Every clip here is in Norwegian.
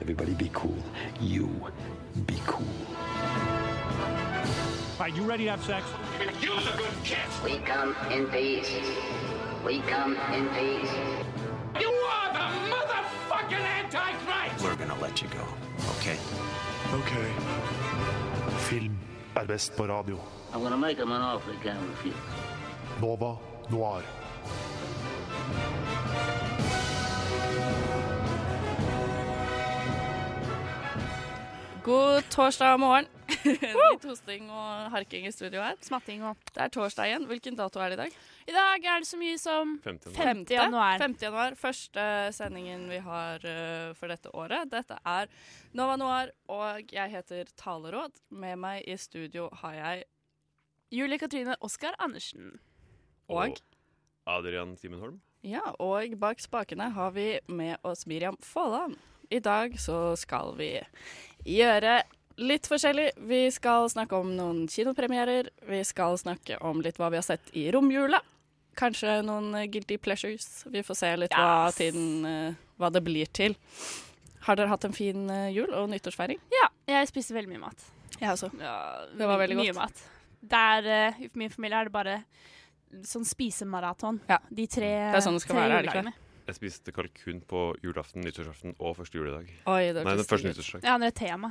Everybody be cool. You be cool. All right, you ready to have sex? We come in peace. We come in peace. You are the motherfucking Antichrist! We're gonna let you go. Okay? Ok. Film er best på radio. I'm gonna make him an offer he can't refuse. Nova Noir. God torsdag morgen. Litt hosting og harking i studio her. Smatting og Det er torsdag igjen. Hvilken dato er det i dag? I dag er det så mye som 50. januar. 5. januar. Første sendingen vi har eh, for dette året. Dette er Nova Noir, og jeg heter Taleråd. Med meg i studio har jeg Julie Katrine Oskar Andersen. og Adrian Simenholm. Ja, og bak spakene har vi med oss Miriam Folland. I dag så skal vi gjøre litt forskjellig. Vi skal snakke om noen kinopremierer. Vi skal snakke om litt hva vi har sett i romjula. Kanskje noen eh, guilty pleasures. Vi får se litt hva, Yes. tiden, eh, hva det blir til. Har dere hatt en fin eh, jul og nyttårsfeiring? Ja, jeg spiser veldig mye mat. Jeg også. Ja, det var my- veldig godt. Mye mat. Der, eh, I min familie er det bare sånn spisemaraton. Ja. De tre Det er sånn det skal tre være, er det ikke juledagene. Jeg spiste kalkun på julaften, nyttårsaften og første juledag. Oi, det var Nei, ikke den første stilig. nyttårsdag. Ja, det er tema.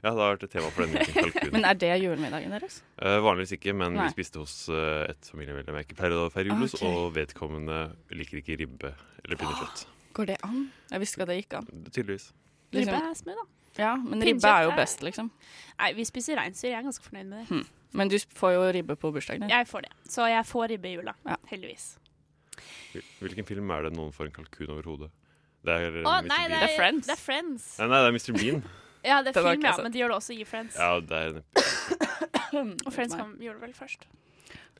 Ja, det har vært et tema for denne uken. Kalkun. Men er det julemiddagen deres? Eh, vanligvis ikke, men Nei. vi spiste hos eh, et familiemedlem jeg ikke pleier å feire jul hos, Ah, Ok. og vedkommende liker ikke ribbe eller pinnekjøtt. Går det an? Jeg visste ikke at det gikk an. Ah. Tydeligvis. Ribbe Liksom- er smooth, da. Ja, Men Pinnekjøtt ribbe er jo er- best, liksom. Nei, vi spiser reinsdyr. Jeg er ganske fornøyd med det. Men du får jo ribbe på bursdagen din. Jeg får det. Så jeg får ribbe i jula. Ja. Heldigvis. Hvil- Hvilken film er det noen får en kalkun over hodet? Det er eh, Å, Mr. nei, Bean. det er Friends. Det er Friends. Nei, nei, det er Mr. Bean. Ja, det er Den har film, ikke jeg ja, sett. men de gjør det også i Friends. Ja, det er Og Friends kom, gjorde det vel først.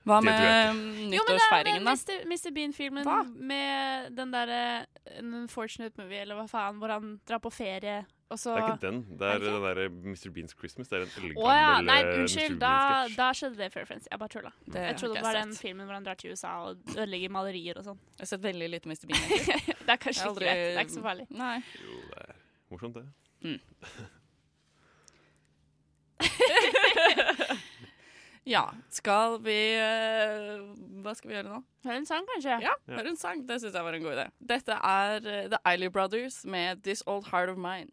Hva Det tror jeg med nyttårsfeiringen, da? Jo, men det er med Mr. Bean-filmen Hva? med den derre eh, An Unfortunate Movie, eller hva faen, hvor han drar på ferie, og så Det er ikke den. Det Er er det den derre Mr. Beans Christmas. Det er en Å ja, eldgammel nei, eh, unnskyld. Mr. Da, Bean-sketsj. da skjedde det før Friends. Jeg bare tulla. Det har Jeg trodde ikke det var jeg den sett. filmen hvor han drar til USA og ødelegger malerier og sånn. Jeg har sett veldig lite Mr. Bean. egentlig. Det er kanskje Jeg har ikke greit. Det aldri- er ikke så farlig. Nei. Jo, det er morsomt, det. Ja, skal vi eh, Hva skal vi gjøre nå? Hør en sang, kanskje? Ja, hør en sang. Det syns jeg var en god idé. Dette er eh, The Eiley Brothers med This Old Heart of Mine.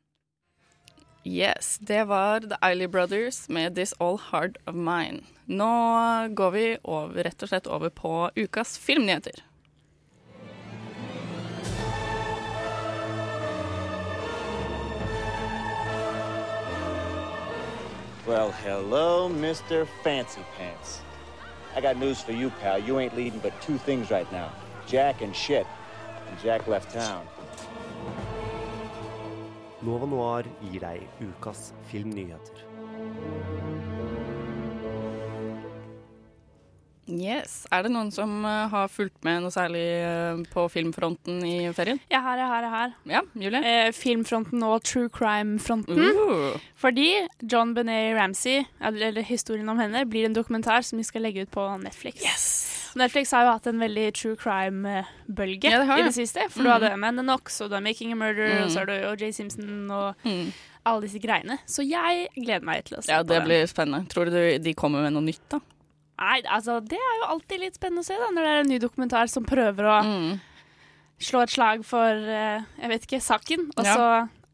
Yes, det var The Eiley Brothers med This Old Heart of Mine. Nå går vi over, rett og slett over på ukas filmnyheter. Well, hello, Mr. Fancy Pants. I got news for you, pal. You ain't leading but two things right now Jack and shit. And Jack left town. Nova Noir gir deg ukas filmnyheter. Yes. Er det noen som eh, har fulgt med noe særlig eh, på filmfronten i ferien? Jeg har, jeg har, jeg har. Ja, Julie? Eh, mm. filmfronten og true crime-fronten. Uh. Fordi John Benet Ramsey, eller, eller historien om henne, blir en dokumentar som vi skal legge ut på Netflix. Netflix har jo hatt en veldig true crime-bølge Ja, det har i det. Mm. det siste. For du hadde Amanda Knox, og du har Making a Murder, og så har du O.J. Simpson og alle disse greiene. Så jeg gleder meg til å se Mm. Ja, på det blir spennende. Tror du de kommer med noe nytt, da? Nei, altså, det er jo alltid litt spennende å se da, når det er en ny dokumentar som prøver å Mm. slå et slag for, eh, jeg vet ikke, saken. Og Ja. så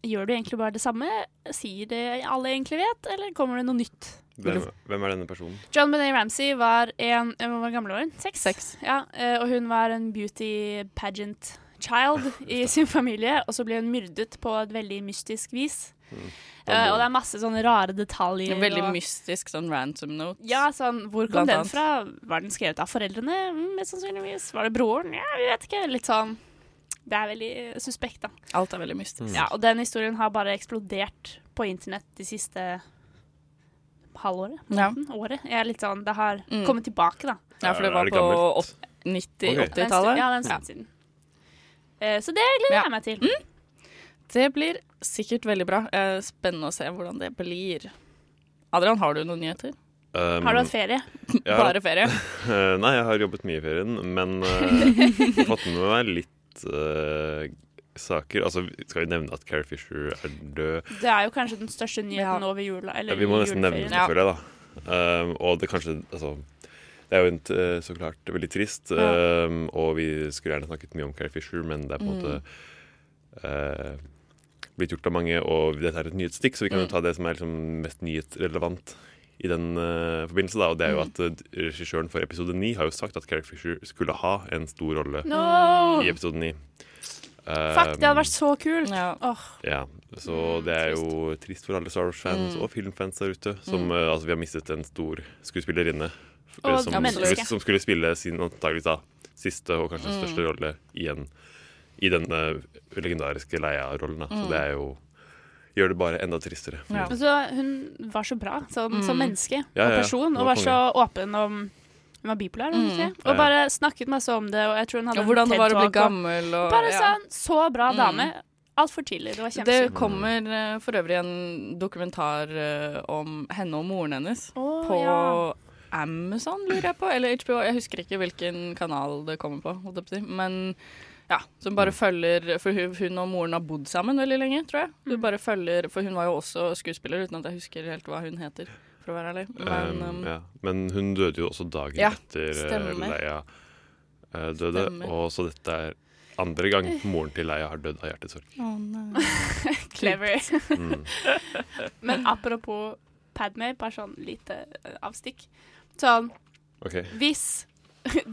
gjør du egentlig bare det samme, sier det alle egentlig vet, eller kommer det noe nytt? Hvem, hvem er denne personen? John Benet Ramsey var en eh, Hvor gammel var hun? Seks. Seks. Ja, eh, og hun var en beauty pageant child i sin familie, og så ble hun myrdet på et veldig mystisk vis. Eh, og det er masse sånne rare detaljer. En veldig og, mystisk sånn ransom note. ja, sånn, Hvor kom Blant den annet. fra? Var den skrevet av foreldrene? Mm, mest sannsynligvis. Var det broren? Ja, vi vet ikke. Litt sånn Det er veldig eh, suspekt, da. Alt er veldig mystisk. Ja, og den historien har bare eksplodert på internett de siste halvåret. Ja. Året. Jeg er litt sånn, Det har Mm. kommet tilbake, da. Ja, for det Er- er var det på gammelt? opp- 90-, Ok. Det er en stund- 80-tallet. Ja, det er en stund siden. Eh, Så det gleder Ja. Mm. jeg meg til. Det blir sikkert veldig bra. Eh, Spennende å se hvordan det blir. Adrian, har du noen nyheter? Um, Har du hatt ferie? jeg har Bare ferie. Eh, nei, jeg har jobbet mye i ferien, men eh, fått med meg litt eh, saker. Altså, Skal vi nevne at Carrie Fisher er død? Det er jo kanskje den største nyheten Ja. nå ved jula. Eller Ja, vi må i nesten nevne juleferien. det, føler jeg, da. Um, og det kanskje Altså, det er jo en, t- eh, så klart veldig trist, um, og vi skulle gjerne snakket mye om Carrie Fisher, men det er på en Mm. måte eh, blitt gjort av mange, og dette er et nyhetsstikk, så vi kan Mm. jo ta det som er liksom mest nyhetsrelevant i den eh, forbindelse, da. Og det er jo Mm. at eh, regissøren for episode 9 har jo sagt at Carrie Fisher skulle ha en stor rolle No! i episode 9. Fuck, det hadde vært så kult! Ja. Åh, Ja, så Mm, det er jo trist for alle Star Wars-fans og filmfans der ute. Mm. Som, eh, altså, vi har mistet en stor skuespillerinne f- Og som, et menneske. skulle, som skulle spille sin antageligvis da, siste og Mm. kanskje største rolle igjen i denne legendariske Leia-rollen. da. Så det er jo gjør det bare enda tristere. Mm. Ja. men så Altså, hun var så bra sånn, Mm. som menneske Ja, ja, ja. og person, Hun og var var så åpen om hun var bipolar, var hun ikke det? Ja, ja. og bare snakket masse om det. Og jeg tror hun hadde Mm. Og hvordan det var å bli TED-talk, og- gammel og Bare ja. Mm. sånn så bra dame. Altfor tidlig. Det var Det kjempesynd. kommer eh, for øvrig en dokumentar eh, om henne og moren hennes Å, på ja. Amazon, lurer jeg på, eller HBO. Jeg husker ikke hvilken kanal det kommer på, holdt jeg på å si. Men ja, som bare følger For hun, hun og moren har bodd sammen veldig lenge, tror jeg. Mm. Hun bare følger For hun var jo også skuespiller, uten at jeg husker helt hva hun heter, for å være ærlig. Men Um, um, ja. Men hun døde jo også dagen Ja, etter eh, stemmer. Leia eh, døde, Stemmer. og så dette er andre gang moren til Leia har dødd av hjertesorg. um, Clever. Men apropos Padme, bare sånn lite eh, avstikk. Sånn Ok, hvis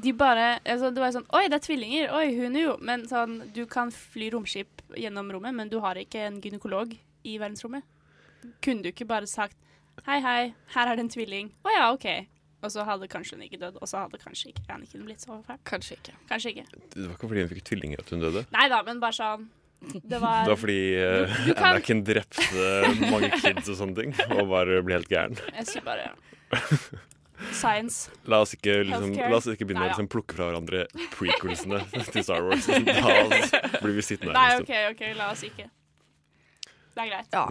de bare altså, Det var sånn Oi, det er tvillinger. Oi, hun er jo Men sånn, du kan fly romskip gjennom rommet, men du har ikke en gynekolog i verdensrommet. Kunne du ikke bare sagt Hei, hei, her er det en tvilling. Å ja, OK. Og så hadde kanskje hun ikke dødd, og så hadde kanskje ikke Anniken blitt så fæl. kanskje ikke. Kanskje ikke. Det var ikke fordi hun fikk tvillinger at hun døde? Nei da, men bare sånn Det Det var var fordi uh, du kan- Anakin drepte mange kids og sånne ting, og bare ble helt gæren. Jeg skulle bare Science. La oss ikke, liksom, Healthcare. la oss ikke begynne Nei, ja. å liksom, plukke fra hverandre prequelsene til Star Wars. Da blir vi sittende Nei, her. en OK, OK, la oss ikke. Det er greit. Ja.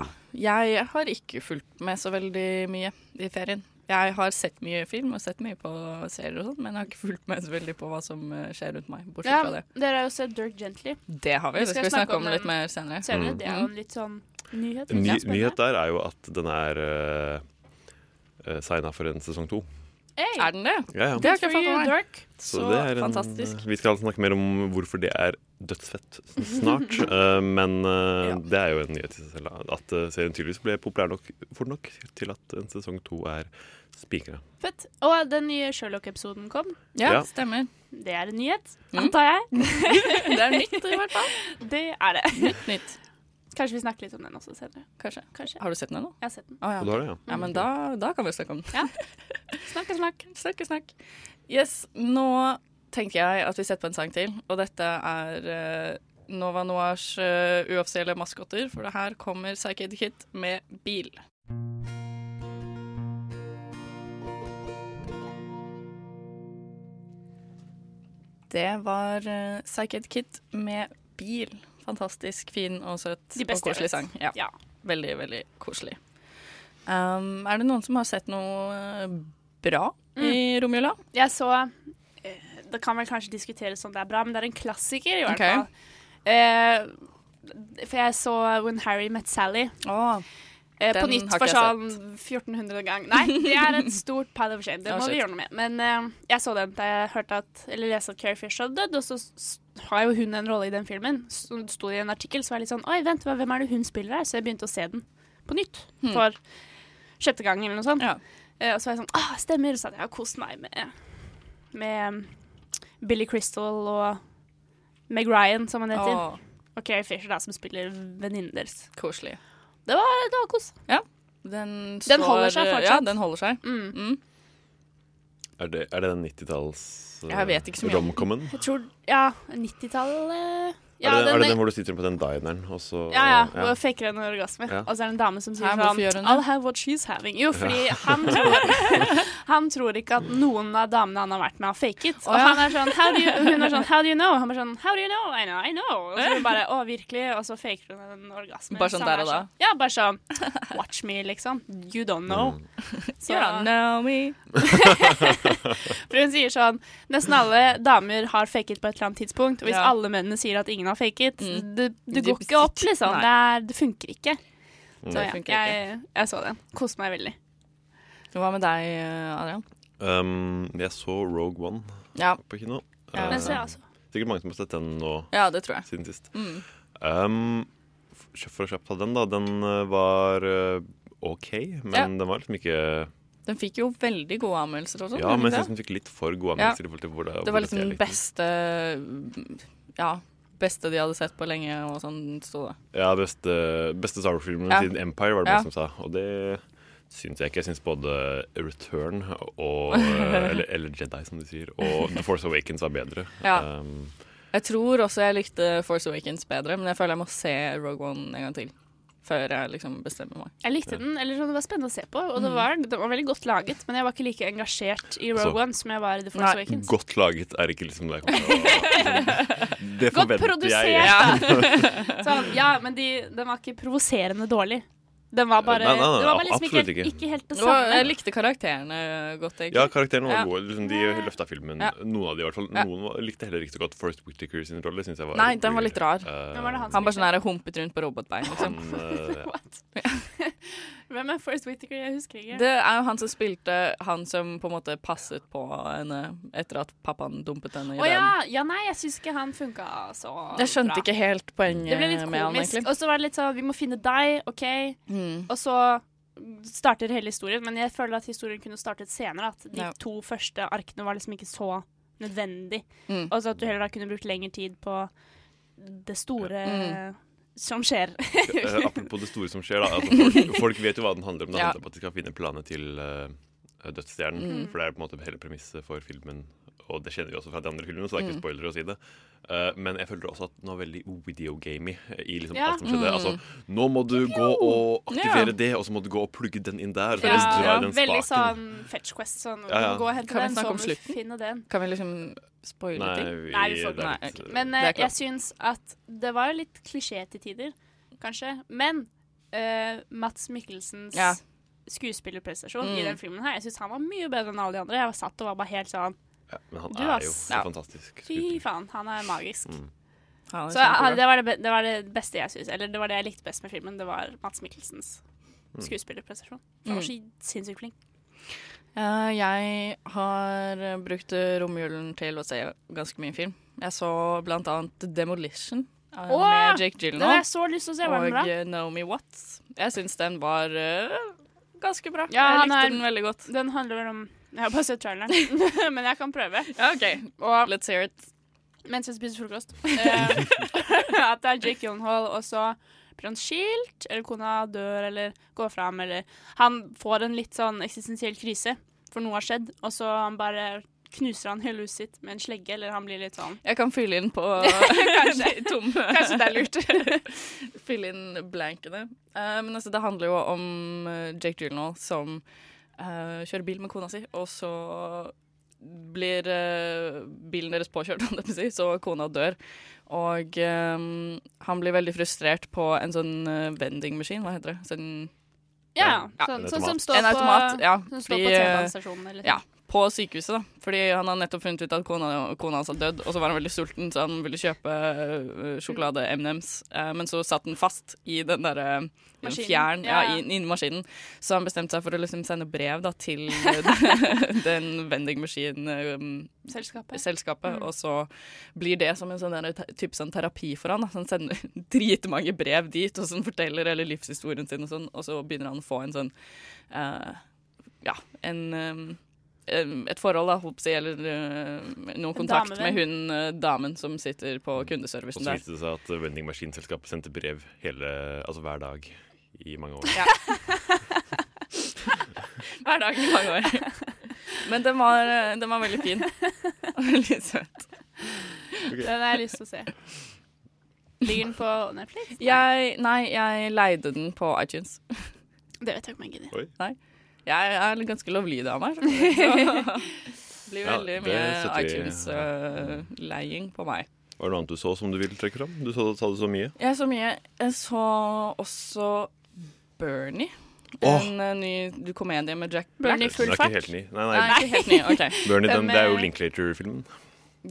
Jeg har ikke fulgt med så veldig mye i ferien. Jeg har sett mye film og sett mye på serier og sånn, men jeg har ikke fulgt med så veldig på hva som eh, skjer rundt meg, bortsett Ja, fra det. dere har jo sett Dirk Gently. Det har vi. Vi Det skal skal vi snakke snakke om om litt den mer senere. Mm. Senere. Det er jo en litt sånn nyhet. stund. Mm. Ny, ikke sant? nyhet der er jo at den er uh, signa for en sesong to. Hey, Er den det? Ja, ja. Det har ikke jeg fått med meg. Dirk. Så, det er en- fantastisk. Vi skal altså snakke mer om hvorfor det er dødsfett snart. eh, men eh, Ja. det er jo en nyhet i seg selv. da, At eh, serien tydeligvis ble populær nok fort nok til at en sesong to er spikra. Fett. Og den nye Sherlock-episoden kom. Ja, Ja. stemmer. Det er en nyhet, antar jeg. Mm. Det er nytt, i hvert fall. Det er det. Nytt, nytt. Kanskje vi snakker litt om den også senere. Kanskje. Kanskje. Har du sett den ennå? Jeg har sett den. Å Og ja. du har det, ja. ja. Men da, da kan vi snakke om den. Snakk og snakk. Snakke, snakk. Yes, nå tenker jeg at vi setter på en sang til, og dette er eh, Nova Noirs eh, uoffisielle maskotter, for det her kommer Psyched Kit med bil. Det var uh, Psyched Kit med bil. Fantastisk fin og søt De og beste jeg koselig vet. sang. Ja. Ja. Veldig, veldig koselig. Um, er det noen som har sett noe eh, bra i romjula? Jeg så eh, Det kan vel kanskje diskuteres om det er bra, men det er en klassiker, i hvert Ok. fall. Eh, for jeg så When Harry Met Sally Åh, eh, på Den nytt har for ikke jeg sånn 1400 gang. Nei, det er et stort pile of shame. Det Å, må vi shit. gjøre noe med. Men eh, jeg så den da jeg hørte at, eller leste at Carrie Fisher hadde dødd, og så s- har jo hun en rolle i den filmen. Så det sto i en artikkel, så var jeg litt sånn Oi, vent, hva- hvem er det hun spiller her? Så jeg begynte å se den på nytt for sjette gang eller noe sånt. Hmm. Ja. Eh, og så var jeg sånn Ah, stemmer. Så hadde jeg kost meg med, med um, Billy Crystal og Meg Ryan, som han heter. åh, Og Carrie Fisher, da, som spiller venninnen deres. koselig. Det var, det var kos. Den, står, Den holder seg fortsatt. Mm. Ja, den holder seg. Er det, er det den 90-talls eh, Jeg vet ikke så mye om den. romcomen? Jeg tror Ja, 90-tallet ja, er, det, er det den hvor du sitter på den dineren, og så Ja, ja. Hvor faker en orgasme. Ja. Og så er det en dame som sier Hæ, hvorfor sånn gjør hun det? I'll have what she's having. Jo, fordi han tror, han tror ikke at noen av damene han har vært med, har faket. Og ja. han er sånn, how do you, hun er sånn How do you know? Han er sånn How do you know? I know, I know. Og så bare Å, virkelig? Og så faker hun en orgasme. Bare sånn Så han der er og da? sånn- Ja, bare sånn Watch me, liksom. You don't know. Så, You don't know me. for Hun sier sånn Nesten alle damer har faket på et eller annet tidspunkt. Og hvis Ja. alle mennene sier at ingen har faket, Mm. det, det går Det- ikke opp, liksom. Nei. Det, er, det funker ikke. Så Det Sånn, ja, funker jeg, jeg så den. Koste meg veldig. Hva med deg, eh, Adrian? Um, jeg så Rogue One Ja, på kino. Ja. Eh, Men så, ja, altså. Sikkert mange som har sett den nå ja det tror jeg. siden sist. Mm. Um, f- for å kjapt ta den, da. Den eh, var eh, OK, men Ja. den var liksom ikke Den fikk jo veldig gode anmeldelser og sånn. Ja, gjorde men den jeg ikke syns den fikk litt for gode Ja. anmeldelser. i forhold til hvor det, det var hvor godt liksom jeg den likte den. beste Ja, beste de hadde sett på lenge, og sånn sto det. Ja, beste, beste Star Wars-filmen Ja. siden Empire var det Ja. mange som sa. Og det syns jeg ikke. Jeg syns både Return og eller, eller Jedi, som de sier, og The Force Awakens var bedre. Ja. Um, Jeg tror også jeg likte Force Awakens bedre, men jeg føler jeg må se Rogue One en gang til. Før jeg liksom bestemmer meg. Jeg likte den. eller sånn, Det var spennende å se på, og det var, det var veldig godt laget. Men jeg var ikke like engasjert i Rogue Altså, One som jeg var i The Force nei, Awakens. godt laget er ikke liksom det jeg kommer til å- Det Godt forventer produsert, jeg. da. sånn, ja, men de, den var ikke provoserende dårlig. Den var bare Nei, nei, nei, Den var bare liksom ikke, absolutt helt- ikke. ikke helt det Det var, samme. jeg likte karakterene godt, egentlig. Ja, karakterene var Ja. gode. Liksom, de løfta filmen. Ja. Noen av de i hvert fall. Ja. Noen var, likte heller ikke så godt Forest Whittaker sin rolle. Synes jeg var Nei, den var litt rar. Eh, Hvem var det han Han bare sånn her humpet rundt på robotbein, liksom. han, eh, ja. Hvem er Forest Whittaker? Jeg husker ikke. Det er jo han som spilte han som på en måte passet på henne etter at pappaen dumpet henne i Å den. ja. ja! Nei, jeg syns ikke han funka så Jeg skjønte bra. ikke helt Det poenget ble litt med han, komisk. egentlig. Og så var det litt sånn Vi må finne deg, OK? Mm. Og så starter hele historien. Men jeg føler at historien kunne startet senere. At de Ja. to første arkene var liksom ikke så nødvendig. Mm. Og så at du heller da kunne brukt lengre tid på det store Mm. som skjer. Eh, apropos det store som skjer, da. Altså, folk, folk vet jo hva den handler om. Det Ja. handler om at de skal finne planet til eh, Dødsstjernen. Mm. For det er på en måte hele premisset for filmen. Og det kjenner vi også fra de andre filmene, så det er Mm. ikke spoilere å si det. Eh, men jeg føler også at den var veldig videogamey i liksom Ja. Mm. alt som skjedde. Altså, nå må du gå og aktivere Ja. det, og så må du gå og plugge den inn der. Og så Ja, drar ja, jeg den veldig spaken. sånn fetch quest. Sånn, Ja, ja. Gå og hente Kan vi den, snakke så om må du slutten? finne den. Kan vi liksom spoile Nei, ting? vi, Nei, vi får det er ikke. litt, Nei, ok. eh, Men Det er eh, jeg klart. syns at det var litt klisjé til tider, kanskje. Men eh, Mats Mikkelsens Ja. skuespillerprestasjon i Mm. den filmen her, jeg syns han var mye bedre enn alle de andre. Jeg var satt og var bare helt sånn ja, men han Du, er jo ass. så Ja. fantastisk. Fy skuespiller. faen, han er magisk. Mm. Han er Så jeg, kjempebra. det, var det, be- det var det beste jeg syns. Eller det var det jeg likte best med filmen. Det var Mats Mikkelsens Mm. skuespillerprestasjon. Han var så sinnssykt flink. Eh, jeg har eh, brukt romjulen til å se ganske mye film. Jeg så blant annet Demolition eh, Åh! med Jake Det har Gyllenhaal jeg så lyst til å se. Var den og bra? eh, Naomi Watts. Jeg syns den var eh, ganske bra. Ja, jeg han likte er- den veldig godt. Den handler vel om Jeg har bare sett traileren, men jeg kan prøve. Ja, OK. Og Let's hear it. Mens jeg spiser frokost. Eh, at det er Jake Gyllenhaal, og så blir han skilt, eller kona dør, eller går fra ham, eller Han får en litt sånn eksistensiell krise, for noe har skjedd, og så han bare knuser han hele huset sitt med en slegge, eller han blir litt sånn Jeg kan fylle inn på Kanskje. de tomme Kanskje det er lurt. Fylle inn blankene. Eh, men altså, det handler jo om eh, Jake Gyllenhaal som eh, kjører bil med kona si, og så blir eh, bilen deres påkjørt, om det vil si, så kona dør. Og eh, han blir veldig frustrert på en sånn eh, vendingmaskin, hva heter det? Sånn, ja, Ja, sånn, en sånn som automat. står en automat. på sånn Ja, Som står fordi, på eh, T-banestasjonen, eller ja, på sykehuset, da. Fordi han har nettopp funnet ut at kona, kona hans har dødd, og så var han veldig sulten, så han ville kjøpe øh, sjokolade M&M's, eh, men så satt den fast i den derre Maskinen. Fjern, ja, Ja, ja. inn- inni maskinen. Så han bestemte seg for å liksom sende brev da, til den eh, vending machine-selskapet. selskapet. Og så blir det som en sånn der, te- type sånn terapi for han. Da. Så han sender dritmange brev dit, og sånn forteller hele livshistorien sin, og sånn, og så begynner han å få en sånn eh, ja, en, um, um, et forhold, da, håper jeg, eller uh, noen kontakt damevenn. med hun uh, damen som sitter på Og kundeservicen så der. viste det seg at eh, vending maskinselskapet sendte brev hele, altså hver dag i mange år. Hver dag i mange år. Men den var, uh, den var veldig fin. Og veldig søt. Den har jeg lyst til å se. Ligger den på Netflix? Jeg, nei, jeg leide den på iTunes. Det vet jeg ikke om jeg gidder. Jeg er ganske lovlydig av meg. Så det blir Ja, veldig det mye setter vi- iTunes-leiing på meg. Var det noe annet du så som du vil trekke fram? Du så, sa du så mye. Jeg så mye. Jeg så også Bernie. Åh. En eh, ny du- komedie med Jack Black. Bernie Den full er ikke fart. helt ny. Nei, nei. Nei, ikke helt ny. OK. Bernie, den, Hvem det er jo er- Linklater-filmen.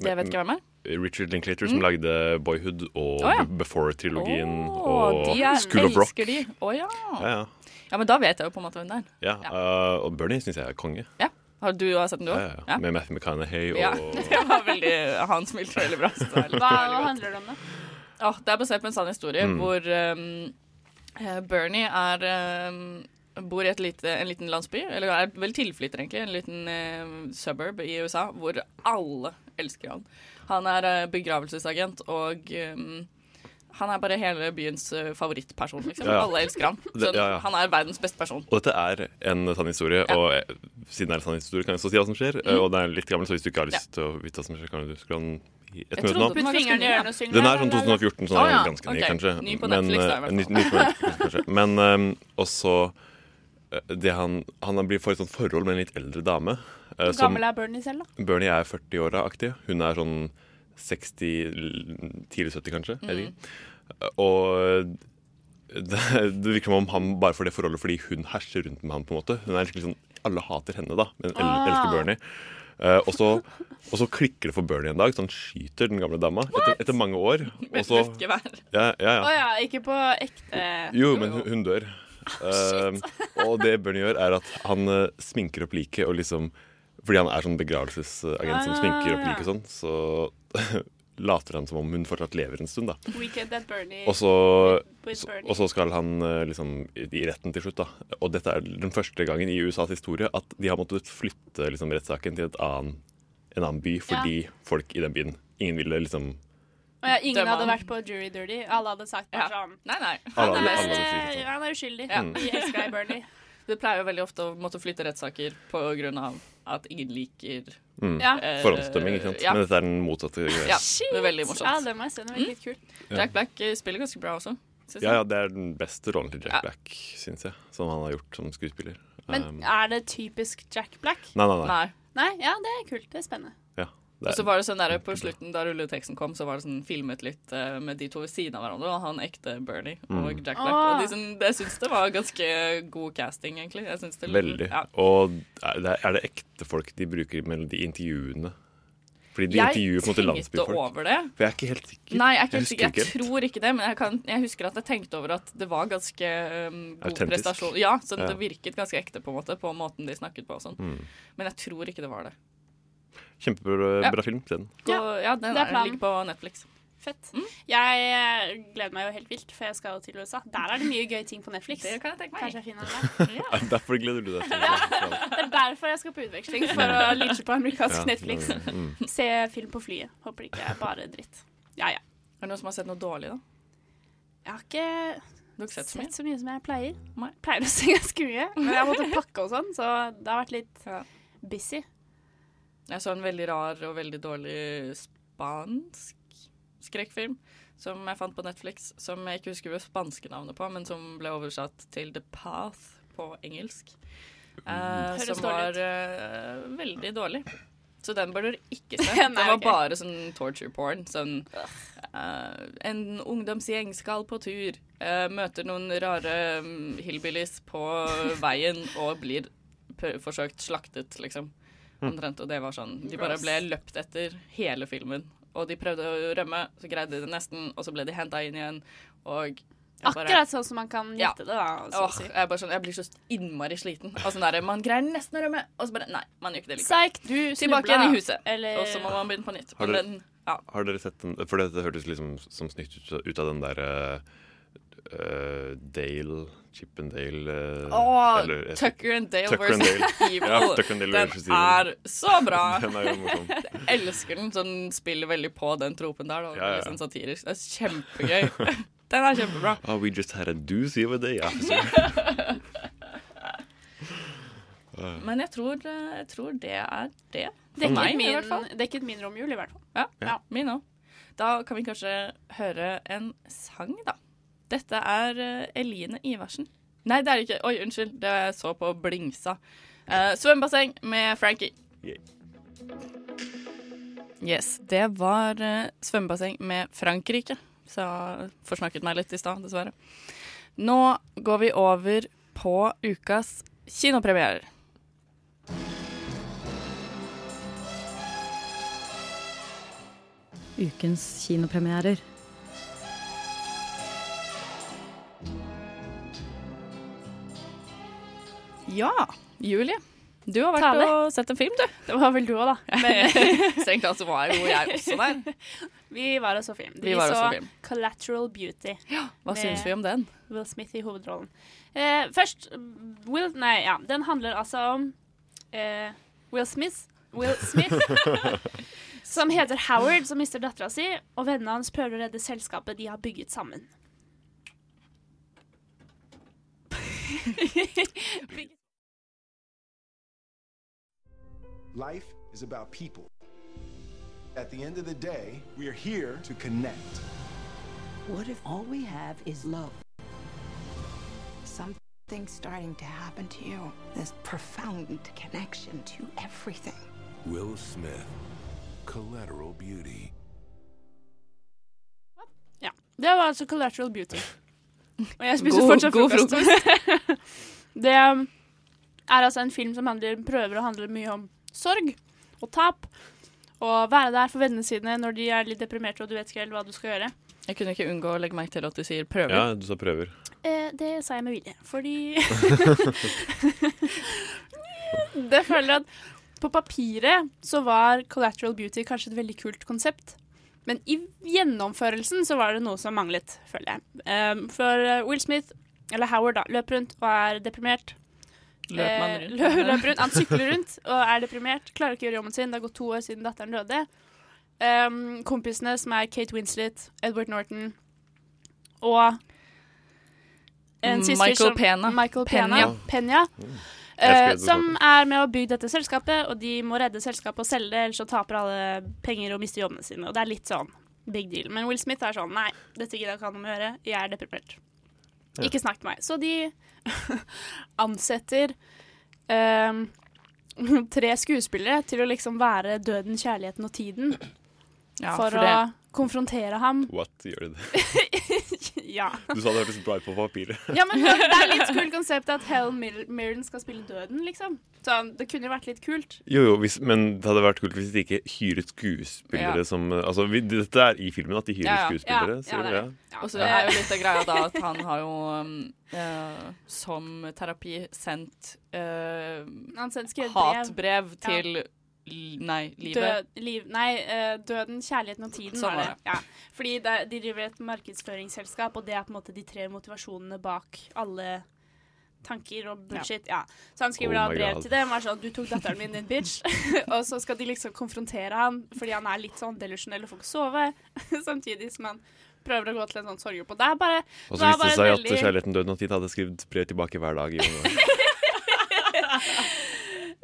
Jeg vet ikke hvem er. Richard Linklater som lagde Boyhood og Mm. Å, ja. Be- Before-trilogien Å, og de er, School of Rock. elsker de. Å ja. Ja, ja. ja. Men da vet jeg jo på en måte hvem det er. ja. eh, og Bernie syns jeg er konge. Ja. Har du har sett den, du Ja, òg? ja, ja. Med Matthew McConaughey og Ja. Det var veldig, han smilte veldig bra. Så det, er litt, Hva, hva handler det om, da? Åh, det er basert på en sann historie Mm. hvor ehm, eh, Bernie er ehm, Bor i et lite, en liten landsby, eller er vel tilflytter, egentlig. En liten eh, suburb i USA hvor alle elsker han. Han er eh, begravelsesagent, og ehm, han er bare hele byens eh, favorittperson, liksom. Ja, ja. Alle elsker han. Så Det- ja, ja. han er verdens beste person. Og dette er en sann historie, og eh, siden det er en sann historie, kan jeg også si hva som skjer. Mm. eh, Og den er litt gammel, så hvis du ikke har lyst til å vite hva som skjer, kan du skru den i ett minutt nå. trodde den Putt var ganske fingeren i ny, ja. ørene og syng. Den la, er la, sånn la, la. 2014, så Å, den ja. er ganske ny, Ok. kanskje. Ny på Men, Netflix, da, i hvert eh, fall. ny- ny på Netflix, kanskje. Men ehm, også eh, det han, han blir for et sånt forhold med en litt eldre dame. eh, Hvor gammel er Bernie selv, da? Bernie er 40-åra-aktig. Hun er sånn 60, l- tidlig 70 kanskje. jeg vet ikke. Og det, det virker som om han bare får det forholdet fordi hun herser rundt med han. på en måte. Hun er skikkelig sånn, Alle hater henne, da, men el elsker Bernie. Eh, og, så, og så klikker det for Bernie en dag, så han skyter den gamle dama etter, etter mange år. Og Med så, et luftgevær. ja, ja, Å ja. ja, ikke på ekte Jo, men hun, hun dør. Eh, og det Bernie gjør, er at han eh, sminker opp liket og liksom Fordi han er sånn begravelsesagent som sminker opp liket og sånn, så later han som om hun fortsatt lever en stund, da. Weekend at Bernie. Og så, With Bernie. og så skal han eh, liksom i i retten til slutt, da. Og dette er den første gangen i USAs historie at de har måttet flytte liksom, rettssaken til et annen, en annen by fordi folk i den byen Ingen ville liksom Å ja, ingen Dømmer hadde han. vært på Jury Dirty. Alle hadde sagt bare sånn Nei, nei. Alle, Han alle, er, alle ville si eh, sånn. han er uskyldig. Ja. Vi elsker deg, Bernie. Det pleier jo veldig ofte å måtte flytte rettssaker på grunn av at ingen liker Mm. Ja. eh, Forhåndsdømming, ikke sant. Ja. Men dette er den motsatte greia. Ja, det er veldig Ja, morsomt. Mm. det må jeg se. Det var litt kult. Jack Black eh, spiller ganske bra også. synes Ja, jeg. ja, det er den beste rollen til Jack Ja. Black, syns jeg. Som han har gjort som skuespiller. Um, Men nei, er det typisk Jack Black? nei, nei. Nei. Nei, ja, det er kult. Det er spennende. Ja, det Og så er, var det sånn der, På slutten, da rulleteksten kom, så var det sånn filmet litt eh, med de to ved siden av hverandre. Og han ekte Bernie Mm. og Jack Black. Ah. Og de, sånn- det syns det var ganske god casting, egentlig. Jeg synes det veldig. Ja. Og er det, er det ekte folk de bruker mellom de intervjuene? Fordi de intervjuer Jeg på en måte tenkte landsbyfolk. over det. For jeg er ikke helt sikker. Nei, jeg, er ikke helt husker sikker. jeg tror ikke det, men jeg, kan, jeg husker at jeg tenkte over at det var ganske um, god Autentisk. prestasjon. Ja, så Ja. det virket ganske ekte på en måte, på måten de snakket på og sånn. Men jeg tror ikke det var det. Kjempebra Ja. bra film. se den. Gå, ja. Ja, den det er er planen. ligger på Netflix. Fett. Mm. Jeg eh, gleder meg jo helt vilt, for jeg skal jo til USA. Der er det mye gøye ting på Netflix. Det kan jeg tenke meg. Kanskje jeg finner den der. Er det Derfor gleder du deg til den. Det er derfor jeg skal på utveksling, for å lynsje på amerikansk Ja, Netflix. det- Mm. Se film på flyet. Håper det ikke er bare dritt. Ja, ja. Er det noen som har sett noe dårlig, da? Jeg har ikke Du har ikke sett så mye? sett så mye som jeg pleier. Nei. Pleier å se ganske mye. Men jeg måtte pakke og sånn, så det har vært litt Ja. busy. Jeg så en veldig rar og veldig dårlig spansk skrekkfilm som jeg fant på Netflix, som jeg ikke husker det spanske navnet på, men som ble oversatt til The Path på engelsk. Eh, Høres som dårlig var ut. eh, veldig dårlig. Så den bør dere ikke se. Nei, det var ok. bare sånn torture porn. Sånn eh, En ungdomsgjeng skal på tur, eh, møter noen rare mm, hillbillies på veien og blir p forsøkt slaktet, liksom. Mm. Omtrent. Og det var sånn. De bare Gross. ble løpt etter hele filmen. Og de prøvde å rømme, så greide de det nesten, og så ble de henta inn igjen. Og jeg bare- Akkurat sånn som man kan Ja. gjette det, da. Så å Åh, si. jeg, er bare sånn, jeg blir så innmari sliten. Og sånn der, man greier nesten å rømme, og så bare Nei, man gjør ikke det likevel. Psyk, du snubla. Tilbake igjen i huset. Eller Og så må man begynne på nytt. Har du- Men, ja. Har dere sett den? For det hørtes liksom som snytt ut, ut av den derre Dale Chip and Dale eh, Åh, eller- jeg- Tucker and Dale Tucker and versus Dale. Evil. Ja, Tucker and Dale versus den Evil. er så bra! Den er jo morsom. Jeg elsker den. Så den spiller veldig på den tropen der. Da. Ja, ja, ja. Litt sånn satirisk. Det er kjempegøy. Den er kjempebra. Oh, we just had a doozy of a day, officer. Men jeg tror, eh, jeg tror det er det. dekket, meg, i min, hvert fall. dekket min romjul, i hvert fall. Ja, min òg. Da kan vi kanskje høre en sang, da. Dette er eh, Eline Iversen. Nei, det er det ikke. Oi, unnskyld. Det så på blingsa. Uh, Svømmebasseng med Frankie. Yay. Yes, det var eh, svømmebasseng med Frankrike. Så jeg forsnakket meg litt i stad, dessverre. Nå går vi over på ukas kinopremierer. Ukens kinopremierer. Ja, Julie. Du har vært Tale. og sett en film, du. Det var vel du òg, da. Men Strengt tatt så var jo jeg også der. vi var og så film. Vi var og så film. Collateral Beauty. Hva Det- syns vi om den? Will Smith i hovedrollen. Eh, først mm, Will Nei, ja. Den handler altså om eh, Will Smith. Will Smith som heter Howard, som mister dattera si, og vennene hans prøver å redde selskapet de har bygget sammen. Life is about people. At the end of the day, we are here to connect. What if all we have is love? Something's starting to happen to you. This profound connection to everything. Will Smith, Collateral Beauty. Ja. Det var altså Collateral Beauty. Og jeg spiser God- fortsatt god frokost. det um, er altså en film som handler, prøver å handle mye om sorg og tap. Og være der for vennene sine når de er litt deprimerte og du vet ikke helt hva du skal gjøre. Jeg kunne ikke unngå å legge merke til at du sier prøver. Ja, du sa prøver. Eh, det sa jeg med vilje, fordi Det føler jeg at på papiret så var collateral beauty kanskje et veldig kult konsept. Men i gjennomførelsen så var det noe som manglet, føler jeg. Ehm, for eh, Will Smith, eller Howard, da, løper rundt og er deprimert. Løp man Eh, rundt. lø løper rundt. Han sykler rundt og er deprimert. Klarer ikke å gjøre jobben sin. Det har gått to år siden datteren døde. Ehm, kompisene, som er Kate Winslet, Edward Norton og en siste Mm, Michael som- Pena. Michael Pena. Pena. Pena, Jeg eh, skrev det på som er med å bygge dette selskapet, og de må redde selskapet og selge det, ellers så taper alle penger og mister jobbene sine. Og det er litt sånn big deal. Men Will Smith er sånn Nei, dette gidder jeg ikke ha noe med å gjøre. Jeg er deprimert. Ikke snakk til meg. Så de ansetter ehm, tre skuespillere til å liksom være døden, kjærligheten og tiden Ja, for, det- å konfrontere ham. What gjør det? Ja. Du sa det hørtes bra ut på papiret. ja, men det er litt kult konsept at Helen Mir- Mirren skal spille døden, liksom. Sånn, det kunne jo vært litt kult. Jo, jo, hvis, men det hadde vært kult hvis de ikke hyret skuespillere Ja. som Altså, vi, dette er i filmen at de hyrer Ja, ja. skuespillere. Ja, ser ja, du det det? er Ja, Og så er jo litt av greia da at han har jo um, eh, som terapi sendt eh, Han sendte skrevet brev. hatbrev Ja. til l- Nei, livet. Død, liv, nei, eh, døden, kjærligheten og tiden Sånn var det. var det. Ja. Fordi det, de driver et markedsføringsselskap, og det er på en måte de tre motivasjonene bak alle tanker og bullshit. Ja. Så han skriver Oh da my brev God. til dem og er sånn 'Du tok datteren min, din bitch.' og så skal de liksom konfrontere han, fordi han er litt sånn delusjonell og får ikke sove, samtidig som han prøver å gå til en sånn sorgjobb. Og det er bare Og det så er viste det bare seg en at Kjærligheten, døden og tid hadde skrevet brev tilbake hver dag i mange år.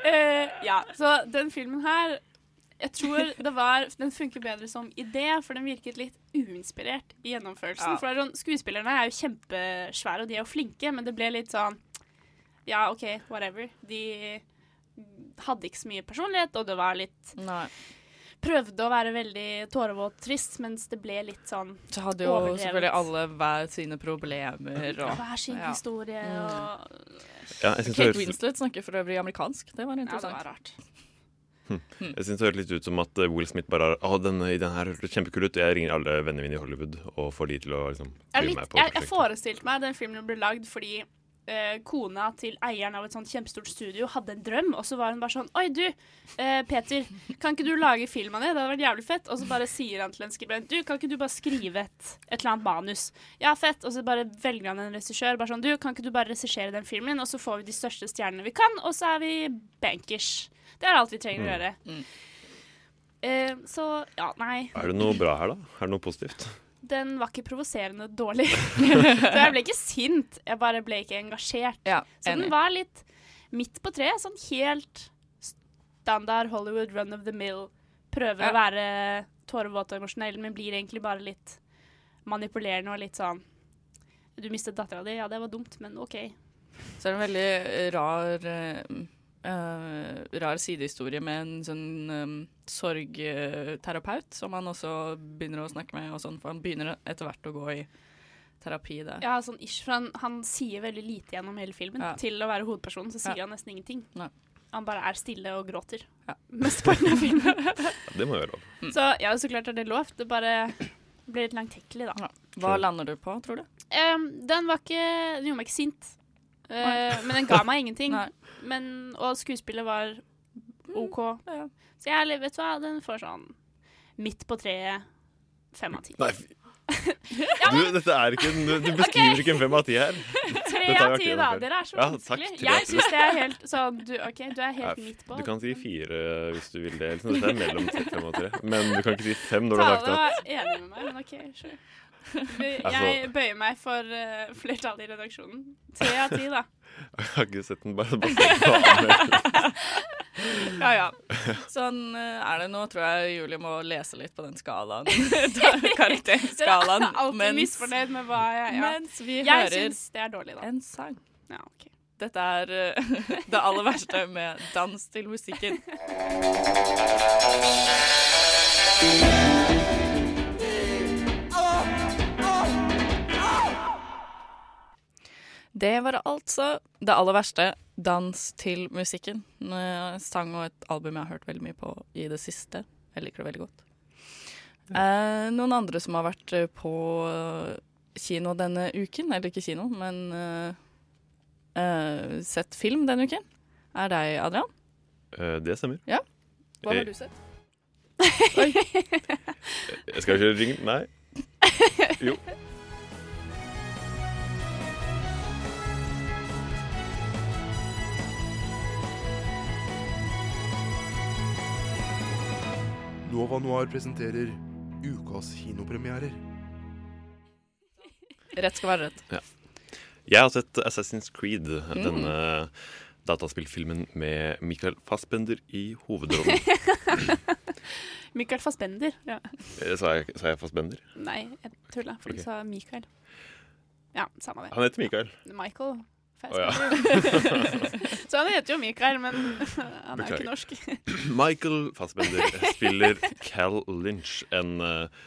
Eh, ja, så den filmen her Jeg tror det var Den funker bedre som idé, for den virket litt uinspirert i gjennomførelsen. Ja. For det er sånn, Skuespillerne er jo kjempesvære, og de er jo flinke, men det ble litt sånn Ja, OK, whatever. De hadde ikke så mye personlighet, og det var litt Nei. Prøvde å være veldig tårevåt trist, mens det ble litt sånn Så hadde jo Overdrevet. selvfølgelig alle hver sine problemer og hver sin ja. Mm. historie og Ja, jeg synes det Kate høres- Winslet snakker for øvrig amerikansk. Det var Ja, det interessant. var rart. Jeg synes det høres litt ut som at eh, Will Smith bare har Å, den, den her hørtes kjempekul ut. Jeg ringer alle vennene mine i Hollywood og får de til å liksom Jeg, er bli med litt, på jeg, jeg prosjektet. forestilte meg at den filmen ble lagd fordi eh, kona til eieren av et sånt kjempestort studio hadde en drøm, og så var hun bare sånn Oi, du, eh, Peter, kan ikke du lage film av det? Det hadde vært jævlig fett. Og så bare sier han til en skribent Du, kan ikke du bare skrive et, et eller annet manus? Ja, fett. Og så bare velger han en regissør. Bare sånn Du, kan ikke du bare regissere den filmen? Og så får vi de største stjernene vi kan, og så er vi bankers. Det er alt vi trenger å gjøre. Eh, så ja, nei. Er det noe bra her, da? Er det noe positivt? Den var ikke provoserende dårlig. så jeg ble ikke sint, jeg bare ble ikke engasjert. Ja, Så enig. den var litt midt på treet, sånn helt standard Hollywood run of the mill. Prøver Ja. å være tårevåt og emosjonell, men blir egentlig bare litt manipulerende og litt sånn Du mistet dattera di, ja det var dumt, men OK. Så er det en veldig rar eh, eh, rar sidehistorie med en sånn eh, sorgterapeut som han også begynner å snakke med, og sånn, for han begynner etter hvert å gå i terapi, det. Ja, sånn ish, for han, han sier veldig lite gjennom hele filmen. Ja. Til å være hovedpersonen så sier Ja. han nesten ingenting. Nei. Han bare er stille og gråter. Ja. Mesteparten av filmen. Det må jo være lov. så ja, så klart er det lov. Det bare blir litt langtekkelig, da. Ja. Hva lander du på, tror du? Em, den var ikke Den gjorde meg ikke sint. Eh, men den ga meg ingenting. Nei. Men, og skuespillet var OK. ja. Så jeg er litt- vet du hva, den får sånn midt på treet. Fem av ti. Nei, fy- du, dette er ikke en, du beskriver ikke en fem av ti her. Tre Dette har av jeg ti, ikke da. gjort før. Dere er så Ja, takk, vanskelige. tre av Jeg ti. syns det er helt sånn du, OK, du er Nei, helt midt på. Du kan si fire hvis du vil det. Liksom. Dette er mellom tre- fem og tre. Men du kan ikke si fem når du har Tale sagt at var enig med meg, men OK, sure. Altså- Jeg bøyer meg for eh, flertallet i redaksjonen. Tre av ti, da. Jeg har ikke sett den, bare, bare sett den på Ja, ja. Sånn eh, er det nå. Tror jeg Julie må lese litt på den skalaen. Karakterskalaen. Dere er alltid Mens, misfornøyd med hva jeg ja. mens vi Jeg hører syns det er dårlig, da. en sang. Ja, ok. Dette er eh, det aller verste med dans til musikken. Det var altså det aller verste. Dans til musikken. En eh, sang og et album jeg har hørt veldig mye på i det siste. Jeg liker det veldig godt. Eh, noen andre som har vært eh, på eh, kino denne uken, eller ikke kino, men eh, eh, sett film denne uken, er deg, Adrian. Eh, Det stemmer. Hva Eh, har du sett? Jeg skal ikke ringe Nei. Jo. Nova Noir presenterer ukas kinopremierer. Rett skal være rett. Jeg har sett Assassin's Creed, denne dataspillfilmen med Michael Fassbender i hovedrollen. Michael Fassbender. Ja. Eh, Sa jeg, sa jeg Fassbender? Nei, jeg tulla, for Ok. du sa Michael. Ja, samme det. Han heter Michael. Michael. Å, ja. Fassbender. Så han heter jo Michael, men han er jo Beklager. ikke norsk. Michael Fassbender spiller Cal Lynch, en eh,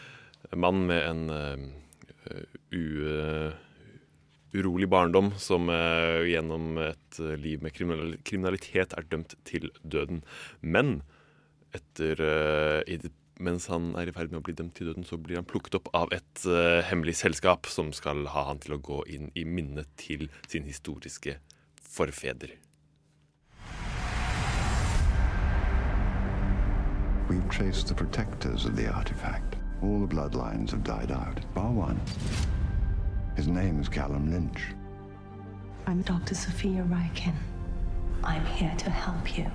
mann med en eh, u, eh, urolig barndom som eh, gjennom et eh, liv med kriminal kriminalitet er dømt til døden. Men etter, eh, i det- mens han er i ferd med å bli dømt til døden, så blir han plukket opp av et eh, hemmelig selskap som skal ha han til å gå inn i minnet til sin historiske forfeder. We've traced the protectors of the artifact. All the bloodlines have died out, bar one. His name is Callum Lynch. I'm Dr. Sophia Ryken. I'm here to help you.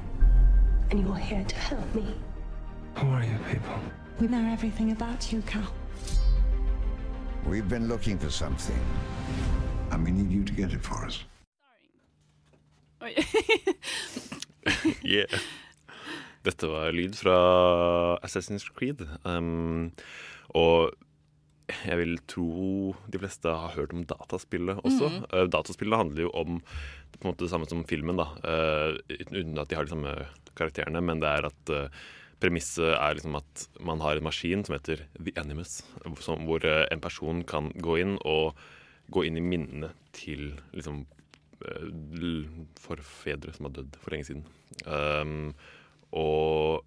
And you're here to help me. Who are you people? We know everything about you, Cal. We've been looking for something, and we need you to get it for us. Oi. Yeah. Dette var lyd fra Assassin's Creed. Um, og jeg vil tro de fleste har hørt om dataspillet også. Mhm. Eh, dataspillet handler jo om på en måte det samme som filmen, da. eh, uten- uten at de har de samme karakterene, men det er at eh, Premisset er liksom at man har en maskin som heter The Animus, som, hvor eh, en person kan gå inn og gå inn i minnene til liksom, eh, l- forfedre som har dødd for lenge siden. Um, og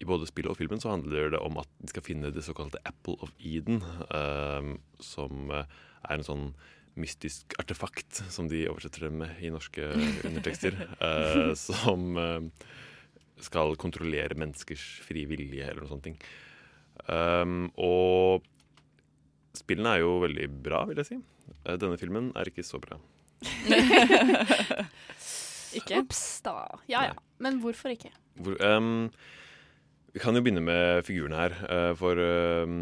i både spillet og filmen så handler det om at de skal finne det såkalte Apple of Eden, um, som eh, er en sånn mystisk artefakt, som de oversetter det med i norske undertekster, eh, som eh, skal kontrollere menneskers frie vilje, eller noe sånt. ting. Um, og spillene er jo veldig bra, vil jeg si. Eh, Denne filmen er ikke så bra. Ikke? Ops, da. Ja ja. Men hvorfor ikke? Hvor, ehm, vi kan jo begynne med figurene her, eh, for ehm,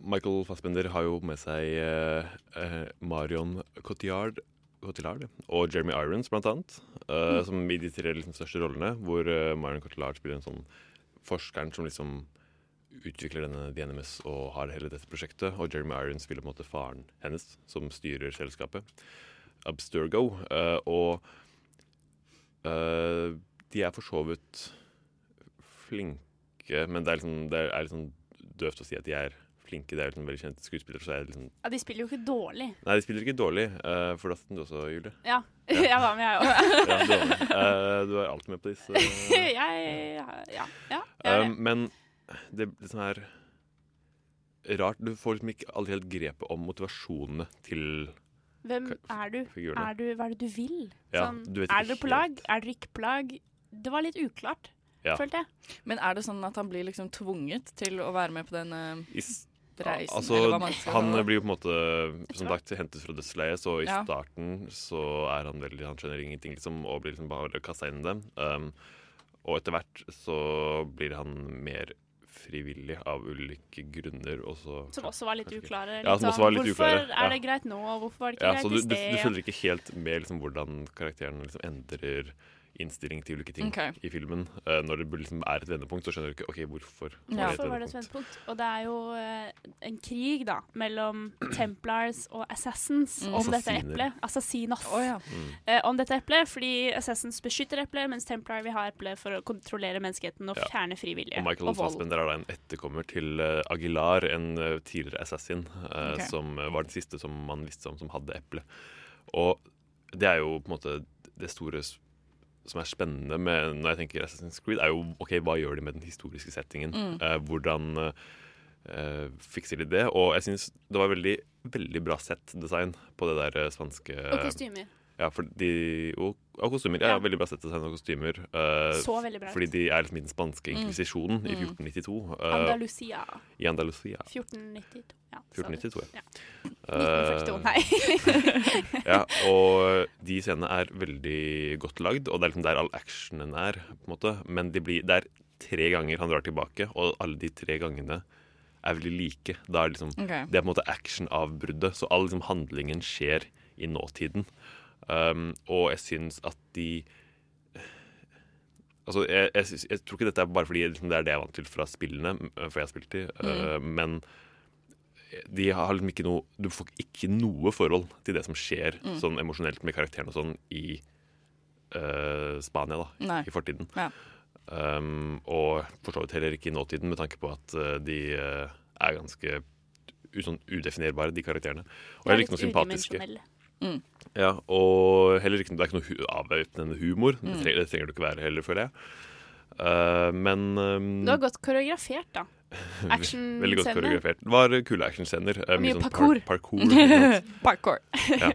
Michael Fassbender har jo med seg eh, eh, Marion Cotillard, Cotillard og Jeremy Irons, blant annet, eh, Mm. som i de tre liksom, største rollene, hvor eh, Marion Cotillard spiller en sånn forskeren som liksom utvikler denne DNMS og har hele dette prosjektet, og Jeremy Irons spiller på en måte faren hennes, som styrer selskapet, Abstergo, eh, og Eh, de er for så vidt flinke, men det er liksom, det er liksom døvt å si at de er flinke. Det er jo liksom veldig kjente skuespillere. Så er det liksom Ja, de spiller jo ikke dårlig. Nei, de spiller ikke dårlig. eh, for da satt du også, Julie. Ja. Jeg var med, jeg òg. Ja, du, var med. Eh, du er alltid med på disse. jeg Ja. ja jeg Eh, er det. men det er litt sånn her Rart. Du får liksom ikke aldri helt grepet om motivasjonene til Hvem ka- er du? figurene. er du? Hva er det du vil? Ja, du vet Sånn, er ikke dere på lag? Er dere ikke på lag? Det var litt uklart, Ja. følte jeg. Men er det sånn at han blir liksom tvunget til å være med på den eh, I s- reisen? eller altså, hva man skal han kalle det? blir jo på en måte som sagt hentet fra dødsleiet, så i Ja. starten så er han veldig Han skjønner ingenting, liksom, og blir liksom bare kasta inn i det. Um, og etter hvert så blir han mer frivillig av ulike grunner, og så Som også var litt kanskje ikke- uklare. Ja, som litt sånn, også var litt hvorfor uklare. ja. er det greit nå, og hvorfor var det ikke Ja, så greit du, i du, sted? du følger ikke helt med liksom, hvordan karakteren liksom, endrer innstilling til ulike ting Ok. i filmen. Eh, når det liksom, er et vendepunkt, så skjønner du ikke OK, hvorfor. Ja. et Hvorfor var det et vendepunkt? vendepunkt? Og det er jo eh, en krig, da, mellom Templars og Assassins Mm. om dette Assassiner. eplet. Assassinos. Å, ja. Mm. Eh, om dette eplet, fordi Assassins beskytter eplet, mens Templar vil ha eplet for å kontrollere menneskeheten og Ja. Oh fjerne frivillige. Og Michael Fassbender er da en etterkommer til eh, Aguilar, en eh, tidligere assassin, eh, Ok. som eh, var den siste som man visste om som hadde eple. Og det er jo på en måte det store s- som er spennende med, når jeg tenker Assassin's Creed, er jo ok, hva gjør de med den historiske settingen? Mm. Eh, hvordan eh, eh, fikser de det? Og jeg syns det var veldig, veldig bra sett-design på det der eh, spanske Og kostymer. Ja, for de, og, og kostymer. Ja, Ja. Veldig bra sett-design og kostymer. eh, Så veldig bra ut. Fordi de er liksom i den spanske Mm. inkvisisjonen i Mm. 1492. eh, Andalusia. I Andalusia. 1492. Ja, sa du. 1492, ja. ja. Eh, 1942, nei. ja, og de scenene er veldig godt lagd, og det er liksom der all actionen er. på en måte. Men de blir, det er tre ganger han drar tilbake, og alle de tre gangene er veldig like. Da er det liksom, Ok. Det er på en måte actionavbruddet, så all liksom, handlingen skjer i nåtiden. Um, og jeg syns at de Altså, jeg, jeg, syns- jeg tror ikke dette er bare fordi liksom, det er det jeg er vant til fra spillene, m- for jeg har spilt de, eh, men de har liksom ikke noe Du får ikke noe forhold til det som skjer Mm. sånn emosjonelt med karakteren og sånn i eh, Spania, da. Nei. I fortiden. Ja. Um, og for så vidt heller ikke i nåtiden, med tanke på at eh, de eh, er ganske u- sånn udefinerbare, de karakterene. Og De er heller ikke noe litt sympatiske. udimensjonelle. Mm. Ja, og heller ikke, det er ikke noe hu avvæpnende humor. Det, Mm. trenger, det trenger du ikke være heller, føler jeg. Eh, men um, Det var godt koreografert, da. Actionscener. Veldig godt koreografert. Det var kule actionscener. eh, Mye sånn par- parkour. parkour ikke sant? Parkour. ja.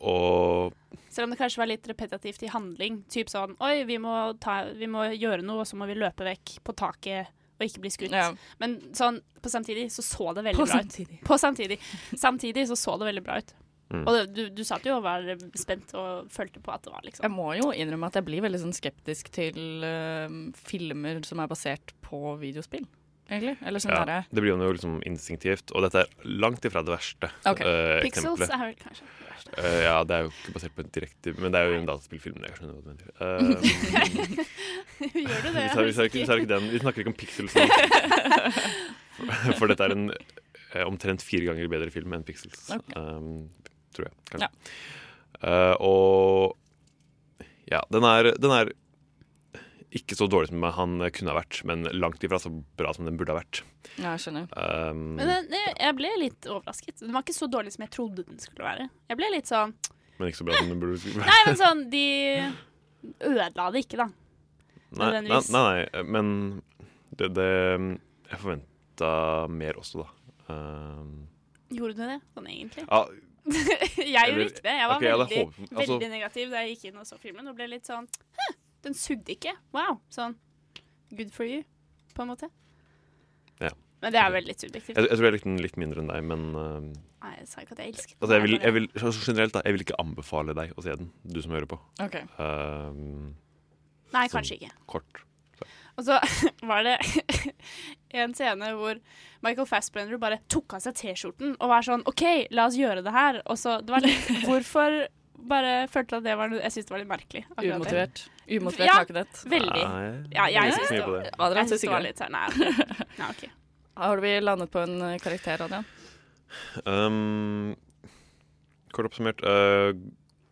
Og Selv om det kanskje var litt repetitivt i handling. Typ sånn Oi, vi må, ta, vi må gjøre noe, og så må vi løpe vekk på taket og ikke bli skutt. Ja. Men sånn på samtidig så så det veldig På bra samtidig. ut. På samtidig. Samtidig så så det veldig bra ut. Mm. Og det, du, du satt jo og var spent og følte på at det var liksom Jeg må jo innrømme at jeg blir veldig sånn skeptisk til eh, filmer som er basert på videospill, egentlig. Eller sånn ja, derre det blir jo liksom instinktivt. Og dette er langt ifra det verste Ok. eh, Pixels eksempelet. er vel kanskje det verste. Eh, ja, det er jo ikke basert på et direkte Men det er jo en dataspillfilm. Jeg skjønner hva du mener. Eh, Gjør du Um, Vi det? tar, vi, tar ikke, vi, tar ikke den. vi snakker ikke om Pixels nå. For dette er en eh, omtrent fire ganger bedre film enn Pixels. Ok. Um, tror jeg, kanskje. Eh, og ja, den er, den er ikke så dårlig som han kunne ha vært, men langt ifra så bra som den burde ha vært. Ja, jeg skjønner. Um, Men den, jeg- jeg ble litt overrasket. Den var ikke så dårlig som jeg trodde den skulle være. Jeg ble litt sånn men ikke så bra som den burde vært. Nei, men sånn, de ødela det ikke, da. Nei, nei, nødvendigvis. nei, nei, men det, det mm, Jeg forventa mer også, da. Um, Gjorde du det, sånn egentlig? Ja. jeg gjorde Eller- ikke det. Jeg var Ok, jeg hadde veldig, håpet- altså- veldig negativ da jeg gikk inn og så filmen, og ble litt sånn «Hæ, Den sugde ikke. Wow. Sånn good for you, på en måte. ja. Men det er vel litt subjektivt. Jeg, jeg tror jeg likte den litt mindre enn deg, men um, Nei, jeg sa ikke at jeg elsket den. altså, jeg vil, jeg vil, så generelt da, jeg vil ikke anbefale deg å se den, du som hører på. Ok. Um, Nei, sånn kanskje ikke. Kort. Og så var det en scene hvor Michael Fassbender bare tok av seg T-skjorten og var sånn OK, la oss gjøre det her. Og så det var litt, Hvorfor bare følte at det var noe Jeg syns det var litt merkelig. akkurat det. Umotivert. Umotivert ja, nakenhet. Veldig. Ah. Nei, Ja, jeg jeg synes syns mye det, på var- det. Adrian jeg synes synes det var ikke litt sånn Nei, ok. Nei, ok. Har vi landet på en eh, karakter, Adrian? Um, kort oppsummert. Uh,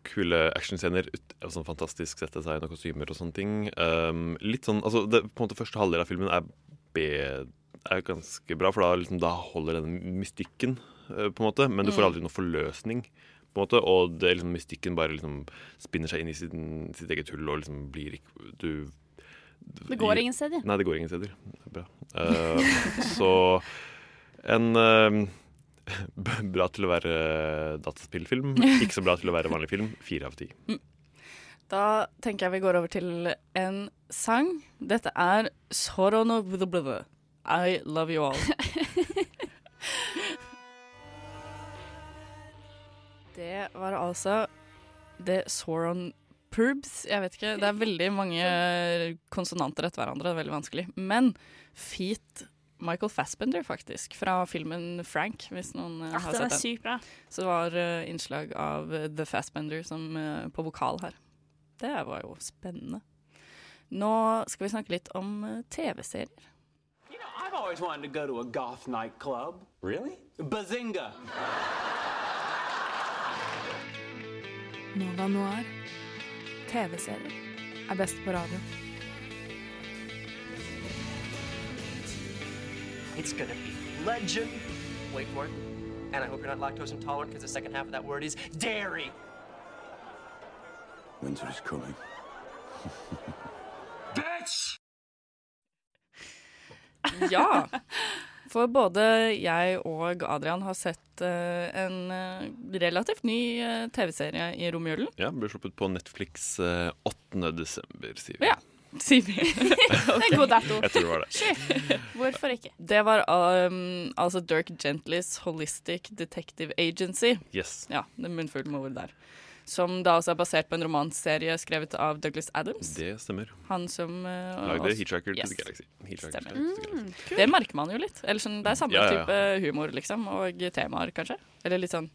kule actionscener. ut- og Sånn fantastisk settdesign Ehm, og kostymer og sånne ting. Um, litt sånn, altså det, på en måte Første halvdel av filmen er bedre er ganske bra, for da, liksom, da holder den mystikken, eh, på en måte. Men du får Mm. aldri noe forløsning, på en måte. Og det, liksom, mystikken bare liksom spinner seg inn i sin, sitt eget hull og liksom blir ikke Du Det går ingen steder. Nei, det går ingen steder. Det er bra. Eh, så en eh, b- bra til å være dataspillfilm, ikke så bra til å være vanlig film. Fire av ti. Da tenker jeg vi går over til en sang. Dette er Sorono Blablabla. I love you all. det var altså The Soron Purbs. Jeg vet ikke, det er veldig mange konsonanter etter hverandre. Det er veldig vanskelig. Men feat Michael Fassbender, faktisk, fra filmen Frank, hvis noen eh, Ah, har den er sett den. sykt bra. Så det var eh, innslag av eh, The Fassbender som, eh, på vokal her. Det var jo spennende. Nå skal vi snakke litt om eh, TV-serier. I've always wanted to go to a goth nightclub. Really? Bazinga! Nova Noir. TV-serier er best på radio. It's gonna be legend. Wait for it. And I hope you're not lactose intolerant because the second half of that word is dairy. Winter is coming. Bitch! Ja! For både jeg og Adrian har sett eh, en eh, relativt ny eh, TV-serie i romjulen. Ja, Ble sluppet på Netflix eh, 8. desember, sier vi. Ja, sier vi. er en god dato. Jeg tror det var det. Hvorfor ikke? Det var um, altså Dirk Gentlys Holistic Detective Agency. Yes. Ja, det er munnfull med ord der. Som da også er basert på en romanserie skrevet av Douglas Adams. Det stemmer. Han som uh, Lagde også- Hitchhiker Yes. to the Galaxy. Hitchhiker Stemmer. to the Det merker man jo litt. Eller sånn, det er samme Ja, ja, ja. type humor, liksom, og temaer, kanskje. Eller litt sånn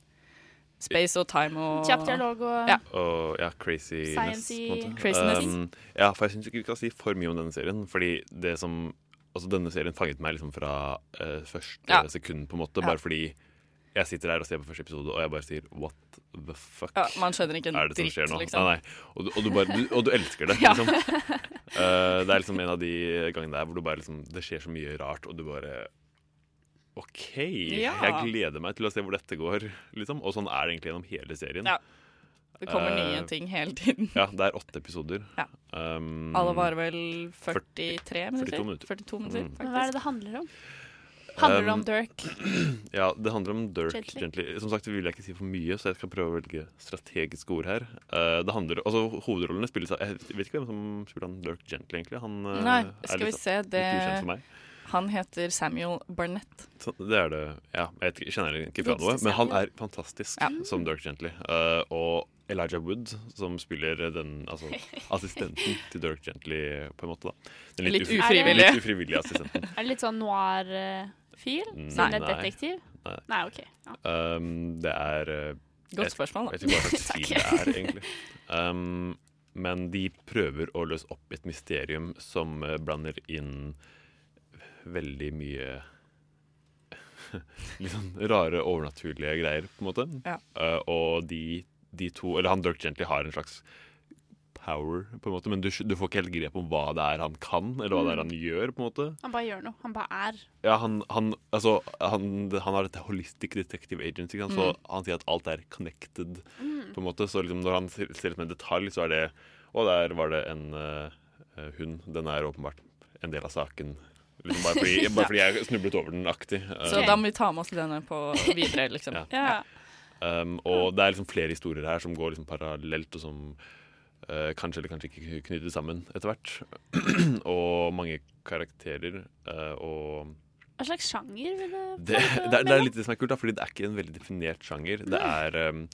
space og time og Kjapp dialog og- ja. Og ja, craziness. Science-y på en måte. craziness. Um, ja, for jeg syns ikke vi skal si for mye om denne serien. Fordi det som Altså, denne serien fanget meg liksom fra eh, første Ja. sekund, på en måte. Ja. Bare fordi jeg sitter der og ser på første episode, og jeg bare sier what the fuck Ja, man skjønner ikke en er det som dritt, skjer nå? liksom. Nei, nei. Og, du, og, du bare, du, og du elsker det, Ja. liksom. Eh, det er liksom en av de gangene der hvor du bare liksom Det skjer så mye rart, og du bare OK, Ja. jeg gleder meg til å se hvor dette går, liksom. Og sånn er det egentlig gjennom hele serien. Ja. Det kommer nye Eh, ting hele tiden. Ja, det er åtte episoder. Ja. Um, Alle var vel 43 minutter? 42 minutter. 42 minutter, Mm. faktisk. Men hva er det det handler om? Handler det om Um, Dirk? Ja, det handler om Dirk Gently. Gently. Som sagt vil jeg ikke si for mye, så jeg skal prøve å velge strategiske ord her. Eh, det handler, altså Hovedrollene spilles av Jeg vet ikke hvem som spiller han Dirk Gently, egentlig. Han eh, Nei, er skal vi litt- se litt ukjent for det meg. Han heter Samuel Barnett. Så det er det Ja, jeg vet ikke- kjenner ikke fra Litt noe, men han spesiell. er fantastisk Ja. som Dirk Gently. Eh, og Elijah Wood, som spiller den altså, assistenten til Dirk Gently, på en måte. da Den Litt ufri- ufrivillig. Litt ufrivillige assistenten. Er det litt sånn noir-fil? Mm, Siden det er nei. detektiv? Nei. OK. Ja. Um, det er eh, Godt jeg- spørsmål, da. Jeg vet ikke hva slags Takk. stil det er, egentlig. Um, men de prøver å løse opp et mysterium som eh, blander inn veldig mye Litt sånn rare, overnaturlige greier, på en måte. Ja. Eh, og de, de to Eller han Dirk Gently har en slags power, på en måte, men du, skj- du får ikke helt grep om hva det er han kan, eller hva det Mm. er han gjør, på en måte. Han bare gjør noe. Han bare er. Ja, han, han, altså, han, han har dette holistic detective agency, ikke sant? så Mm. han sier at alt er connected. Mm. på en måte, Så liksom når han ser ser ut med en detalj, så er det Og der var det en eh, eh, hund. Den er åpenbart en del av saken. Liksom bare fordi, bare fordi jeg snublet over den aktig. Så Eh, da må vi ta med oss denne på videre, liksom. Ja. Um, og det er liksom flere historier her som går liksom parallelt, og som eh, kanskje eller kanskje ikke knyttes sammen etter hvert. og mange karakterer. eh, og Hva slags sjanger vil det det, det, er, det er litt det som er kult, da, fordi det er ikke en veldig definert sjanger. Det er um,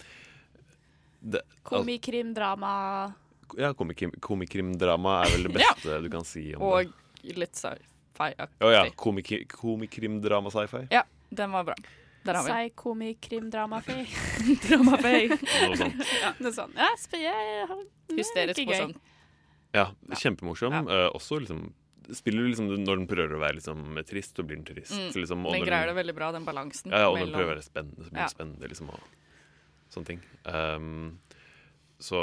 det, Komikrim, drama al- ja, komikrim, komikrimdrama er vel det beste du kan si om det. Og litt sci-fi. Å ja, komiki, komikrimdrama sci-fi. Ja, den var bra. Der har vi den. Psykomikrim-dramafi. Dramafi. Noe sånt. ja, noe sånt. Ja, sp- jeg har- det er Hysterisk ikke gøy. morsom. Ja, kjempemorsom. Eh, også liksom Spiller liksom når den prøver å være liksom trist, så blir den trist. Mm, Liksom, og den når greier det veldig bra, den balansen Ja, ja, og når mellom- den prøver å være spennende, så blir den Ja. spennende, liksom, og sånne ting. Um, så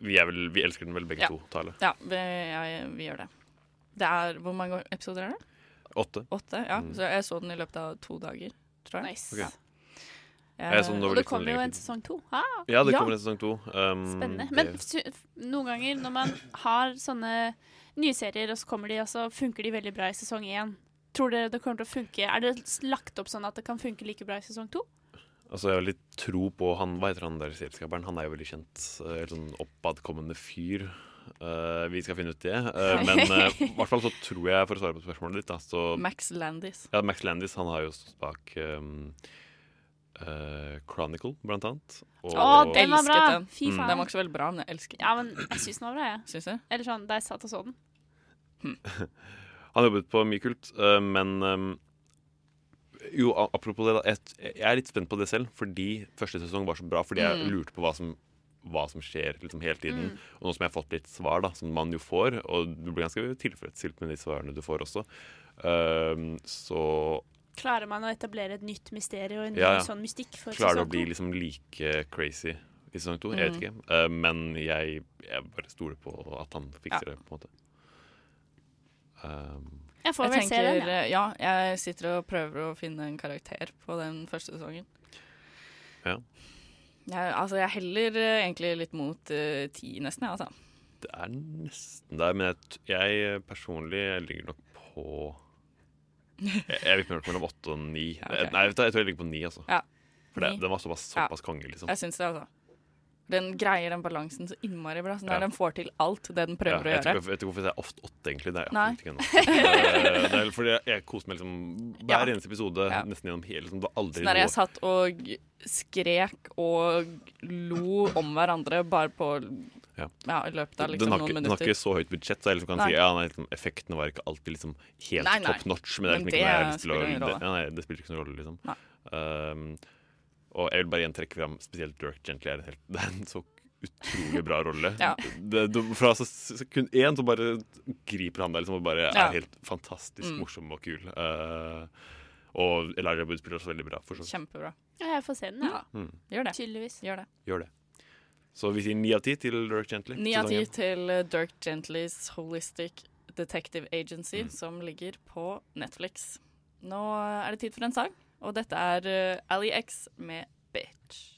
vi, er vel, vi elsker den vel begge Ja. to, Tale. Ja, vi, ja, vi gjør det. Det er Hvor mange episoder er det? Åtte? Åtte, ja. Mm. Så jeg så den i løpet av to dager, tror jeg. Ok. Ja. Jeg sånn så den Og over det litt kommer jo lenger en tid. sesong to. Ah, Ja, det kommer en sesong to. Um, Spennende. det- Men sy- f- noen ganger når man har sånne nye serier, og så kommer de, og så funker de veldig bra i sesong én. Tror dere det kommer til å funke? Er det s- lagt opp sånn at det kan funke like bra i sesong to? Altså, jeg har litt tro på han, hva heter han der selskaperen? Han er jo veldig kjent, eh, helt sånn oppadkommende fyr. Eh, vi skal finne ut det. Eh, men eh, i hvert fall så tror jeg, for å svare på spørsmålet ditt da, så, Max Landis. Ja, Max Landis, han har jo stått bak um, eh, Chronicle, blant annet. Å, den var Elsket bra! den. Fy Mm. faen. Den var ikke så veldig bra, men jeg elsker den. Ja, men jeg syns den var bra, jeg. Eller sånn, da jeg satt og så den. Han jobbet på mye kult, eh, men eh, jo, a- apropos det, da. Jeg, jeg er litt spent på det selv, fordi første sesong var så bra. Fordi jeg Mm. lurte på hva som, hva som skjer liksom, hele tiden. Mm. Og nå som jeg har fått litt svar, da, som man jo får, og du blir ganske tilfredsstilt med de svarene du får også, eh, så Klarer man å etablere et nytt mysterium og en ny ja, ja. sånn mystikk for Klarer sesong du å bli to? liksom like crazy i sesong to? Jeg vet ikke. Eh, men jeg, jeg bare stoler på at han fikser Ja. det, på en måte. Um, Jeg får vel se den, tenker, eh, ja. Jeg sitter og prøver å finne en karakter på den første sesongen. Eh, ja. Jeg, altså, jeg heller eh, egentlig litt mot eh, ti, nesten, jeg, altså. Det er nesten der, men jeg, t- jeg personlig jeg ligger nok på Jeg, jeg vil ikke nok mellom åtte og ni. ok. Nei, vet du, hva, jeg tror jeg ligger på ni, altså. Ja. For det, Ni. den var såpass, Ja. såpass konge, liksom. Jeg syns det, altså. Den greier den balansen så innmari bra. Sånn der Ja. Den får til alt det den prøver ja, å jeg gjøre. Tror, ikke- jeg vet ikke hvorfor det er ofte åtte, egentlig. Det er Nei. jeg absolutt ikke ennå. Eh, det er fordi jeg, jeg koser meg liksom hver Ja. eneste episode Ja. nesten gjennom hele. Liksom, det var aldri Sånn der noe- jeg satt og skrek og lo om hverandre bare på Ja. ja, i løpet av den, liksom har noen ikke, den har minutter. ikke så høyt budsjett, så jeg liksom kan Nei. si ja, nei, liksom, effektene var ikke alltid liksom helt Nei, nei. top notch. Men Men det, er liksom ikke noe jeg har det lyst til å, spiller ingen det, rolle. ja, nei, det spiller ikke noen rolle, liksom. Um, og jeg vil bare igjen trekke fram spesielt Dirk Gently. Er en helt, det er en så utrolig bra rolle. Ja. det, du, fra se- sekund én så bare griper han deg liksom, og bare Ja. er helt fantastisk Mm. morsom og kul. Uh, og Elijah Wood spiller også veldig bra. For så. vidt. Kjempebra. Ja, jeg får se den, ja. Mm. Gjør det. Tydeligvis. Gjør det. Gjør det. Så vi sier ni av ti til Dirk Gently. Ni av ti sesongen. til eh, Dirk Gentlys Holistic Detective Agency, Mm. som ligger på Netflix. Nå eh, er det tid for en sang, og dette er eh, Ali X med Bitch.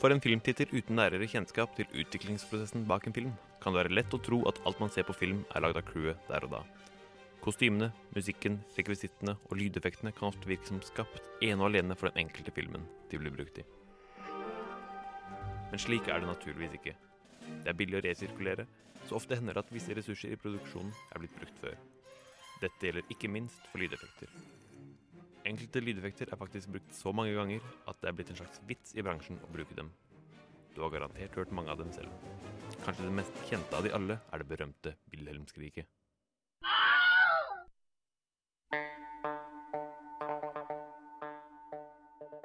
For en filmtitter uten nærere kjennskap til utviklingsprosessen bak en film, kan det være lett å tro at alt man ser på film, er lagd av crewet der og da. Kostymene, musikken, rekvisittene og lydeffektene kan ofte virke som skapt ene og alene for den enkelte filmen de blir brukt i. Men slik er det naturligvis ikke. Det er billig å resirkulere, så ofte hender det at visse ressurser i produksjonen er blitt brukt før. Dette gjelder ikke minst for lydeffekter. Enkelte lydeffekter er faktisk brukt så mange ganger at det er blitt en slags vits i bransjen å bruke dem. Du har garantert hørt mange av dem selv. Kanskje det mest kjente av de alle er det berømte Wilhelmskriket.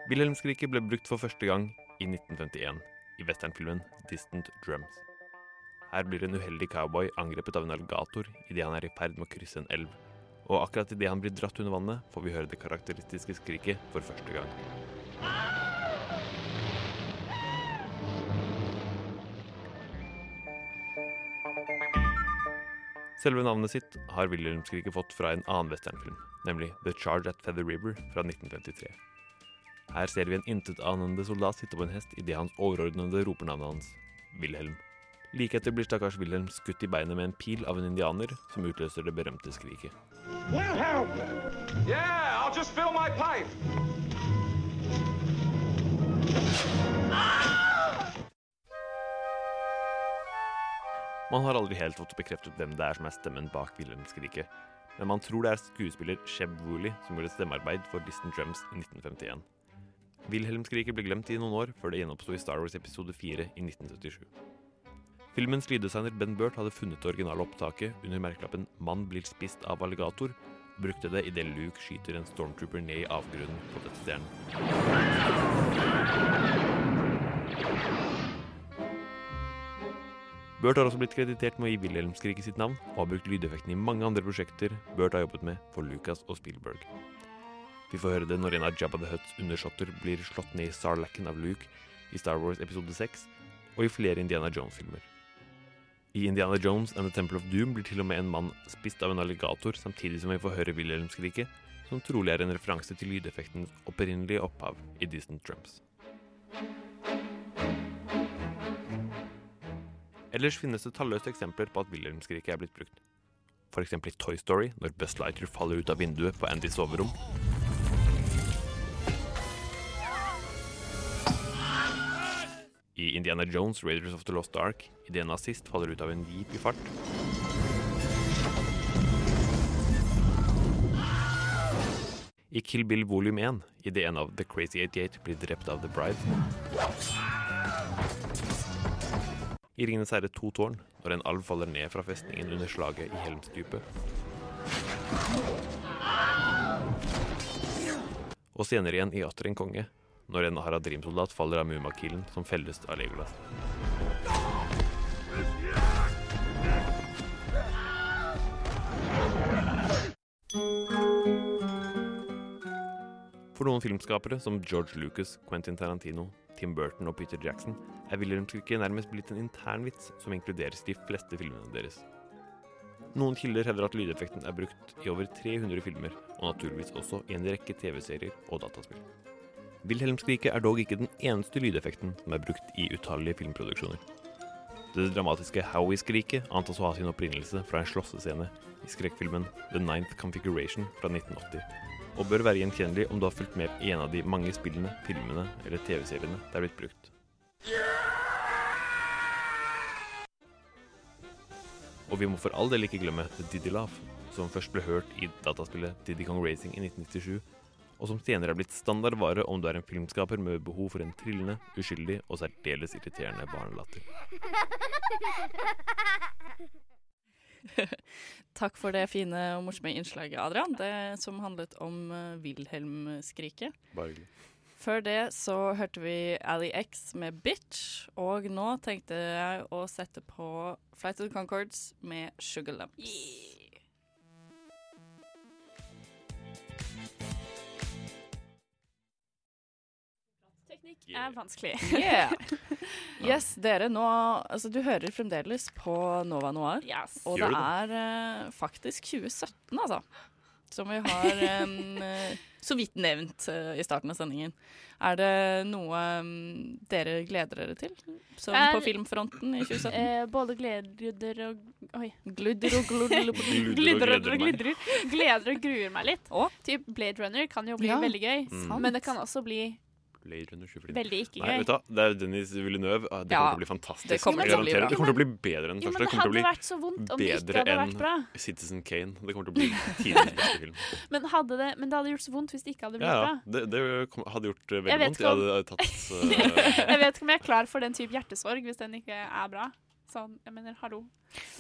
Wilhelmskriket ble brukt for første gang i 1951 i westernfilmen Distant Drums. Her blir en uheldig cowboy angrepet av en alligator idet han er i ferd med å krysse en elv. Og akkurat idet han blir dratt under vannet, får vi høre det karakteristiske skriket for første gang. Selve navnet sitt har Wilhelmskriket fått fra en annen westernfilm, nemlig The Charge at Feather River fra 1953. Her ser vi en intetanende soldat sitte på en hest idet hans overordnede roper navnet hans, Wilhelm. Like etter blir stakkars Wilhelm skutt i beinet med en pil av en indianer, som utløser det berømte skriket. Wilhelm! Yeah, I'll just fill my pipe. Man har aldri helt fått bekreftet hvem det er som er stemmen bak Wilhelmskriket, men man tror det er skuespiller Sheb Wooley som gjorde stemmearbeid for Distant Drums i 1951. Wilhelmskriket ble glemt i noen år før det gjenoppsto i Star Wars episode 4 i 1977. Filmens lyddesigner Ben Burt hadde funnet det originale opptaket under merkelappen 'Mann blir spist av alligator', og brukte det idet Luke skyter en stormtrooper ned i avgrunnen på dette Burt har også blitt kreditert med å gi Wilhelmskriket sitt navn, og har brukt lydeffekten i mange andre prosjekter Burt har jobbet med for Lucas og Spielberg. Vi får høre det når en av Jabba the Hutts undersåtter blir slått ned i sarlacken av Luke i Star Wars episode 6, og i flere Indiana Jones-filmer. I Indiana Jones and The Temple of Doom blir til og med en mann spist av en alligator, samtidig som vi får høre Wilhelm-skriket, som trolig er en referanse til lydeffektens opprinnelige opphav i Distant Drums. Ellers finnes det talløse eksempler på at Wilhelm-skriket er blitt brukt. F.eks. i Toy Story, når Buzz Lightyear faller ut av vinduet på Andys soverom, I Indiana Jones Raiders of the Lost Ark idet en nazist faller ut av en jeep i fart. I Kill Bill volum 1 idet en av The Crazy 88 blir drept av The Bride. I Ringenes herre to tårn når en alv faller ned fra festningen under slaget i Helmsdypet. Og senere igjen i Atter en konge når en Haradrim-soldat faller av Mumakilen, som felles av Legolas. For noen filmskapere, som George Lucas, Quentin Tarantino, Tim Burton og Peter Jackson, er Wilhelmskriket nærmest blitt en intern vits som inkluderes i de fleste filmene deres. Noen kilder hevder at lydeffekten er brukt i over 300 filmer, og naturligvis også i en rekke TV-serier og dataspill. Wilhelmskriket er dog ikke den eneste lydeffekten som er brukt i utallige filmproduksjoner. Det dramatiske Howie-skriket antas å ha sin opprinnelse fra en slåssescene i skrekkfilmen The Ninth Configuration fra 1980, og bør være gjenkjennelig om du har fulgt med i en av de mange spillene, filmene eller TV-seriene det er blitt brukt. Og vi må for all del ikke glemme The Diddy Laugh, som først ble hørt i dataspillet Diddy Kong Racing i 1997 og som senere er blitt standardvare om du er en filmskaper med behov for en trillende, uskyldig og særdeles irriterende barnelatter. Takk for det fine og morsomme innslaget, Adrian, det som handlet om eh, Wilhelm-skriket. Bare hyggelig. Før det så hørte vi Ali X med 'Bitch', og nå tenkte jeg å sette på Flight of the Concords med 'Sugar Lumps'. Teknikk er vanskelig. Yeah. Yes, dere nå Altså, du hører fremdeles på Nova Noir. Og det Gjør du er eh, faktisk 2017, altså. Som vi har eh, så vidt nevnt eh, i starten av sendingen. Er det noe eh, dere gleder dere til? Som på Eh, filmfronten i 2017? Eh, både gleder og Oi. Gludder og gludder- Gludder og Gludder og gludrer. Gleder og gruer meg litt. Og? Typ Blade Runner kan jo bli Ja, veldig gøy, sant. men det kan også bli Blade Runner 2049. Veldig ikke Mm. Nei, gøy. vet du, hva, det er jo Dennis Villeneuve. Ah, Det Ja, kommer til å bli fantastisk. det kommer til å bli Garanterer. bra. det kommer til å bli bedre enn den Jo, men første. det kommer til å hadde bli vært så vondt om det ikke bedre hadde vært enn bra. Citizen Kane. Det kommer til å bli tidens beste film. Men, hadde det, men det hadde gjort så vondt hvis det ikke hadde blitt Ja, ja. bra. Det, det kom- hadde gjort eh, Jeg veldig vet vondt. ikke om- Jeg hadde tatt eh, jeg vet ikke om jeg er klar for den type hjertesorg hvis den ikke er bra. Sånn, jeg mener, hallo.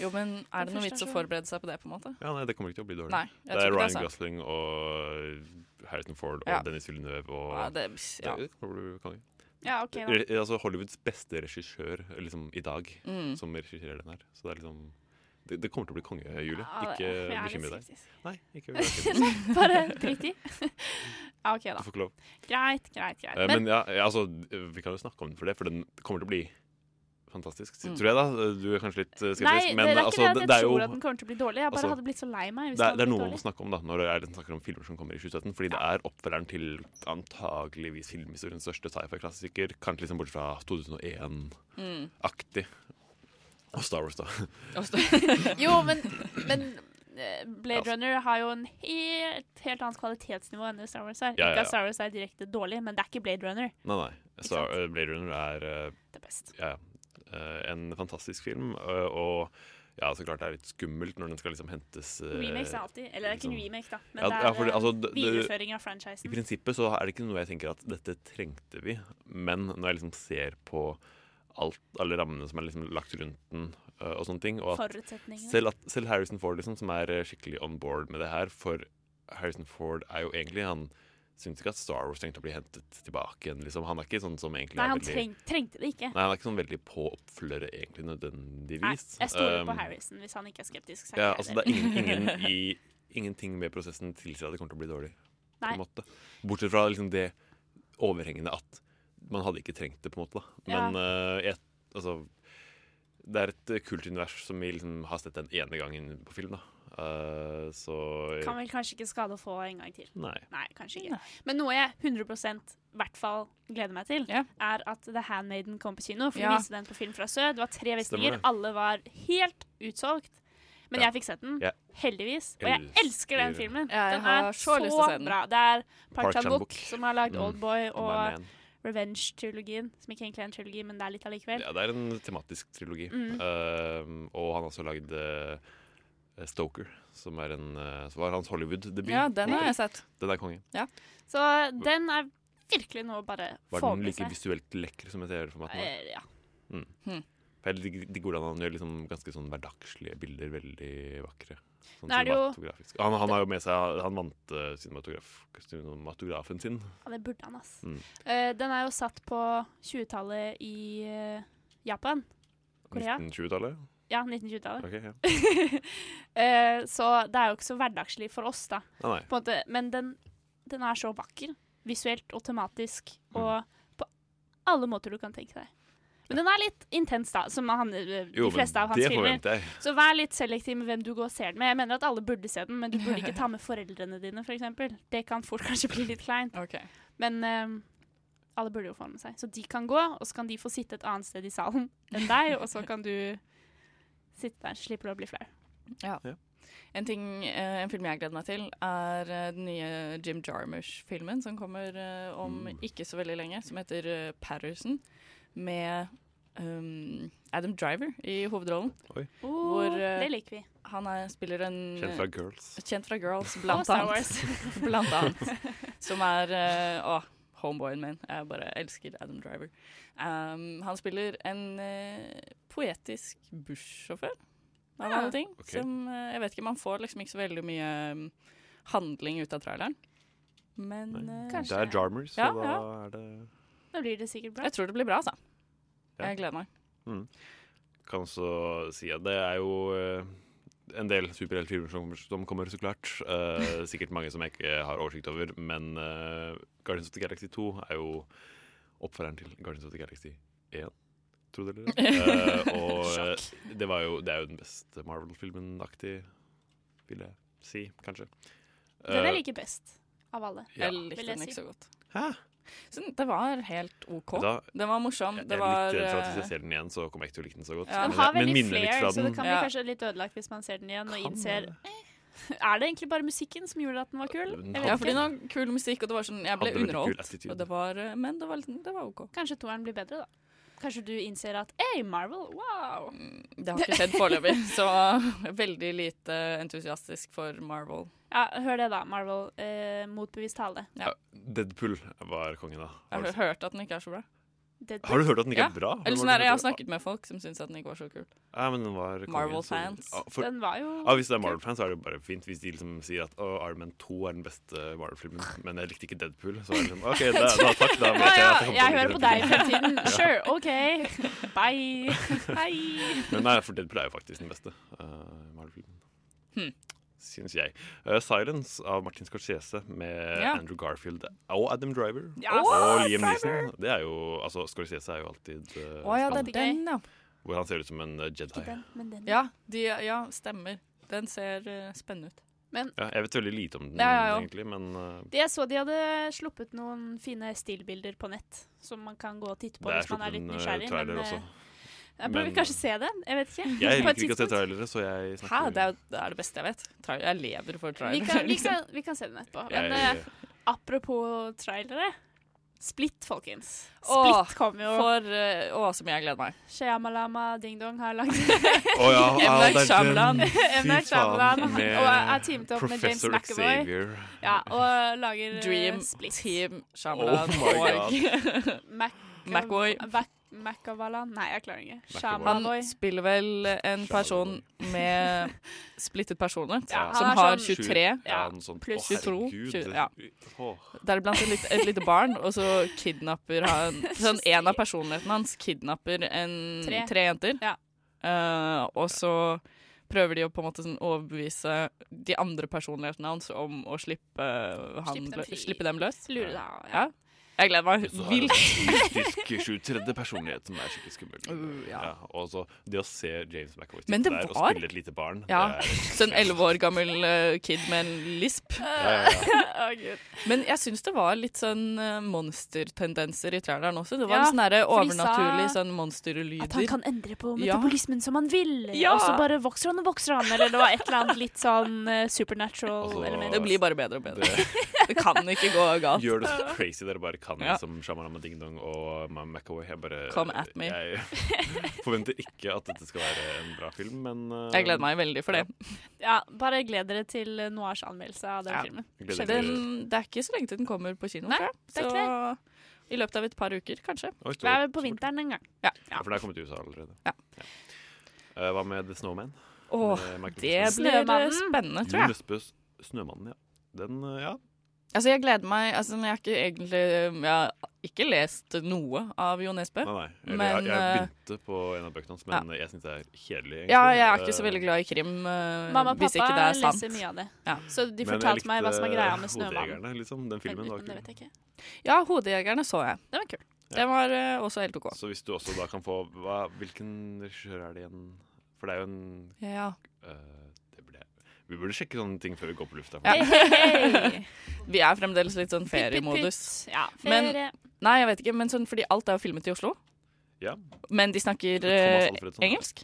Jo, men er det noe vits å frustrasjon. forberede seg på det, på en måte? Ja, nei, det kommer ikke til å bli dårlig. Nei, jeg det tror er ikke det altså. er sant. Ryan Gosling og Harrison Ford og Ja. Dennis Villeneuve og Ja, det- ja. Det kommer til å bli konge. Ja, ok, da. Re- altså Hollywoods beste regissør liksom, i dag, Mm. som regisserer den her. Så det er liksom Det, det kommer til å bli konge, Julie. Ja, ikke jeg er litt bekymre deg. skeptisk. Nei, ikke vær skeptisk. Bare drit i. Ja, OK, Du da. får ikke lov. Greit, greit, greit. Eh, Men, ja, ja, altså, vi kan jo snakke om den for det, for den kommer til å bli fantastisk. Mm. Tror jeg, da. Du er kanskje litt eh, skeptisk. Nei, men, det er ikke altså, det at jeg er jo- tror at den kommer til å bli dårlig. Jeg bare altså, hadde blitt så lei meg hvis Det den er, det hadde blitt er noe man må dårlig. snakke om da, når det er snakker om filmer som kommer i 2017. Fordi det er oppfølgeren til antageligvis filmhistoriens største sci-fi-klassiker. Kanskje liksom bortsett fra Mm. 2001-aktig. Og Star Wars, da. Jo, men, men eh, Blade Runner har jo en helt, helt annet kvalitetsnivå enn det Star Wars er. Ja, ja, Ikke ja. at Star Wars er direkte dårlig, men det er ikke Blade Runner. Nei, nei. Star, eh, Blade Runner er Det best. Ja, ja. Eh, en fantastisk film. eh, og ja, så klart det er litt skummelt når den skal liksom hentes eh, Remakes er alltid Eller det er ikke en liksom- remake, da, men Ja, det ja, er fordi, eh, altså, det- det- videreføring av I franchisen. prinsippet så er det ikke noe jeg tenker at dette trengte vi, men når jeg liksom ser på alt, alle rammene som er liksom lagt rundt den, øh, og sånne ting og at Forutsetningene. selv, at, selv Harrison Ford, liksom, som er øh, skikkelig on board med det her For Harrison Ford er jo egentlig Han syns ikke at Star Wars trengte å bli hentet tilbake igjen. Liksom. Han er ikke sånn som egentlig Nei, er han veldig- treng, trengte det ikke. Nei, han er ikke sånn veldig på oppfølgere, egentlig, Nei, nødvendigvis. jeg stoler på Um, Harrison hvis han ikke er skeptisk. så er ja, jeg altså, heller. det er ingen, ingen i, ingenting med prosessen tilsier at det kommer til å bli dårlig. På Nei. en måte. Bortsett fra liksom, det overhengende at man hadde ikke trengt det, på en måte. Da. Men eh, jeg Altså det er et eh, kultunivers som vi liksom har sett den ene gangen på film, da. Eh, så Kan vel kanskje ikke skade å få en gang til. Nei. kanskje ikke. Men noe jeg 100 i hvert fall gleder meg til, er at The Handmaiden kom på kino. For Ja. vi viste den på Film fra Sør. Det var tre Stemmer visninger. det. Alle var helt utsolgt. Men Ja. jeg fikk sett den, Ja. heldigvis. Og jeg elsker den filmen. Ja, jeg Den har er så så lyst til å se den. bra. Det er Park Park Chan-wook Chan-wook. som har lagd Mm. Oldboy My man. og Revenge-trilogien. Som ikke egentlig er en trilogi, men det er litt allikevel. Ja, det er en tematisk trilogi. Mm. Eh, og han har også lagd eh, Stoker, som er en, eh, som var hans Hollywood-debut. Ja, den har jeg sett. Den er konge. Så den er virkelig noe å bare Var få den med like seg. visuelt lekker som jeg ser for meg? at den var? Eh, ja. Mm. Hmm. For Jeg digger digger hvordan han gjør liksom ganske sånn hverdagslige bilder veldig vakre. Sånn Nå er det jo- cinematografisk. Han, han har jo med seg Han vant eh, cinematograf, cinematografen sin. Ja, det burde han, ass. Mm. Eh, den er jo satt på 20-tallet i eh, Japan. Korea. 1920-tallet? Ja, 1920-tallet. Ok, ja. Eh, så det er jo ikke så hverdagslig for oss, da. Nei, nei. På en måte. Men den, den er så vakker. Visuelt og tematisk. Mm. Og på alle måter du kan tenke deg. Men den er litt intens, da, som han, eh, Jo, de fleste men av hans det filmer. forventer jeg. Så vær litt selektiv med hvem du går og ser den med. Jeg mener at alle burde se den, men du burde ikke ta med foreldrene dine, f.eks. Det kan fort kanskje bli litt kleint. Men eh, alle burde jo få den med seg. Så de kan gå, og så kan de få sitte et annet sted i salen enn deg, og så kan du sitte der. Slipper du å bli flau. Ja. En, ting, eh, en film jeg gleder meg til, er eh, den nye Jim Jarmusch-filmen som kommer eh, om Mm. ikke så veldig lenge, som heter eh, Patterson, med um, Adam Driver i hovedrollen. Oi. Oh, eh, det liker vi. Han er, spiller en eh, Kjent fra Girls. Kjent fra Girls, Og blant Star annet. Wars. blant annet. Som er eh, Å, homeboyen min. Jeg bare elsker Adam Driver. Um, han spiller en eh, poetisk bussjåfør, av Ah, Ja. alle ting. Ok. Som eh, Jeg vet ikke, man får liksom ikke så veldig mye um, handling ut av traileren. Men eh, Det er Jarmer, så Ja, da ja. er det Da blir det sikkert bra. Jeg tror det blir bra, altså. Ja. Jeg gleder meg. mm. Kan også si at det er jo eh, en del superheltfilmer som, som kommer, så klart. Eh, sikkert mange som jeg ikke har oversikt over, men eh, Guardians of the Galaxy 2 er jo oppfølgeren til Guardians of the Galaxy 1. Tro det eller ei. Eh, og eh, det, var jo, det er jo den beste Marvel-filmen aktig, vil jeg si, kanskje. Den Eh, jeg liker best av alle. Jeg likte vil den si. ikke så godt. Så den- det var helt OK. Vet du hva? Den var morsom. Jeg, jeg det er var litt redd for at hvis eh, jeg ser den igjen, så kommer jeg ikke til å like den så godt. Den Men har jeg- men veldig minner litt flair, så fra det den. kan bli Ja. kanskje litt ødelagt hvis man ser den igjen og Kan innser eh, Er det egentlig bare musikken som gjorde at den var kul? den Jeg Ja, vet fordi det ikke. var kul musikk, og det var sånn, jeg ble Hadde veldig kul underholdt. attitude. Og det var, eh, men det var, litt- det var OK. Kanskje toeren blir bedre, da. Kanskje du innser at Ei, Marvel, wow! Det har ikke skjedd foreløpig, så jeg er veldig lite entusiastisk for Marvel. Ja, hør det, da. Marvel. Eh, motbevist tale. Ja. Deadpool var kongen, da. Jeg har Har du, hørt at den ikke er så bra. Deadpool? har du hørt at den ikke er bra? Eller Hvem sånn har er du det, Jeg har hørt at- snakket med folk som syns at den ikke var så kul. Ja, men den var kongen, Marvel-fans. så- Ja, Den var jo ja, Hvis det er Marvel-fans, så er det jo bare fint. Hvis de liksom sier at å, Iron Man 2 er den beste Marvel-filmen, men jeg likte ikke Deadpool, så er det sånn OK, da, da, takk, da Å vet jeg ja, at jeg kommer til jeg å like hører på deg i Deadpool. fremtiden. Ja. Sure, OK. Bye. Hei. Men nei, for Deadpool er jo faktisk den beste eh, Marvel-filmen. Hmm. Syns jeg. Eh, 'Silence' av Martin Scorsese med Ja. Andrew Garfield og Adam Driver. Ja, og Adam Liam Driver! Neeson. Det er jo, altså, Scorsese er jo alltid eh, Å ja, det han- er den, ja. Hvor han ser ut som en eh, Jedi. Ja, de, ja, stemmer. Den ser eh, spennende ut. Men Ja, jeg vet veldig lite om den, Ja, ja, ja. egentlig, men eh, Det jeg så de hadde sluppet noen fine stillbilder på nett, som man kan gå og titte på Det er hvis man er litt sluppet en, eh, nysgjerrig. trailer men, eh, også. Jeg burde Men, kanskje se det. Jeg vet ikke. jeg På et liker ikke å se tidspunkt. trailere, så jeg Hæ? snakker Det er, jo- det er det beste jeg vet. Tra- Jeg lever for liksom. Vi trailer. kan, vi, kan, vi kan se den etterpå. Men Jeg- eh, apropos trailere Split, folkens. Åh, Split kom jo. For, eh, å, som jeg gleder meg. Shyamalama Ding Dong har lagd Å ja, M. Night det er Shyamalan. den. M. Night Fy faen, Shyamalan, han- med og uh, er teamet opp med James Professor McAvoy. Xavier. Ja, og lager eh, Dream Split. Team Shyamalan Oh my og Mac McAvoy. Mac Macavalan? Nei, jeg klarer ikke. Han Shyamalan. spiller vel en person med splittet personlighet, Ja, han som er har sånn- 23 Ja, noe sånt. pluss sånn, Å, 22. herregud, 20, det- ja. Åh. Deriblant et, litt- et lite barn, og så kidnapper han sånn, En av personlighetene hans kidnapper en, tre. Tre. jenter. Eh, og så prøver de å på en måte sånn overbevise de andre personlighetene hans om å slippe, han, Slippe dem lø- fri. slippe dem løs. Lure deg, ja. Ja. Jeg gleder meg Så har hun vilt. mystisk sjutredje personlighet som er skikkelig skummel. Uh, ja. og så det å se James McAvoy Men det sitte der var- og spille et lite barn Ja. det er, Så en elleve år gammel eh, kid med en lisp. ja, ja. Å, Gud. Men jeg syns det var litt sånn eh, monstertendenser i traileren også. Det var Ja, litt sånn derre for de sa overnaturlig sånn At monsterlyder. han kan endre på Ja. metabolismen som han vil. Ja. Og så bare vokser han og vokser han. Eller det var et eller annet litt sånn eh, supernatural Altså, element. Det blir bare bedre og bedre. det, Det kan ikke gå galt. Gjør det så crazy dere bare kan, Ja. som Shamarama Ding Dong og Mam McAvoy. Jeg bare Come at me. Jeg forventer ikke at dette skal være en bra film, men eh, Jeg gleder meg veldig for det. Ja, bare gled dere til eh, Noirs anmeldelse av den Ja. filmen. Gleder Den, dere- det er ikke så lenge til den kommer på kino, Nei, tror jeg. det er Så ikke i løpet av et par uker, kanskje. Oi, Det er så, vel på vinteren en gang. Ja. ja, for det er kommet til USA allerede. Ja. Eh, hva med The Snowman? Åh, Med Michael det Jackson. blir eh, Snømannen. spennende, tror Jon jeg. Nesbøs Snømannen, ja. Den, eh, ja. Altså, jeg gleder meg altså, men Jeg har ikke egentlig eh, Jeg har ikke lest noe av Jo Nesbø. Nei, nei. Eller, Men jeg, jeg eh, begynte på en av bøkene hans, men jeg syns det er kjedelig. egentlig. ja, jeg er ikke så Eh, veldig glad i krim eh, Mamma og hvis ikke det pappa er sant. leser mye av Mm. det. Ja. Så de men jeg fortalte meg hva som er likte greia med Snømannen. Hodejegerne, liksom. Den filmen. Men var det kul. vet jeg ikke. Ja, 'Hodejegerne' så jeg. Den var kul. Den var eh, også helt OK. Så hvis du også da kan få hva, Hvilken regissør er det igjen? For det er jo en Ja. eh, det burde, jeg- Vi burde sjekke sånne ting før vi går på lufta. Ja. Hey. Vi er fremdeles litt sånn feriemodus. Pytt, pytt. Ja, Men, ferie. nei, jeg vet ikke, men sånn, fordi alt er jo filmet i Oslo. Ja. Men de snakker Thomas eh, Alfredson. engelsk?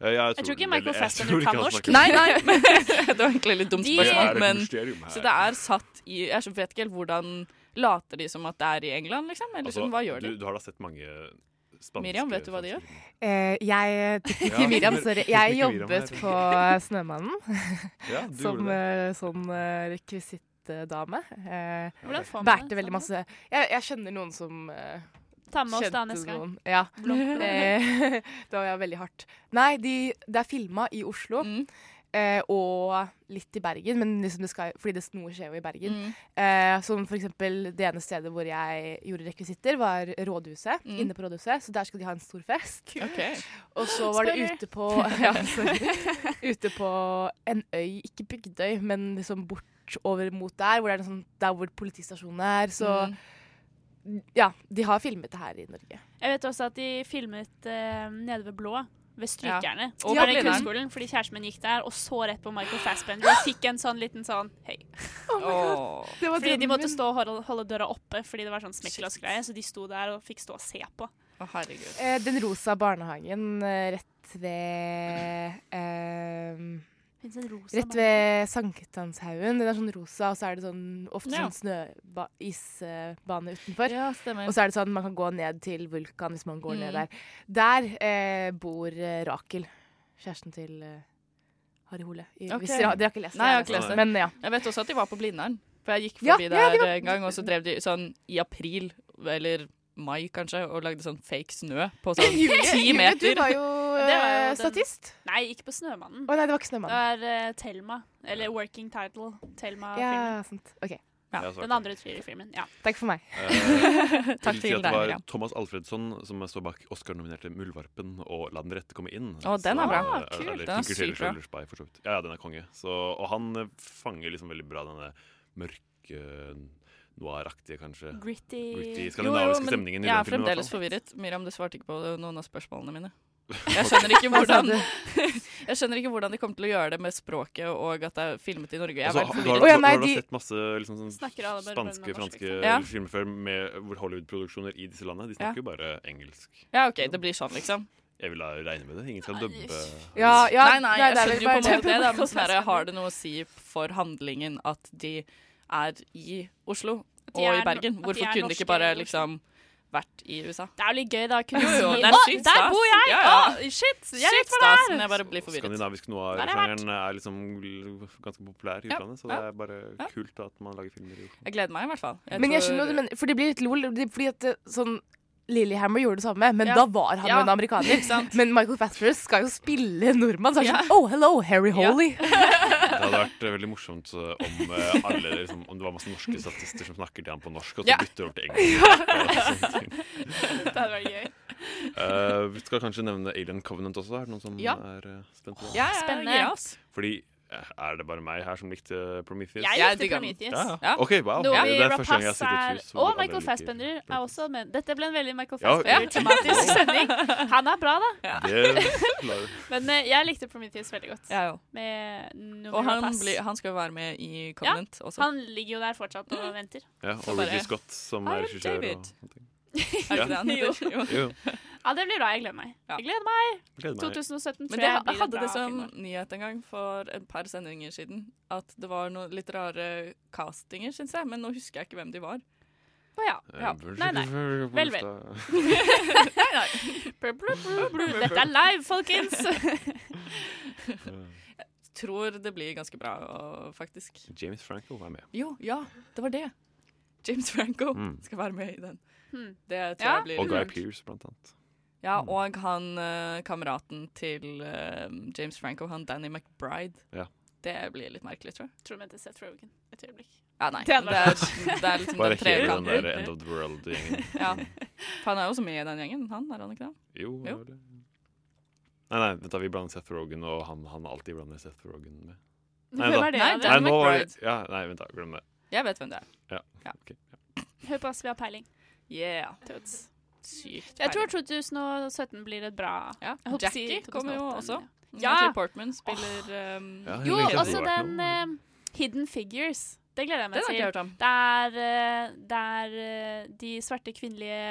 Eh, ja, jeg, Jeg tror ikke vel- Michael jeg Fassbender tror ikke kan han norsk. snakker- Nei, nei! det var egentlig litt dumt De- spørsmål. Det er et Men, mysterium her. så det er satt i Jeg vet ikke helt hvordan Later de som at det er i England, liksom? Eller Altså, sånn, hva gjør de? Du, du har da sett mange spanske Miriam, vet du hva de gjør? Eh, jeg Ja, ikke Miriam, men- sorry. tekniker Jeg Miriam jobbet her. på Snømannen Ja, du som gjorde eh, sånn eh, rekvisittdame. Eh, Hvordan får man Bærte det? Sånn veldig masse Jeg, jeg kjenner noen som eh, Ta med oss kjente da neste gang. noen. Ja. Blomster. Eh, det var ja, veldig hardt. Nei, de, det er filma i Oslo. Mm. eh, og litt i Bergen, men liksom det skal, fordi det noe skjer jo i Bergen. Mm. Eh, som for eksempel det ene stedet hvor jeg gjorde rekvisitter, var Rådhuset. Mm. Inne på Rådhuset, så der skulle de ha en stor fest. Ok. Og så var det Sorry. ute på ja, Mm. sorry. Ute på en øy, ikke Bygdøy, men liksom bort over mot der, hvor det er liksom, der hvor politistasjonen er. Så ja, de har filmet det her i Norge. Jeg vet også at de filmet eh, nede ved Blå. Ved Strykerne. Ja. Og Ja, bare i Blindern. kunstskolen, fordi kjæresten min gikk der, og så rett på Michael Fassbender. Og fikk en sånn liten sånn hei. Åh. Det var Fordi de drømmen måtte min. stå og holde, holde døra oppe, fordi det var sånn smekkelåsgreie. Så de sto der og fikk stå og se på. Å, herregud. Eh, den rosa barnehagen eh, rett ved ehm, Finnes en rosa Rett ved Sankthanshaugen. Den er sånn rosa, og så er det sånn, ofte Ja. sånn snøisbane utenfor. Ja, stemmer. Og så er det sånn man kan gå ned til Vulkan hvis man går Mm. ned der. Der eh, bor eh, Rakel, kjæresten til eh, Harry Hole. I, Ok. Hvis dere, har- dere har ikke lest det? Nei, jeg har dere ikke lest det. Men ja. Jeg vet også at de var på Blindern. For jeg gikk Ja, forbi ja, de der var- en gang, og så drev de sånn i april, eller mai kanskje, og lagde sånn fake snø på sånn ti meter. du var jo eh, Det var jo den- statist. Nei, ikke på Snømannen. Å nei, det var ikke Snømannen. Det er eh, Thelma. Eller Working Title. Thelma-filmen. Ja, sant. OK. Ja, svart. Den andre thriller-filmen. Ja. Takk for meg. Eh, Takk vil si til at deg, Det var Miriam. Thomas Alfredsson som står bak Oscar-nominerte 'Muldvarpen' og 'La den rette komme inn'. Å, den er Så, bra. eh, Ah, kul. eller Den er Tinker sykt Tailor bra. Soldier Spy, for så vidt. Ja, ja, den er konge. Så, og han eh, fanger liksom veldig bra denne mørke, eh, noiraktige, kanskje Gritty. Gritty Jo, skandinaviske jo, men stemningen i Jeg den er filmen. i fremdeles hvert fall. forvirret. Miriam, du svarte ikke på noen av spørsmålene mine. Jeg skjønner ikke hvordan Jeg skjønner ikke hvordan de kommer til å gjøre det med språket og at det er filmet i Norge. Jeg Altså, er har, veldig har, forvirret. har, har du sett masse liksom, sånn Snakker alle bare spanske, bøndene norsk, franske liksom? Ja. filmer før med hvor Hollywood-produksjoner i disse landene? De Ja. snakker jo bare engelsk. Ja, OK, det blir sånn, liksom. Jeg vil da regne med det. Ingen skal dubbe Ja, ja, nei, nei, nei, jeg det er skjønner vel jo på bare- en måte det, da, men sånn her, har det noe å si for handlingen at de er i Oslo At de og er i no- Bergen? at de Hvorfor er kunne de ikke norske bare i Oslo? liksom vært i USA? Det er jo litt gøy, da. Kunne Jo, jo, si, det er «Å, sykt Der stas». bor jeg! Ja, ja. Å, shit! Jeg Shit vet hva stas, det men er! jeg bare blir forvirret. Skandinavisk Hva har det vært? noir-sjangeren er liksom l- ganske populær i Ja, utlandet, så ja, det er bare ja. kult at man lager filmer i Oslo. Jeg gleder meg i hvert fall. men jeg tror- skjønner hva du mener, for det blir litt lol. det- Fordi at eh, sånn Lillehammer gjorde det samme, men Ja. da var han Ja, jo en amerikaner. ikke sant? Men Michael Fassbender skal jo spille en nordmann, så er det sånn Oh, hello, Harry Holy. Det hadde vært eh, veldig morsomt eh, om eh, alle liksom, Om det var masse norske statister som snakker til ham på norsk, og så Ja. bytter over til engelsk. og sånne ting. Det hadde vært gøy. Eh, vi skal kanskje nevne Alien Covenant også. Er det noen som Ja. er eh, spent på det? Ja, jeg er Spennende. gira, ass. Fordi eh, Er det bare meg her som likte Prometheus? Jeg Jeg likte digger den. Prometheus. Ja, ja. Ja. OK, wow. Noe det vi er første gang jeg har Rapace sett et er- hus hvor Og alle Michael liker- Fassbender er også med. Dette ble en veldig Michael Ja, Fassbender-tematisk ja. sending. Han er bra, da. Det- Men eh, jeg likte Prometheus veldig godt. Jeg òg. Med Noomi Og han, Rapace. blir- han skal jo være med i Covenant ja, også. Han ligger jo der fortsatt og venter. Ja, Så og bare- Ridley Scott som I er am regissør. og- David. Ja. Er det det han heter? Jo. Jo. Ja, det blir bra. Jeg gleder meg. Jeg gleder meg. Gleder meg. 2017 Men det, tror jeg jeg blir hadde et det bra som filmår. nyhet en gang for et par sendinger siden. At det var noen litt rare castinger, syns jeg. Men nå husker jeg ikke hvem de var. Å ja. Eh, Ja. Nei, nei. Vel, vel. nei, nei. Blu, blu, blu, blu. Dette er live, folkens! Jeg tror det blir ganske bra, og- faktisk. James Franco var med. Jo, ja, det var det. James Franco Mm. skal være med i den. Hmm. Det tror Ja. jeg blir Og Mm. Guy kult. Pearce, blant annet. Ja, og han eh, kameraten til eh, James Franco, han Danny McBride. Ja. Det blir litt merkelig, tror jeg. Tror du mente Seth Rogen et øyeblikk? Ja, nei. Det hadde vært Det er- det er liksom Bare den hele den trekanten. der End of the World-gjengen. Ja. For han er jo også med i den gjengen, han, er han ikke det? Jo, det var det. Nei, nei, vent da, vi blander Seth Rogen og han han alltid blander Seth Rogen med. Hvem vent da. er det? Nei, Ja, det er nå var McBride. det- Ja, nei, vent da, glem det. Jeg vet hvem det er. Ja, Ja. ok. Hør på oss, vi har peiling. Yeah. Toots. Sykt Jeg tror peiling. 2017 blir et bra Jeg håper å si Jackie kommer jo 2008, også. men Ja. Natalie Portman spiller um, Ja, hun Jo, liker at også det har vært den eh, Hidden Figures. Det gleder jeg meg Den har til. ikke jeg hørt om. Det er, eh, det er eh, de svarte kvinnelige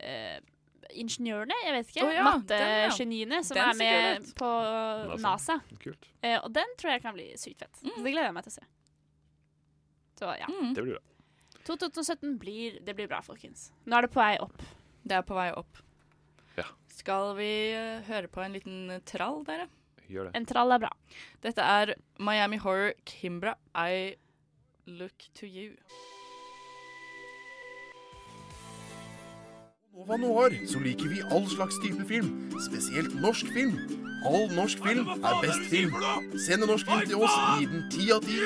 eh, ingeniørene, jeg vet ikke, Å ja, mattegeniene, som Den er ser med kul ut. på NASA. NASA. Kult. Eh, og den tror jeg kan bli sykt fett. Mm. Så det gleder jeg meg til å se. Så ja. Det blir bra. 2017 blir, det blir bra, folkens. Nå er det på vei opp. Det er på vei opp. Ja. Skal vi eh, høre på en liten trall, dere? Gjør det. En trall er bra. Dette er Miami Horror Kimbra, I Look To You. Nova Noir så liker vi all slags type film, spesielt norsk film. All norsk film er best film. Send en norsk film til oss, gi den ti av ti.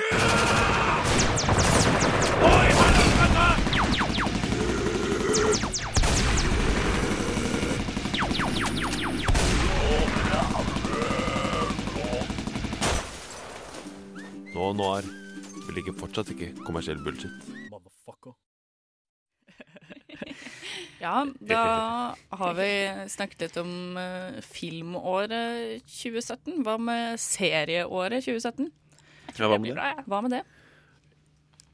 Nå Noir vi liker fortsatt ikke kommersiell bullshit. Ja, da har vi snakket litt om eh, filmåret 2017. Hva med serieåret 2017? Ja, hva med det? Hva med det?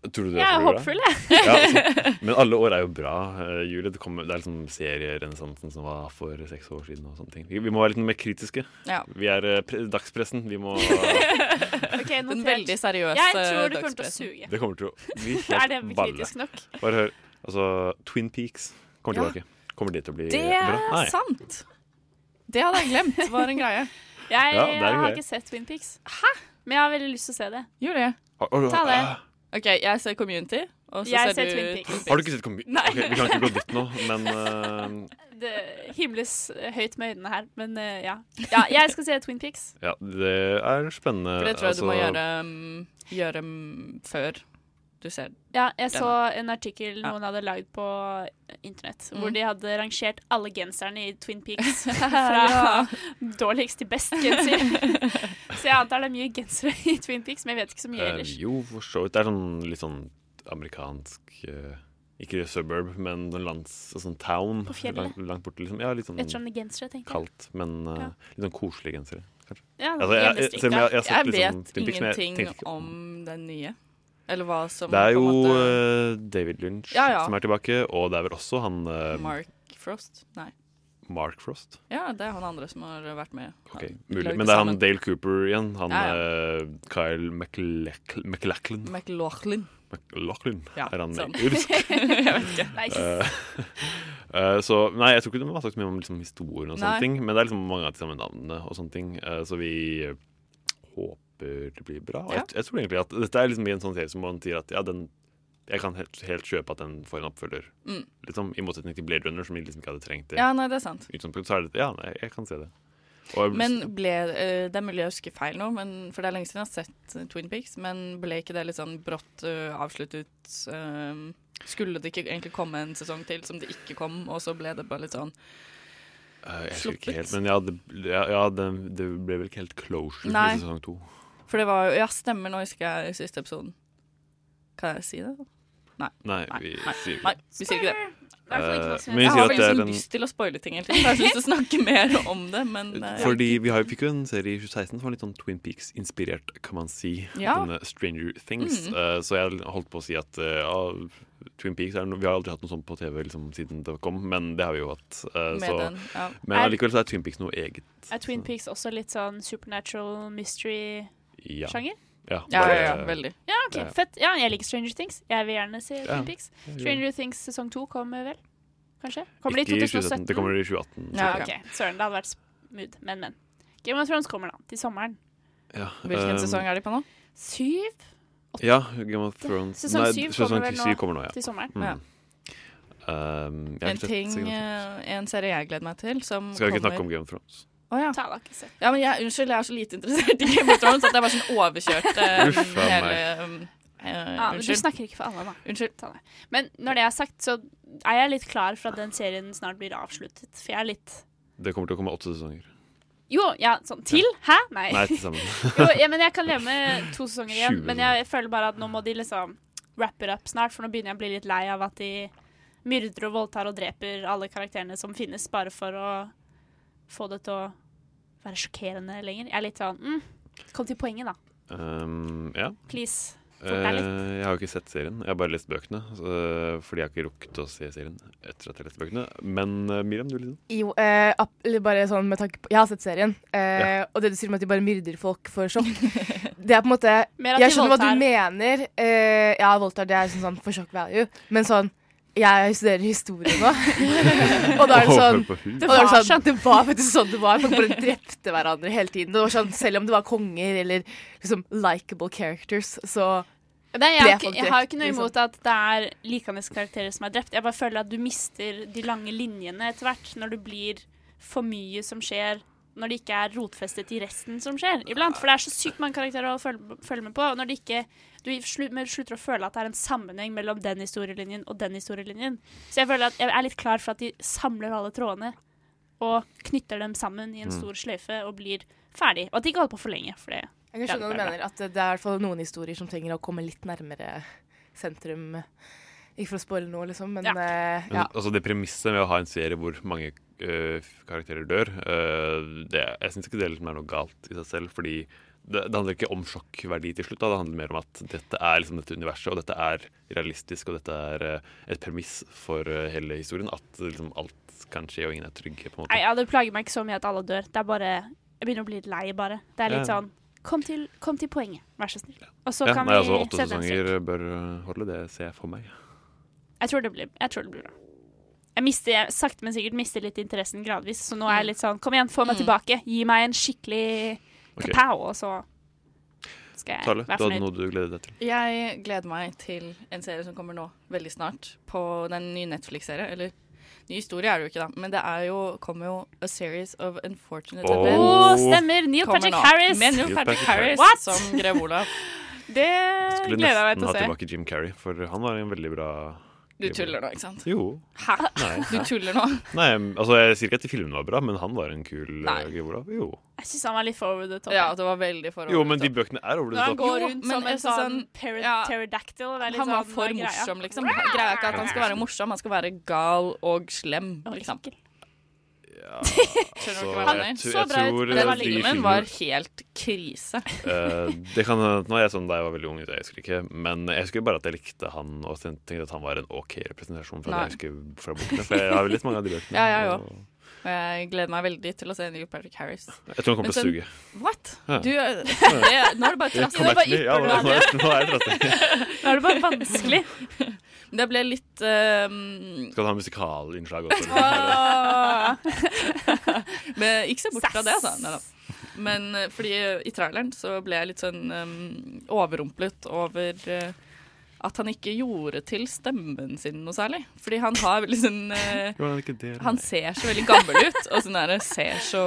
Tror du det Jeg er blir bra? håpfull, jeg. ja, altså, men alle år er jo bra, eh, Julie. Det, kommer, det er liksom serierenessansen som var for seks år siden. og sånne ting. Vi, vi må være litt mer kritiske. Ja. Vi er eh, pre dagspressen. Vi må Ok, Den notert. veldig seriøse Jeg tror det kommer til å dagspressen. suge. Det kommer til å bli helt Er det balle. kritisk nok? Bare hør. Altså, Twin Peaks kommer Ja. tilbake. Kommer det til å bli Det bra? er sant! Det hadde jeg glemt var en greie. Jeg Ja, det er en har greie. ikke sett Twin Peaks. Hæ? Men jeg har veldig lyst til å se det. Gjør det. Har, har, du- Ah, Ta det. OK, jeg ser Community, og så ser Jeg ser du Twin Peaks. har du ikke sett kombi... Nei. Ok, vi kan ikke gå dit nå, men eh, Det himles eh, høyt med øynene her, men eh, ja. ja. Jeg skal se Twin Peaks. ja, det er spennende. For det tror jeg du må Altså, gjøre, mm, gjøre mm, før du ser Ja, jeg den. så en artikkel noen hadde lagd på internett, hvor Mm. de hadde rangert alle genserne i Twin Peaks. Fra dårligst til best genser. Så jeg antar det er mye gensere i Twin Peaks, men jeg vet ikke så mye Eh, ellers. jo, for så vidt. Det er sånn litt sånn amerikansk eh, Ikke suburb, men sånn lands, sånn town. På fjellet. Langt, langt borte, liksom. Ja, litt sånn Litt sånn gensere, tenker jeg. kaldt, men eh, Ja. litt sånn koselige gensere. Kanskje. Ja, Altså, jeg- jeg- selv om jeg- jeg har sett Jeg litt sånn vet Twin Peaks, men jeg ingenting tenkte ikke- om den nye. Eller hva som Det er på jo en måte eh, David Lynch Ja, ja. som er tilbake, og det er vel også han eh, Mark Frost? Nei. Mark Frost. Ja, det er han andre som har vært med. Ok, Han mulig. lager Men det er sammen. han Dale Cooper igjen. Han Ja, eh, Kyle McLach- McLachlan. McLaughlin. McLaughlin Ja, er han sånn. irsk? Jeg vet ikke. Nice. Eh, eh, så, nei, jeg tror ikke det var sagt mye om liksom, historien og Nei. sånne ting, men det er liksom mange av de samme navnene og sånne ting. Eh, så vi håper det blir bra. Og Ja. Jeg, jeg tror egentlig at dette er liksom en sånn serie som man sier at ja, den jeg kan helt, helt kjøpe at den får en oppfølger. Mm. Liksom, I motsetning til Blade Runner, som jeg liksom ikke hadde trengt det. Ja, nei, det er sant. Utgangspunkt, så er det, ja, nei, jeg kan se det. Og, Men ble, eh, Det er mulig jeg husker feil nå, men, for det er lenge siden jeg har sett eh, Twin Peaks. Men ble ikke det litt sånn brått eh, avsluttet? eh, skulle det ikke egentlig komme en sesong til som det ikke kom, og så ble det bare litt sånn Eh, jeg husker ikke helt, men ja, det, ja, ja det, det ble vel ikke helt closure Nei. i sesong to. For det var jo Ja, stemmer, nå husker jeg siste episoden. Kan jeg si det? Nei. Nei, vi sier ikke Nei, det. vi sier ikke det. Eh, men vi jeg sier har at det er veldig en- sånn lyst til å spoile ting hele tiden, så jeg har lyst til å snakke mer om det, men eh, ja. Fordi vi har, jo- fikk jo en serie i 2016 som var litt sånn Twin Peaks-inspirert, kan man si. Ja. Denne Stranger Things. Mm. Eh, så jeg holdt på å si at eh, ja, Twin Peaks er no, Vi har aldri hatt noe sånt på TV liksom, siden det kom, men det har vi jo hatt. eh, Med så, den, ja. Men allikevel så er Twin Peaks noe eget. Er Twin Peaks også litt sånn supernatural Ja. mystery-sjanger? Ja, Ja, bare- ja, ja, veldig. Ja, ok, Ja. fett. Ja, jeg liker Stranger Things. Jeg vil gjerne se Ja, Twin Peaks. jeg gjør Stranger Things sesong to kommer vel? Kanskje? Kommer det Ikke i i 2017? 2017, det kommer i 2018. Ja, så- ok. Søren, det hadde vært smooth. Men, men. Game of Thrones kommer da, til sommeren. Ja, Hvilken eh, sesong er de på nå? Syv? Ja, Game of Thrones. Sesong Nei, syv sesong kommer vel nå syv kommer nå, ja. til sommeren. Mm. Ja. Um, jeg har En ikke sett ting, Game of Thrones. eh, en serie jeg gleder meg til, som eh, Skal vi ikke kommer- snakke om Game of Thrones? Å ja. Ta, da, ikke sett. Ja, men jeg, unnskyld, jeg er så lite interessert i Game of Thrones at jeg var sånn overkjørt. eh, Uff, a hele, meg. um, eh, Ja, men du unnskyld. snakker ikke for alle, da. Unnskyld. Ta det. Men når det er sagt, så er jeg litt klar for at den serien snart blir avsluttet. For jeg er litt Det kommer til å komme åtte sesonger. Jo, ja, sånn til? Hæ? Nei. Nei, til sammen. jo, ja, men jeg kan leve med to sesonger igjen. Sju Men jeg føler bare at nå må de liksom wrap it up snart, for nå begynner jeg å bli litt lei av at de myrder og voldtar og dreper alle karakterene som finnes, bare for å få det til å være sjokkerende lenger. Jeg er litt sånn mm, Kom til poenget, da. Um, ja. Please. Eh, Fort deg litt. jeg har jo ikke sett serien. Jeg har bare lest bøkene. så- eh, fordi jeg har ikke rukket å se serien etter at jeg leste bøkene. Men eh, Miriam, du liksom? Jo, eh, app- eller bare sånn med tanke på Jeg har sett serien, eh, og det du sier om at de bare myrder folk for sjokk Det er på en måte Mer at Jeg de skjønner hva voldtar. du mener. Eh, ja, voldtar det er sånn, sånn for sjokk value, men sånn jeg studerer historie nå, og da er det Å, sånn hør på hun. det var, sånn, det var faktisk sånn det var. Folk bare drepte hverandre hele tiden. Det var sånn, Selv om det var konger eller liksom likable characters, så Nei, jeg, ble har ikke, folk jeg har jo ikke drept, noe liksom. imot at det er likende karakterer som er drept. Jeg bare føler at du mister de lange linjene etter hvert når det blir for mye som skjer når det ikke er rotfestet i resten som skjer iblant. For det er så sykt mange karakterer å følge, følge med på. Og når det ikke, du slu- men slutter å føle at det er en sammenheng mellom den historielinjen og den historielinjen. Så jeg føler at jeg er litt klar for at de samler alle trådene og knytter dem sammen i en Mm. stor sløyfe og blir ferdig. Og at de ikke holder på for lenge. For det, Jeg kan skjønne hva du mener, at det er i hvert fall noen historier som trenger å komme litt nærmere sentrum. Ikke for å spoile noe, liksom, men ja. Men, ja. Altså Det premisset med å ha en serie hvor mange eh, karakterer dør, eh, det, jeg syns ikke det liksom er noe galt i seg selv. Fordi det, det handler ikke om sjokkverdi til slutt. Da. Det handler mer om at dette er liksom dette universet, og dette er realistisk, og dette er eh, et premiss for eh, hele historien. At liksom alt kan skje, og ingen er trygge. på en måte Nei, ja, det plager meg ikke så mye at alle dør. Det er bare Jeg begynner å bli litt lei, bare. Det er litt Ja. sånn Kom til, kom til poenget, vær så snill. Og så ja, kan nei, vi altså Åtte sette en strek. sesonger bør eh, holde, det ser jeg for meg. Jeg tror det blir, jeg tror det blir bra. Jeg mister, jeg, sakte, men sikkert mister litt interessen gradvis, så nå er jeg litt sånn Kom igjen, få meg Mm. tilbake. Gi meg en skikkelig Ok. kapow, og så skal jeg Tale, du være hadde fornøyd. noe du gledet deg til. Jeg gleder meg til en serie som kommer nå, veldig snart, på den nye Netflix-serien. Eller ny historie er det jo ikke, da, men det er jo, kommer jo A Series of Unfortunate Åh, Events. stemmer! Neil Kommer Patrick nå. Harris! Med Neil Neil Patrick Patrick Harris What? som grev Olav. Det Skulle gleder jeg meg til nesten å ha se. tilbake Jim Carrey, for han var en veldig bra Du tuller nå, ikke sant? Jo. Hæ? Nei. Du tuller nå? Nei, altså Jeg sier ikke at de filmene var bra, men han var en kul uh, Grev Olav. Jo. Jeg syns han var litt for over the top. Ja, det var veldig for jo, men de bøkene er over Når the han top. går Jo, rundt men som en jeg synes sånn han- pter- ja. pterodactyl. det er litt Han var sånn, for greia. morsom, liksom. Greia er ikke at han skal være morsom, han skal være gal og slem. Liksom. Skjønner du ikke hva jeg mener? Altså, jeg tr- jeg tror, eh, Den de filmen filmene- var helt krise. Eh, det kan hende at Nå er jeg sånn da jeg var veldig ung, så jeg husker ikke. Men jeg husker bare at jeg likte han og sen- tenkte at han var en OK representasjon. Fra Nei. det jeg husker fra bokene For jeg har jo litt mange av de bøkene. Ja, jeg og- òg. Og jeg gleder meg veldig til å se Neil Patrick Harris. Jeg tror han kommer Men til å sånn- suge. What? Ja. Du, eh, Ja. det, nå er det bare Jeg trass- kommer det er bare etter- ja, nå- nå er- ypperlig. nå er det trass- Nå er det bare vanskelig. Men Det ble litt ehm, Skal du ha musikalinnslag også? Åh. Men ikke se bort fra det, altså. Neida. Men eh, fordi eh, i traileren så ble jeg litt sånn eh, overrumplet over eh, at han ikke gjorde til stemmen sin noe særlig. Fordi han har veldig sånn eh, Gjorde han ikke det, Han ser så veldig gammel ut. Og sånn der, ser så Så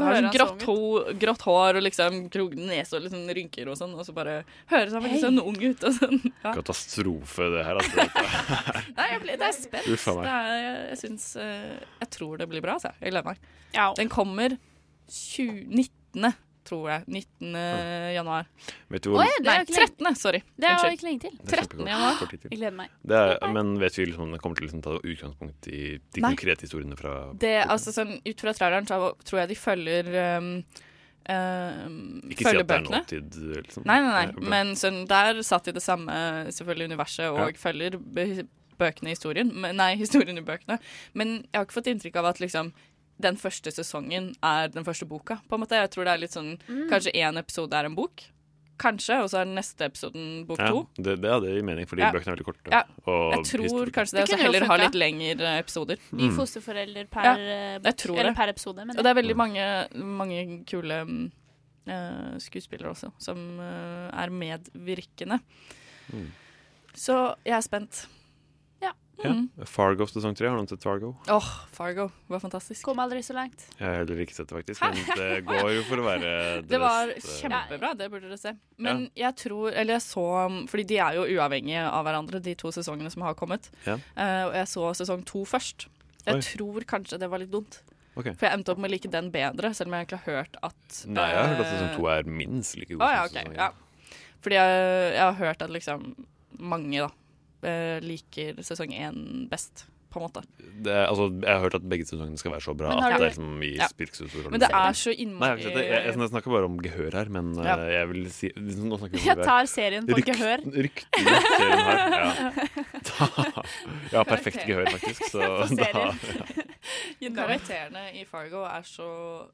Har hører sånn han grått, ho, grått hår og liksom krokete nese og litt sånn rynker og sånn. Og så bare høres han veldig Hei. sånn ung ut og sånn. Ja. Katastrofe, det her. Altså. Nei, jeg ble, det er spent. Uff a meg. Det er, jeg, jeg syns eh, Jeg tror det blir bra, altså. Jeg gleder meg. Ja. Den kommer 20, 19. tror jeg. 19. januar. Vet du hvor- Oi, det er Nei, jo ikke lenge- 13. Sorry. Det er jo Unnskyld. ikke lenge til. Det er 13. kjempekort. januar. Kort tid til. Jeg gleder meg. Det er, men vet vi liksom, om det kommer til å liksom, ta utgangspunkt i de Nei. konkrete historiene fra Det, altså, sånn, ut fra traileren så tror jeg de følger um, um, Ikke si at det er følgebøkene. nåtid, liksom. Nei, nei, Nei, nei. bra. Men sånn, der satt de det samme selvfølgelig universet og Ja. følger bø- bøkene i historien. Men, nei, historien i bøkene. Men jeg har ikke fått inntrykk av at liksom den første sesongen er den første boka, på en måte. Jeg tror det er litt sånn Mm. Kanskje én episode er en bok. Kanskje. Og så er den neste episoden bok ja, to. det, det hadde jeg mening, fordi Ja. bøkene er veldig korte. Ja. og Jeg tror historien- kanskje Det det, og så kunne jo heller ha funka. litt lengre episoder. Ny Mm. fosterforelder per, eh, jeg bok, tror eller det. per episode, mener Og det er jeg. Mm. veldig mange, mange kule mm, eh, skuespillere også, som eh, er medvirkende. Mm. Så jeg er spent. Ja. Mm. ja. Fargo sesong tre. Har noen sett Fargo? Åh, Fargo var fantastisk. Kom aldri så langt. Jeg har heller ikke sett det, faktisk. Hæ? Men det går jo for å være eh, Det var beste. kjempebra, det burde dere se. Men jeg tror, eller jeg så Fordi de er jo uavhengige av hverandre, de to sesongene som har kommet. Ja. Eh, og jeg så sesong to først. Jeg Oi. tror kanskje det var litt dumt. Ok. For jeg endte opp med å like den bedre, selv om jeg egentlig har hørt at Nei, jeg har hørt at eh, sesong to er minst like Å, god ja, som ok, sesong ja. Fordi jeg, jeg har hørt at liksom mange da eh, liker sesong én best, på en måte. Det er, altså, jeg har hørt at begge sesongene skal være så bra Men har at du- det er som i Ja. Spirksusord. Men det er så innmari- Nei, jeg, har ikke sett det. jeg, jeg, jeg snakker bare om gehør her, men Ja. eh, jeg vil si Nå snakker vi om Jeg gehør. tar sånn serien på gehør. Ryktene serien har. Ja. Ta- ja, perfekt Karakter. gehør, faktisk. Så For da serien. You know it. Karakterene i Fargo er så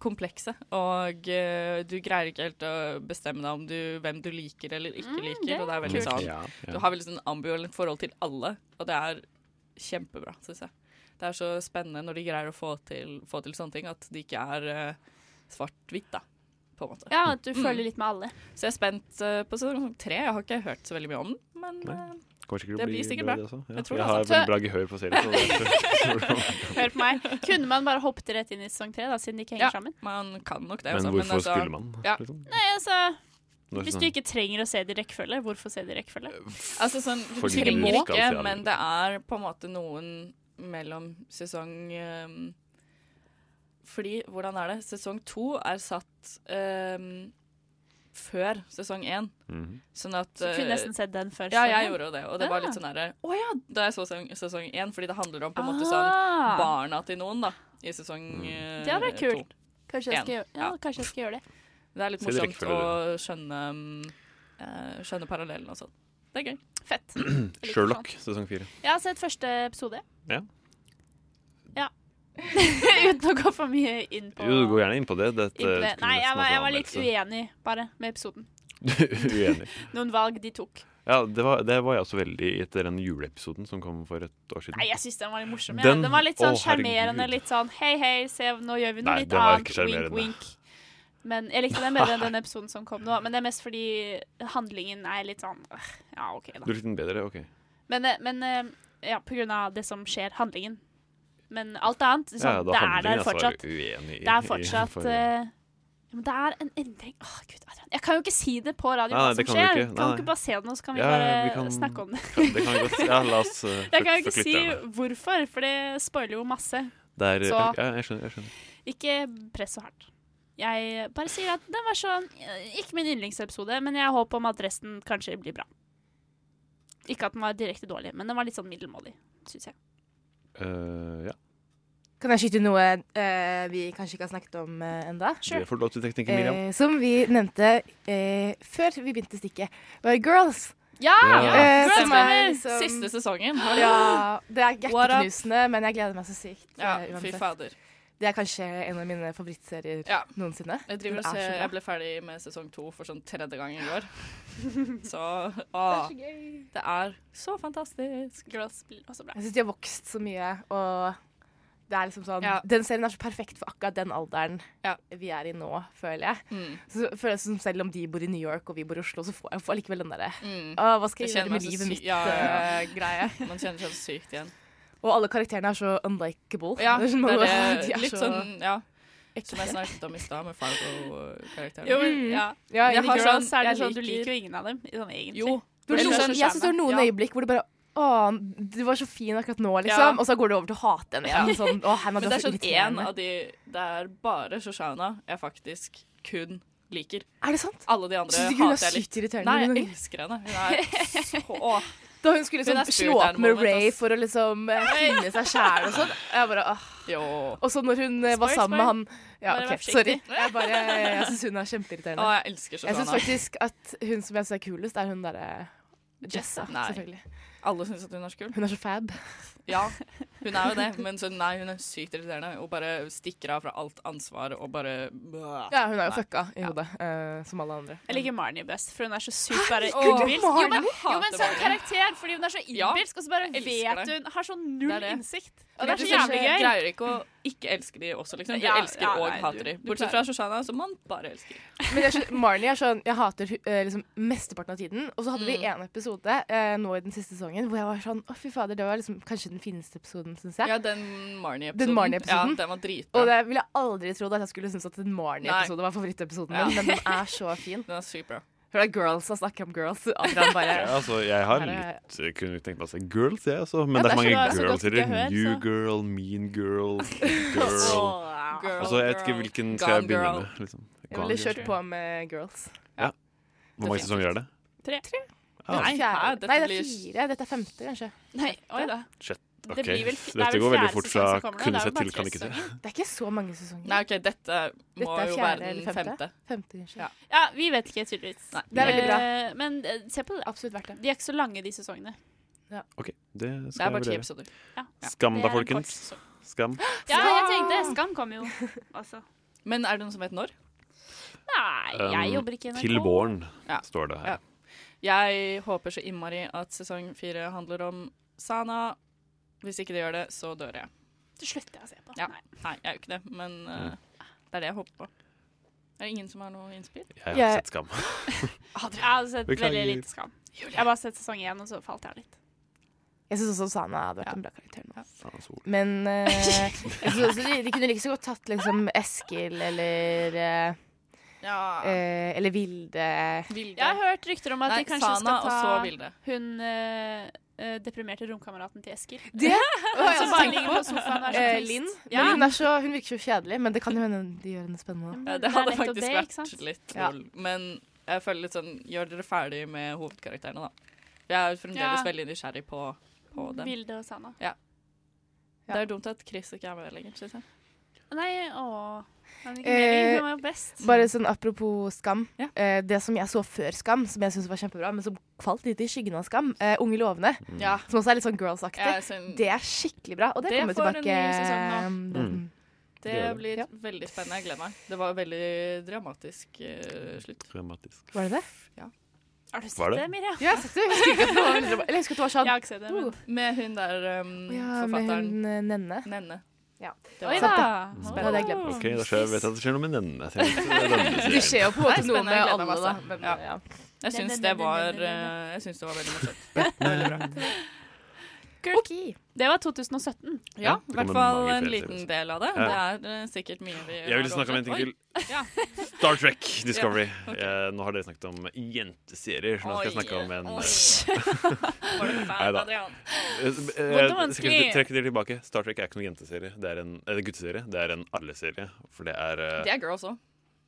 komplekse, og eh, du greier ikke helt å bestemme deg om du, hvem du liker eller ikke Mm, liker. det Og det er er veldig kult. sånn, Ja, ja. Du har veldig sånn ambivalent forhold til alle, og det er kjempebra, syns jeg. Det er så spennende når de greier å få til, få til sånne ting, at det ikke er eh, svart-hvitt, da. På en måte. Ja, at du Mm. følger litt med alle. Så jeg er spent eh, på sesong tre. Jeg har ikke hørt så veldig mye om den, men eh, Kommer sikkert til å det bli blir sikkert bra. bra, det også. Ja. Jeg tror det, jeg har altså. veldig bra gehør på serien. Så det er- Hør på meg. Kunne man bare hoppet rett inn i sesong tre, da, siden de ikke henger Ja, sammen? man kan nok det. Men også, altså hvorfor skulle man, liksom? Ja. Nei, altså Når Hvis sånn- du ikke trenger å se det i rekkefølge, hvorfor se det i rekkefølge? Altså sånn, du Fordi trenger du skal ikke, se alle. men det er på en måte noen mellom sesong ehm, Fordi, hvordan er det? Sesong to er satt ehm, før sesong én. Mhm. Sånn at Så du kunne eh, nesten sett den før Ja, jeg sesongen. gjorde jo det. Og det var Ah. litt sånn derre Å ja, da jeg så sesong, sesong én. Fordi det handler om på en måte Ah. sånn barna til noen, da. I sesong Mm. eh, Det hadde vært to. kult. Kanskje jeg, En. skal gjøre, ja, kanskje jeg skal gjøre det. Det er litt Se det i morsomt å rekkefølge, skjønne, mm, eh, skjønne parallellen og sånn. Det er gøy. Fett. Sherlock sesong fire. Jeg har sett første episode. Ja. Ja. Uten å gå for mye inn på Jo, du går gjerne inn på det. Dette inn på det. skulle Nei, jeg nesten var, hatt jeg var litt anmeldelse. uenig bare med episoden. Uenig. Noen valg de tok. Ja, det var, det var jeg også veldig i etter den juleepisoden som kom for et år siden. Nei, jeg syns den var litt morsom. jeg. Den- Den, var litt sånn Å, herregud. sjarmerende. Litt sånn hei, hei, se, nå gjør vi noe Nei, litt den var annet. ikke Wink, sjarmerende. wink. Men jeg likte den bedre enn den episoden som kom nå. Men det er mest fordi handlingen er litt sånn øh, Ja, OK, Du da. likte den bedre? OK. Men, eh, men eh, ja, på grunn av det som skjer, handlingen. Men alt annet, sånn, da det er handlingen der altså er fortsatt. uenig i- det er i- fortsatt for- eh, ja, men det er en endring Åh, Gud, Adrian. Jeg kan jo ikke si det på radio Nei, nei, hva det som kan du skjer. ikke. Nei, Kan nei. vi ikke bare se det nå, så kan vi Ja, bare ja, vi kan- snakke om det. Ja, det kan vi godt. Ja, la oss eh, Jeg eh, kan jo ikke forklare si det. hvorfor, for det spoiler jo masse. Det er, eh, Så ja, jeg skjønner. Jeg skjønner. ikke press så hardt. Jeg bare sier at den var sånn eh, Ikke min yndlingsepisode, men jeg har håp om at resten kanskje blir bra. Ikke at den var direkte dårlig, men den var litt sånn middelmådig, syns jeg. Eh, ja. Kan jeg skyte inn noe eh, vi kanskje ikke har snakket om uh, enda? Det får du lov til, tekniker Miriam. Eh, som vi nevnte eh, før vi begynte stikket, var Girls. Ja! Ja. Eh, Girls som er Summer! liksom- Siste sesongen. Ja, det er What up? hjerteknusende, men jeg gleder meg så sykt. eh, Ja, fy uansett. fader. Det er kanskje en av mine favorittserier Ja. noensinne. Jeg, driver og Den er ser, så bra. jeg ble ferdig med sesong to for sånn tredje gang i går. Så å, Det er så gøy. Det er så fantastisk. Girls blir også bra. Jeg syns de har vokst så mye, og det er liksom sånn Ja. Den serien er så perfekt for akkurat den alderen vi er i nå, føler jeg. Mm. Så føler jeg som selv om de bor i New York og vi bor i Oslo, så får jeg får allikevel den derre Mm. «Å, Hva skal jeg, kjenner gjøre med meg så livet sy- mitt? Ja, ja, ja. eh, greie. Man kjenner seg så sykt igjen. Og alle karakterene er så unlikable. Ja, Det er sånn- det er de det, er litt så- sånn ja, Som jeg snakket om i stad, med Mm. Fargo-karakteren. Jo, men, ja. Ja, Men i jeg har Girls sånn, er det jeg sånn, liker, du liker jo ingen av dem, sånn egentlig. Jo. Det er noen- jeg syns det var noen øyeblikk hvor det bare Å, du var så fin akkurat nå, liksom. Ja. Og så går du over til å hate henne igjen. Sånn, å, Hanna, Men du det er er så sånn én irriterende. av de Det er bare Shoshana jeg faktisk kun liker. Er det sant? Alle de andre Synes du ikke hun er hater jeg litt. sykt irriterende Nei, noen jeg ganger? elsker henne. Hun er så Da hun skulle Hun liksom er slå Spirit opp med Animal, vet Ray for å liksom eh, finne seg sjæl og sånn. Jeg bare, åh. Og så når hun eh, var Spoil, sammen med han spoil. Ja, Bare vær OK, forsiktig. sorry. Jeg, bare- jeg syns hun er kjempeirriterende. Å, jeg elsker Jeg syns Shoshana. faktisk at hun som jeg syns er kulest, er hun derre Jessa. Nei. Selvfølgelig. Alle syns at hun er så kul. Hun er så fab. Ja, hun er jo det, men så, nei, hun er sykt irriterende og bare stikker av fra alt ansvar og bare Ja, hun er jo Nei. fucka i hodet, eh, som alle andre. Jeg liker Marnie best, for hun er så sykt bare Åh, innbilsk. Jo, men, Marnie? jo, men sånn Hater Marnie. karakter, fordi hun er så Ja, innbilsk, og så bare elsker vet det. hun Har sånn null Det er det. innsikt. Men Og det er så jeg jævlig gøy. greier ikke å ikke elske de også, liksom. Du Ja, elsker ja, og nei, du- hater de. du Bortsett klarer fra det. Shoshana, som man bare elsker. Men jeg, skjønner- Marnie er sånn Jeg hater hu- eh, liksom mesteparten av tiden. Og så hadde vi Mm. en episode eh, nå i den siste sesongen hvor jeg var sånn Å, fy fader, det var liksom kanskje den fineste episoden, syns jeg. Ja, den Marnie-episoden. Den Marnie-episoden. Ja, den var dritbra. og det ville jeg aldri trodd at jeg skulle synes at en Marnie-episode Nei. var favorittepisoden Ja. min, men den er så fin. Den er sykt bra. Hør da, girls har snakket om girls. Adrian bare Ja, altså, jeg har litt jeg kunne tenkt meg å se girls, jeg også. Men Ja, det er så det er så- det mange er så godt girls-serier. ikke hør, altså. New så. girl, mean girl, girl. Åh, girl, Altså, jeg vet ikke girl. hvilken Gone skal jeg begynne girl. med. Liksom. Jeg ville kjørt på med girls. Ja. Hvor mange sesonger er det? Tre. Ah. Nei, Nei, hæ, Fjerde. dette Nei, det er blir- fire. Dette er femte, kanskje. Nei, oi da. Shit. Det Ok, blir vel- det er dette vel går veldig fjerde fort sesong fra som kommer nå, kunne det er sett vel til bare kan ikke tre se. Det er ikke så mange sesonger. Nei, OK, dette må Dette er jo fjerde være den eller femte? femte. Femte, kanskje. Ja, vi vet ikke, tydeligvis. Det er veldig bra. Eh, Men eh, se på det. Absolutt verdt det. De er ikke så lange, de sesongene. OK, det Det skal er bare jeg ti vurdere. episoder. Ja. Skam Det da, er en kort folkens. Skam. Ja, jeg tenkte Skam kommer jo. Men er det noen som vet når? Nei, jeg Um, jobber ikke i NRK. Til våren, Ja. står det her. Ja. Jeg håper så innmari at sesong fire handler om Sana. Hvis ikke det gjør det, så dør jeg. Det slutter jeg å se på. Ja. Nei. jeg er jo ikke det, men eh, det er det jeg håper på. Er det ingen som har noe innspill? Jeg har sett Skam. Jeg har sett Beklager. veldig lite Skam. Jeg har bare sett sesong én, og så falt jeg litt. Jeg syns også Sana hadde vært en bra karakter nå. Sana Sol. Men eh, jeg synes også de, de kunne like så godt tatt liksom Eskil eller eh, Ja. eh, Eller Vilde. Jeg har hørt rykter om at Nei, de kanskje Sana og så skal ta Vilde. hun eh, eh, deprimerte romkameraten til Eskil. Det Hun har jeg som også bare tenkt ligger på sofaen og er så Eh, trist. Linn. Ja. Men hun, er så, hun virker så kjedelig, men det kan jo hende de gjør henne spennende. Ja, det er hadde nettopp faktisk det, ikke sant? vært litt Ja. lol. Men jeg føler litt sånn Gjør dere ferdig med hovedkarakterene, da. Jeg er fremdeles Ja. veldig nysgjerrig på, på dem. Vilde og Sana. Ja. Det er dumt at Chris ikke er med lenger. Synes jeg. Nei, åh. Men ikke Eh, meningen, hun var jo best. Bare sånn apropos Skam. Eh, det som jeg så før Skam, som jeg syntes var kjempebra, men som falt litt i skyggen av Skam, eh, Unge lovende, Ja. som også er litt sånn girls-aktig, Ja, sånn- det er skikkelig bra. Og det, Det kommer får en tilbake. ny sesong nå. eh, Mm. Det Gjør det. blir veldig spennende. Jeg gleder meg. Det var veldig dramatisk eh, slutt. Dramatisk. Var det det? Ja. Har du sett Var det? det, Miriam? Ja, jeg har sett det. Jeg husker ikke at det var veldig drama- Eller jeg husker at det var sånn Jeg har ikke sett det, men Med hun der um, Ja, med forfatteren. hun eh, Nenne. Nenne. Ja. Det var- Sant det. Ja. Mm. Det hadde jeg glemt. OK, da skjer, jeg vet jeg at det skjer noe med denne. Jeg tenkte det er denne Det skjer jo på en måte noe Nei, spennende. med Jeg gleder alle, meg da. masse. Men, Ja. ja. Jeg syns det var eh, Jeg syns det var veldig morsomt. Veldig bra. Kirky. Det var 2017. Ja, i det hvert kommer fall mange en flere liten serier. del av det. Ja. Det er eh, sikkert mye vi Jeg ville har snakke om en ting oversett. til. Oi. Ja. Star Trek Discovery. Ja, ok. Eh, nå har dere snakket om jenteserier, så nå skal jeg Oi, snakke om en oi. eh, Var du fan, Neida. Adrian? Eh, eh, Vondt og skal jeg vanskelig. Trekke det tilbake. Star Trek er ikke noen jenteserie. Det er en eh, gutteserie. Det er en alle-serie. For det er eh, Det er girls òg.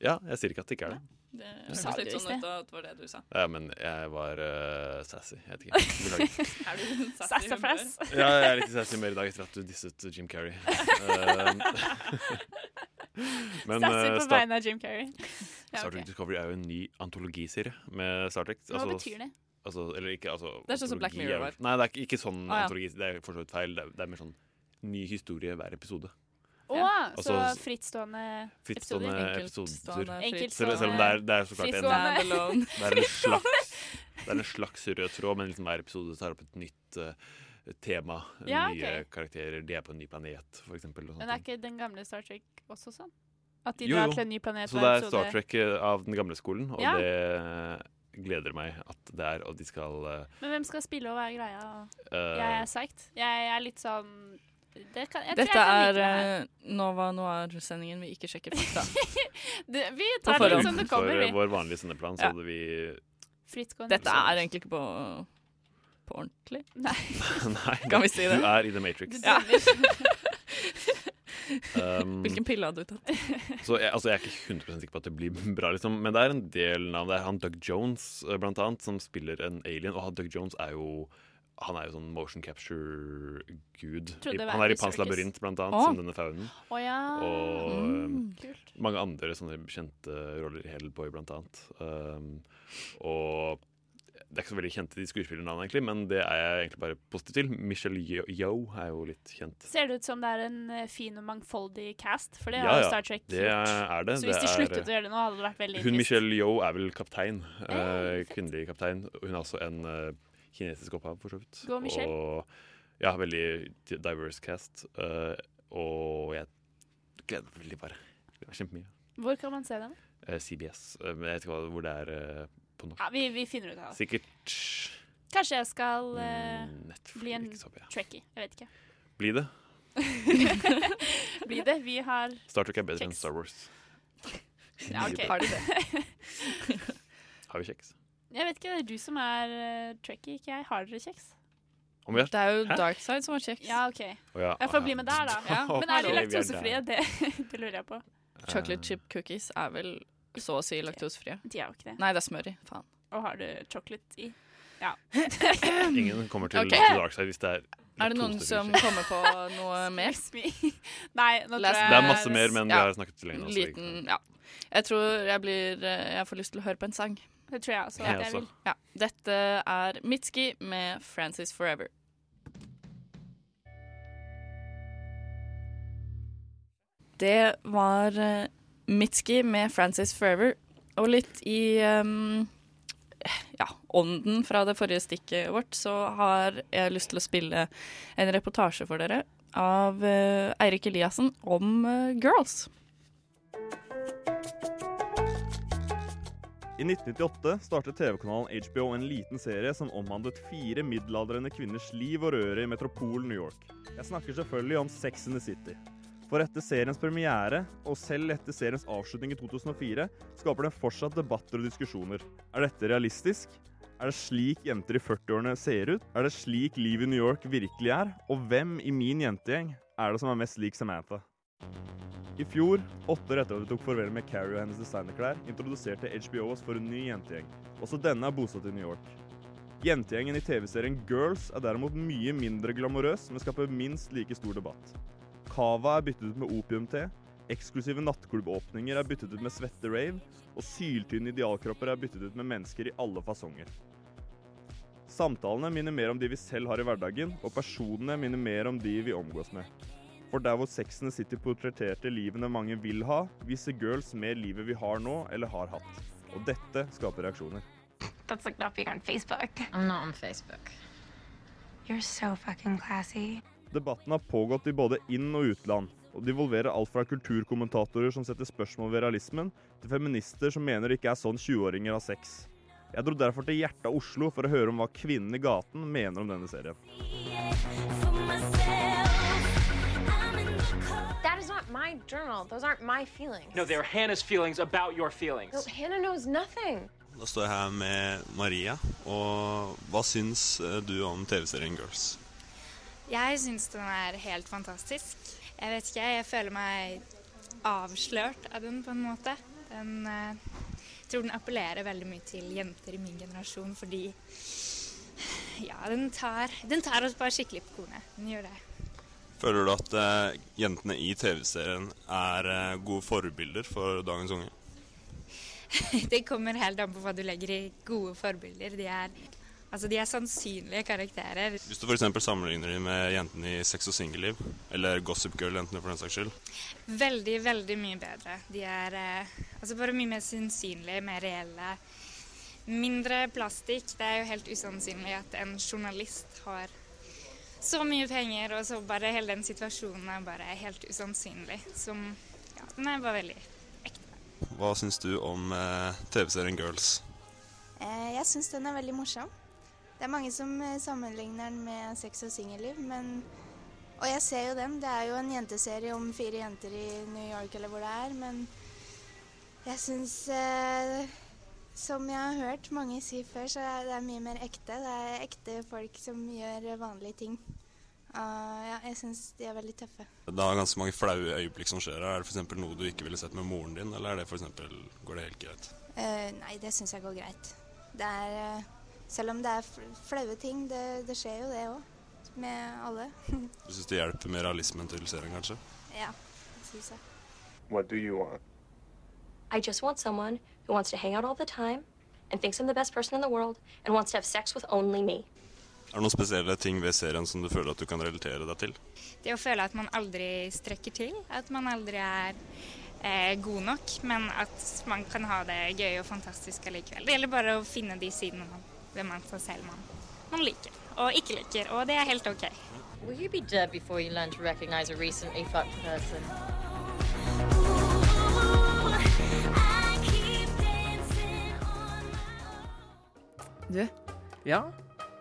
Ja, jeg sier ikke at det ikke er det. Det Du hørtes sa litt det sånn ut at det var det du sa. Ja, men jeg var eh, sassy. Jeg vet ikke. Beklager. Er du en sassy humør? Sassafras. Ja, jeg er litt sassy mer i dag etter at du disset Jim Carrey. Eh, men, Sassy eh, på Star- vegne av Jim Carrey. Ja, Star ok. Trek Discovery er jo en ny antologiserie med Star Trek. Hva betyr det? Altså, eller ikke, altså, Det er sånn som antologi Black Mirror er- var. Nei, det er ikke, ikke sånn Å, ja. antologi. Det er for så vidt feil. Det er, det er mer sånn ny historie hver episode. Å, så Altså, frittstående Frittstående episoder. Enkeltstående, Selv, selv om det er, det er så klart en, frittstående. det er en slags Det er en slags rød tråd, men liksom hver episode tar opp et nytt eh, tema. Ja, nye ok. karakterer. De er på en ny planet, for eksempel. Og sånne Men er ikke den gamle Star Trek også sånn? At de Jo, drar jo. til en ny planet Så det hver er Star episode? Trek eh, av den gamle skolen, og Ja. det gleder meg at det er, og de skal eh, Men hvem skal spille og hva er greia? Eh. jeg er psyched. Jeg er litt sånn det kan, jeg tror Dette jeg kan er like det her. eh, Nova Noir-sendingen vi ikke sjekker fakta. det, Vi på tar det forhånd. litt som det kommer, Utenfor vi. vår vanlige sendeplan så Ja. hadde vi Frittgående. Dette er egentlig ikke på på ordentlig? Nei. Nei, Kan vi si det? du er i The Matrix. Ja. Um, Hvilken pille hadde du tatt? Så jeg, altså jeg er ikke 100 sikker på at det blir bra, liksom. men det er en del navn. Det er han Doug Jones, eh, blant annet, som spiller en alien. Og han Doug Jones er jo han er jo sånn motion capture-gud. Trodde I- det var Han er i Andy Pans Serkis. labyrint, blant annet, Å. som denne faunen. Å ja. Og Mm, eh, mange andre sånne kjente roller. Hellboy, blant annet. Um, og det er ikke så veldig kjente de skuespillernavnene, egentlig, men det er jeg egentlig bare positiv til. Michelle Yo- Yeoh er jo litt kjent. Ser det ut som det er en eh, fin og mangfoldig cast? For det Ja, har jo ja. Star Trek Det er det. Så hvis de Det er- sluttet å gjøre det nå, hadde det vært veldig Hun trist. Michelle Yeoh er vel kaptein. eh, kvinnelig kaptein. Hun er også en eh, kinesisk opphav, for så vidt. Gå, Michelle. Og ja, veldig di- diverse cast. eh, og jeg gleder meg veldig bare. Jeg gleder meg Kjempemye. Hvor kan man se den? Eh, CBS. eh, men jeg vet ikke hva, hvor det er eh, på norsk. Ja, vi, vi finner ut av det. Sikkert mm, Kanskje jeg skal eh, Netflix, bli en håper jeg. trekkie. Jeg vet ikke. blir det. Blir det. Vi har Star Trek er bedre enn kjeks. Star Wars. Ja, ok. Har de Har vi kjeks? Jeg vet ikke, det er du som er uh, trekkie, ikke jeg. Har dere kjeks? Om vi har Det er jo Hæ? Darkside som har kjeks. Ja, OK. Å ja, Jeg får å ja. bli med der, da. Ja. Men er de Hallo. laktosefrie? Det, det lurer jeg på. Chocolate chip cookies er vel så å si laktosefrie. De er jo ikke det. Nei, det er smør i. Faen. Og har du chocolate i? Ja. Ingen kommer til Ok. til Dark Side hvis det er Er det noen laktosefri som kjeks. kommer på noe mer? Nei, nå tror Last- jeg Det er masse mer, men vi Ja. har snakket så lenge nå, så vi Liten, ja. Jeg tror jeg blir eh, Jeg får lyst til å høre på en sang. Det tror jeg også. Jeg at jeg også. vil. Ja. Dette er Mitski med 'Francis Forever'. Det var eh, Mitski med 'Francis Forever', og litt i ehm, ja, ånden fra det forrige stikket vårt, så har jeg lyst til å spille en reportasje for dere av eh, Eirik Eliassen om eh, girls. I 1998 startet TV-kanalen HBO en liten serie som omhandlet fire middelaldrende kvinners liv og røre i metropolen New York. Jeg snakker selvfølgelig om Sex in the City. For etter seriens premiere, og selv etter seriens avslutning i 2004, skaper den fortsatt debatter og diskusjoner. Er dette realistisk? Er det slik jenter i 40-årene ser ut? Er det slik livet i New York virkelig er? Og hvem i min jentegjeng er det som er mest lik Samantha? I fjor, åtte år etter at vi tok farvel med Carrie og hennes designerklær, introduserte HBO oss for en ny jentegjeng. Også denne er bosatt i New York. Jentegjengen i TV-serien Girls er derimot mye mindre glamorøs, men skaper minst like stor debatt. Cava er byttet ut med opiumte, eksklusive nattklubbåpninger er byttet ut med svette rave, og syltynne idealkropper er byttet ut med mennesker i alle fasonger. Samtalene minner mer om de vi selv har i hverdagen, og personene minner mer om de vi omgås med. For der hvor Sex and the City portretterte livene mange vil ha, viser Girls mer livet vi har nå, eller har hatt. Og dette skaper reaksjoner. That's like not being on Facebook. I'm not on Facebook. You're so fucking classy. Debatten har pågått i både inn- og utland, og det involverer alt fra kulturkommentatorer som setter spørsmål ved realismen, til feminister som mener det ikke er sånn 20-åringer har sex. Jeg dro derfor til hjertet av Oslo for å høre om hva kvinnen i gaten mener om denne serien. That is not my journal. Those aren't my feelings. No, they're Hannah's feelings about your No, feelings. Hannah knows nothing. Da står jeg her med Maria, og hva syns eh, du om TV-serien Girls? Jeg syns den er helt fantastisk. Jeg vet ikke, jeg føler meg avslørt av den på en måte. Den eh, jeg tror den appellerer veldig mye til jenter i min generasjon fordi ja, den tar, den tar oss bare skikkelig på kornet. Den gjør det. Føler du at eh, jentene i TV-serien er eh, gode forbilder for dagens unge? Det kommer helt an på hva du legger i gode forbilder. De er, altså, de er sannsynlige karakterer. Hvis du f.eks. sammenligner dem med jentene i Sex og singelliv, eller Gossip Girl-jentene for den saks skyld, Veldig, veldig mye bedre. De er eh, altså bare mye mer sannsynlige, mer reelle. Mindre plastikk. Det er jo helt usannsynlig at en journalist har så mye penger, og så bare hele den situasjonen er bare helt usannsynlig. Som Ja, den er bare veldig hva syns du om eh, TV-serien Girls? Eh, Jeg syns den er veldig morsom. Det er mange som eh, sammenligner den med sex og singelliv, men Og jeg ser jo den. Det er jo en jenteserie om fire jenter i New York eller hvor det er, men jeg syns eh, Som jeg har hørt mange si før, så er det mye mer ekte. Det er ekte folk som gjør vanlige ting. Og ja, jeg syns de er veldig tøffe. Det er ganske mange flaue øyeblikk som skjer her. Er det f.eks. noe du ikke ville sett med moren din, eller er det for eksempel, går det helt greit? Eh, nei, det syns jeg går greit. Det er, eh, selv om det er fl- flaue ting, det, det skjer jo det òg. Med alle. Du syns det hjelper med realismen til serien, kanskje? ja, det syns jeg. What do you want? I just want someone who wants to hang out all the time and thinks I'm the best person in the world and wants to have sex with only me. Er det noen spesielle ting ved serien som du føler at du kan relatere deg til? Det å føle at man aldri strekker til, at man aldri er eh, god nok, men at man kan ha det gøy og fantastisk allikevel. Det gjelder bare å finne de sidene man, ved man seg selv man, man liker og ikke liker, og det er helt OK. Will you be dead before you learn to recognize a recently fucked person? Du, ja?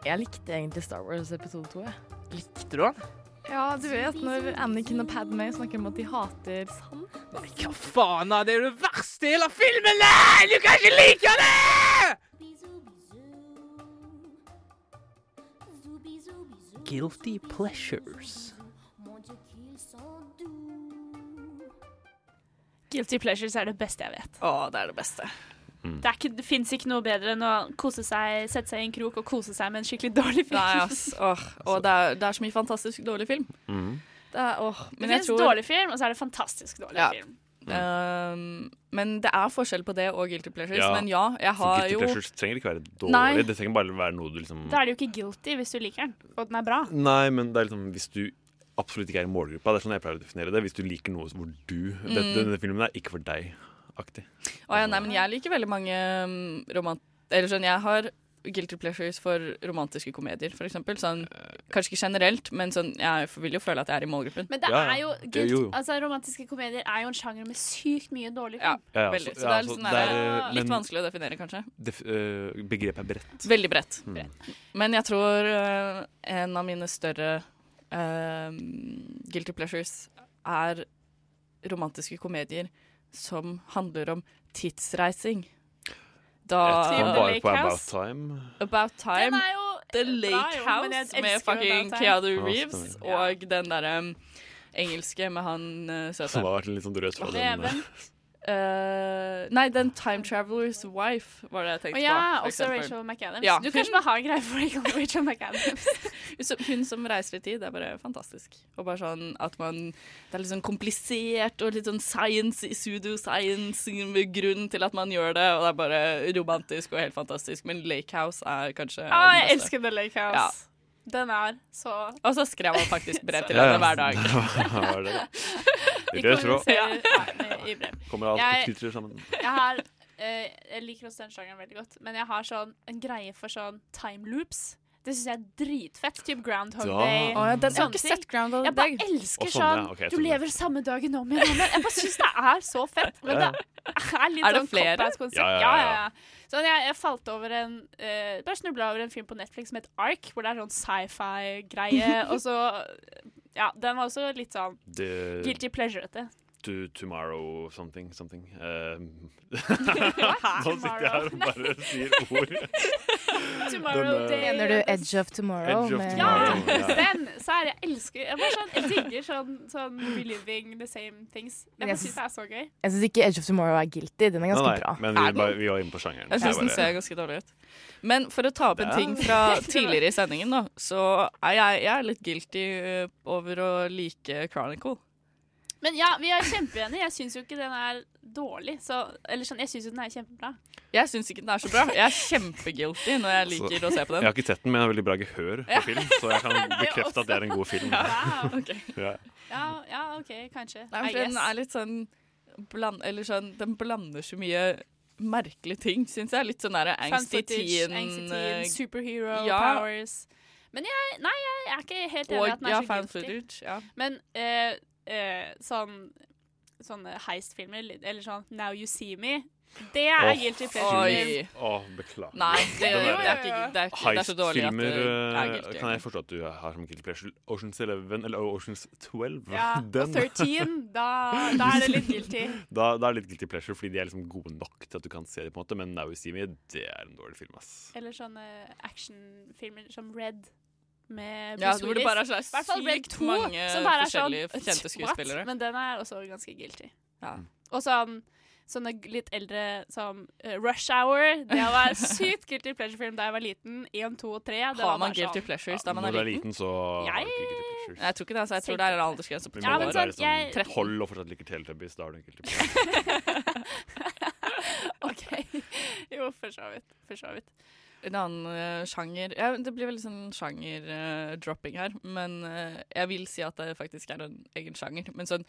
Jeg likte egentlig Star Wars episode 2, jeg. Likte du den? Ja, du vet når Anakin og Padme snakker om at de hater sand? Nei, hva faen, da? Det er jo det verste i hele filmen! Nei, du kan ikke like det! Guilty pleasures. Guilty pleasures er det beste jeg vet. Å, det er det beste. Det, er ikke, det fins ikke noe bedre enn å kose seg, sette seg i en krok og kose seg med en skikkelig dårlig film. Nei, ass. Åh, og det er, det er så mye fantastisk dårlig film. Mm. Det er, åh, Det men jeg fins tror dårlig film, og så er det fantastisk dårlig Ja. film. Ehm, men det er forskjell på det og guilty pleasures. Men ja, jeg for har guilty jo pleasures trenger ikke være dårlig. Nei. Det trenger bare være noe du liksom Da er det jo ikke guilty hvis du liker den, og den er bra. Nei, men det er liksom hvis du absolutt ikke er i målgruppa. Det er sånn jeg pleier å definere det. Hvis du liker noe hvor du Dette, Mm. Denne filmen er ikke for deg-aktig. Å ja, nei, men jeg liker veldig mange mm, romant... Eller sånn, jeg har guilty pleasures for romantiske komedier, for eksempel. Sånn, Eh, kanskje ikke generelt, men sånn, jeg vil jo føle at jeg er i målgruppen. Men det er jo, guilt, guilt Altså, romantiske komedier er jo en sjanger med sykt mye dårlig Ja, film. Ja, veldig. så- Så det ja, er litt, så sånn det der, er, eh, litt men- vanskelig å definere, kanskje. Def, øh, begrepet er bredt. Veldig bredt. Mm. Men jeg tror eh, en av mine større eh, guilty pleasures er romantiske komedier som handler om tidsreising. Da Jeg tror bare på About Time. About Time. The bra, Lake jo, men jeg House med elsker fucking About Time. Keanu Ja, Reeves stemmer. og den derre um, engelske med han uh, søte. Som har vært en litt sånn rød tråd, den, Reven. Eh, nei, den Time Traveler's Wife var det jeg tenkte Å ja, på. for også eksempel. Rachel McAdams. Ja, Du kan hun- bare ha en greie for Rachel McAdams. Så Hun som reiser i tid, det er bare fantastisk. Og bare sånn at man Det er litt sånn komplisert og litt sånn science, pseudo-science, med grunn til at man gjør det, og det er bare romantisk og helt fantastisk. Men Lake House er kanskje Å, den Ah, jeg beste. elsker The Lake Ja. House. Den er så Og så skrev han faktisk brev til Ja, ja. henne hver dag. Det var det. Vi Rød tråd. kommuniserer med- i brev. Kommer alt Jeg- på kultur sammen. Jeg har eh, Jeg liker også den sjangeren veldig godt, men jeg har sånn en greie for sånn time loops. Det syns jeg er dritfett. Typ Groundhog Ja. Day. Å, ja, den- jeg har ikke sånne ting. sett Groundhog Jeg bare Day. elsker Å, sånn, sånn, ja. Ok, jeg Du trodde- lever samme dagen om igjen. om igjen. Jeg bare syns det er så fett. Men Ja, ja. det er litt Er det sånn flere? cop-out-konsept. Ja, ja, ja, ja, ja, ja. ja. Sånn, jeg, jeg falt over en eh, Bare snubla over en film på Netflix som het Ark, hvor det er sånn sci-fi-greie. og så Ja, den var også litt sånn The- guilty pleasure-ete. To tomorrow something something. Um, Nå Tomorrow? sitter jeg her og bare sier ord. Tomorrow Den, eh, day. Mener du Edge of Tomorrow? Edge of med- Tomorrow, Ja, den! Så er jeg elsker Jeg bare sånn, jeg digger sånn, sånn reliving the same things. Jeg Men bare jeg synes det er så gøy. Jeg syns ikke Edge of Tomorrow er guilty. Den er ganske Nei, nei, bra. Men vi, bare, vi var inne på sjangeren. Jeg så syns den bare- ser ganske dårlig ut. Men for å ta opp en Ja. ting fra tidligere i sendingen, da, så er jeg, jeg er litt guilty eh, over å like Chronicle. Men ja, vi er kjempeenige. Jeg syns jo ikke den er dårlig. Så, eller sånn, jeg syns jo den er kjempebra. Jeg syns ikke den er så bra. Jeg er kjempeguilty når jeg liker Så- å se på Jeg den. har ikke sett den, men jeg har veldig bra gehør Ja. på film, så jeg kan Det er bekrefte at det er en god film. Ja. Wow, ok. Ja. Ja, ja OK, kanskje. Nei, I for den guess. er litt sånn, bland, eller sånn Den blander så mye merkelige ting, syns jeg. Litt sånn der Fan angsty footage, teen angsty eh, teen, superhero ja. powers. Men jeg, nei, jeg er ikke helt enig Og- i at den er ja, så fan guilty. footage, ja. Men eh, eh, sånn sånne heistfilmer, eller sånn Now You See Me Det er Åh, guilty fy- pleasure. Åh, beklager. Nei, det- Den det er ikke- det er ikke- det er så dårlig at det Heistfilmer er eh, guilty. kan jeg forstå at du har som guilty pleasure. Oceans 11 eller Oceans 12. Ja, Den. og 13, da, da er det litt guilty. Da, da er det litt guilty pleasure, fordi de er liksom gode nok til at du kan se dem. på en måte Men Now You See Me, det er en dårlig film. ass Eller sånne actionfilmer som Red. Med Ja, Bruce hvor det Willis. bare er så I hvert fall Red sykt 2, mange som bare er sånn, forskjellige kjente what? skuespillere. Men den er også ganske guilty. Og sånn, sånne g- litt eldre som eh, Rush Hour. Det var sykt guilty pleasure-film da jeg var liten. Én, to og tre. det var Har man bare guilty sånn. pleasures da man Når er du er liten? liten, så har du ikke guilty pleasures. Jeg tror ikke det, altså. Jeg tror det er en aldersgrense på Min tolv mor år. er liksom jeg- 12 og fortsatt liker Teletubbies. Da har du en guilty pleasure. OK. Jo, for så vidt. For så vidt. En annen eh, sjanger ja, Det blir veldig sånn sjanger-dropping her, men eh, jeg vil si at det faktisk er en egen sjanger. Men sånn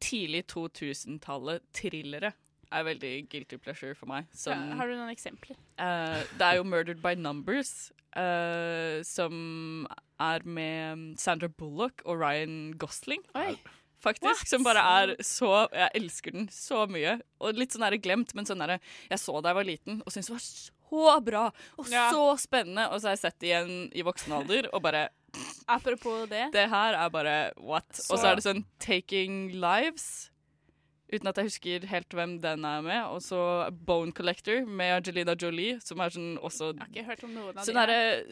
tidlig 2000-tallet thrillere er veldig guilty pleasure for meg. Sånn, Ja, har du noen eksempler? Eh, det er jo 'Murdered by Numbers', eh, som er med Sandra Bullock og Ryan Gosling. Faktisk. Som bare er så Jeg elsker den så mye. Og litt sånn der glemt, men sånn derre Jeg så da jeg var liten og syntes det var så bra og Ja. så spennende, og så har jeg sett det igjen i voksen alder og bare Apropos det. Det her er bare what? Og så Så- er det sånn 'Taking Lives'. Uten at jeg husker helt hvem den er med. Og så Bone Collector med Angelina Jolie, som er sånn også Jeg har ikke hørt om noen av Sånn de. derre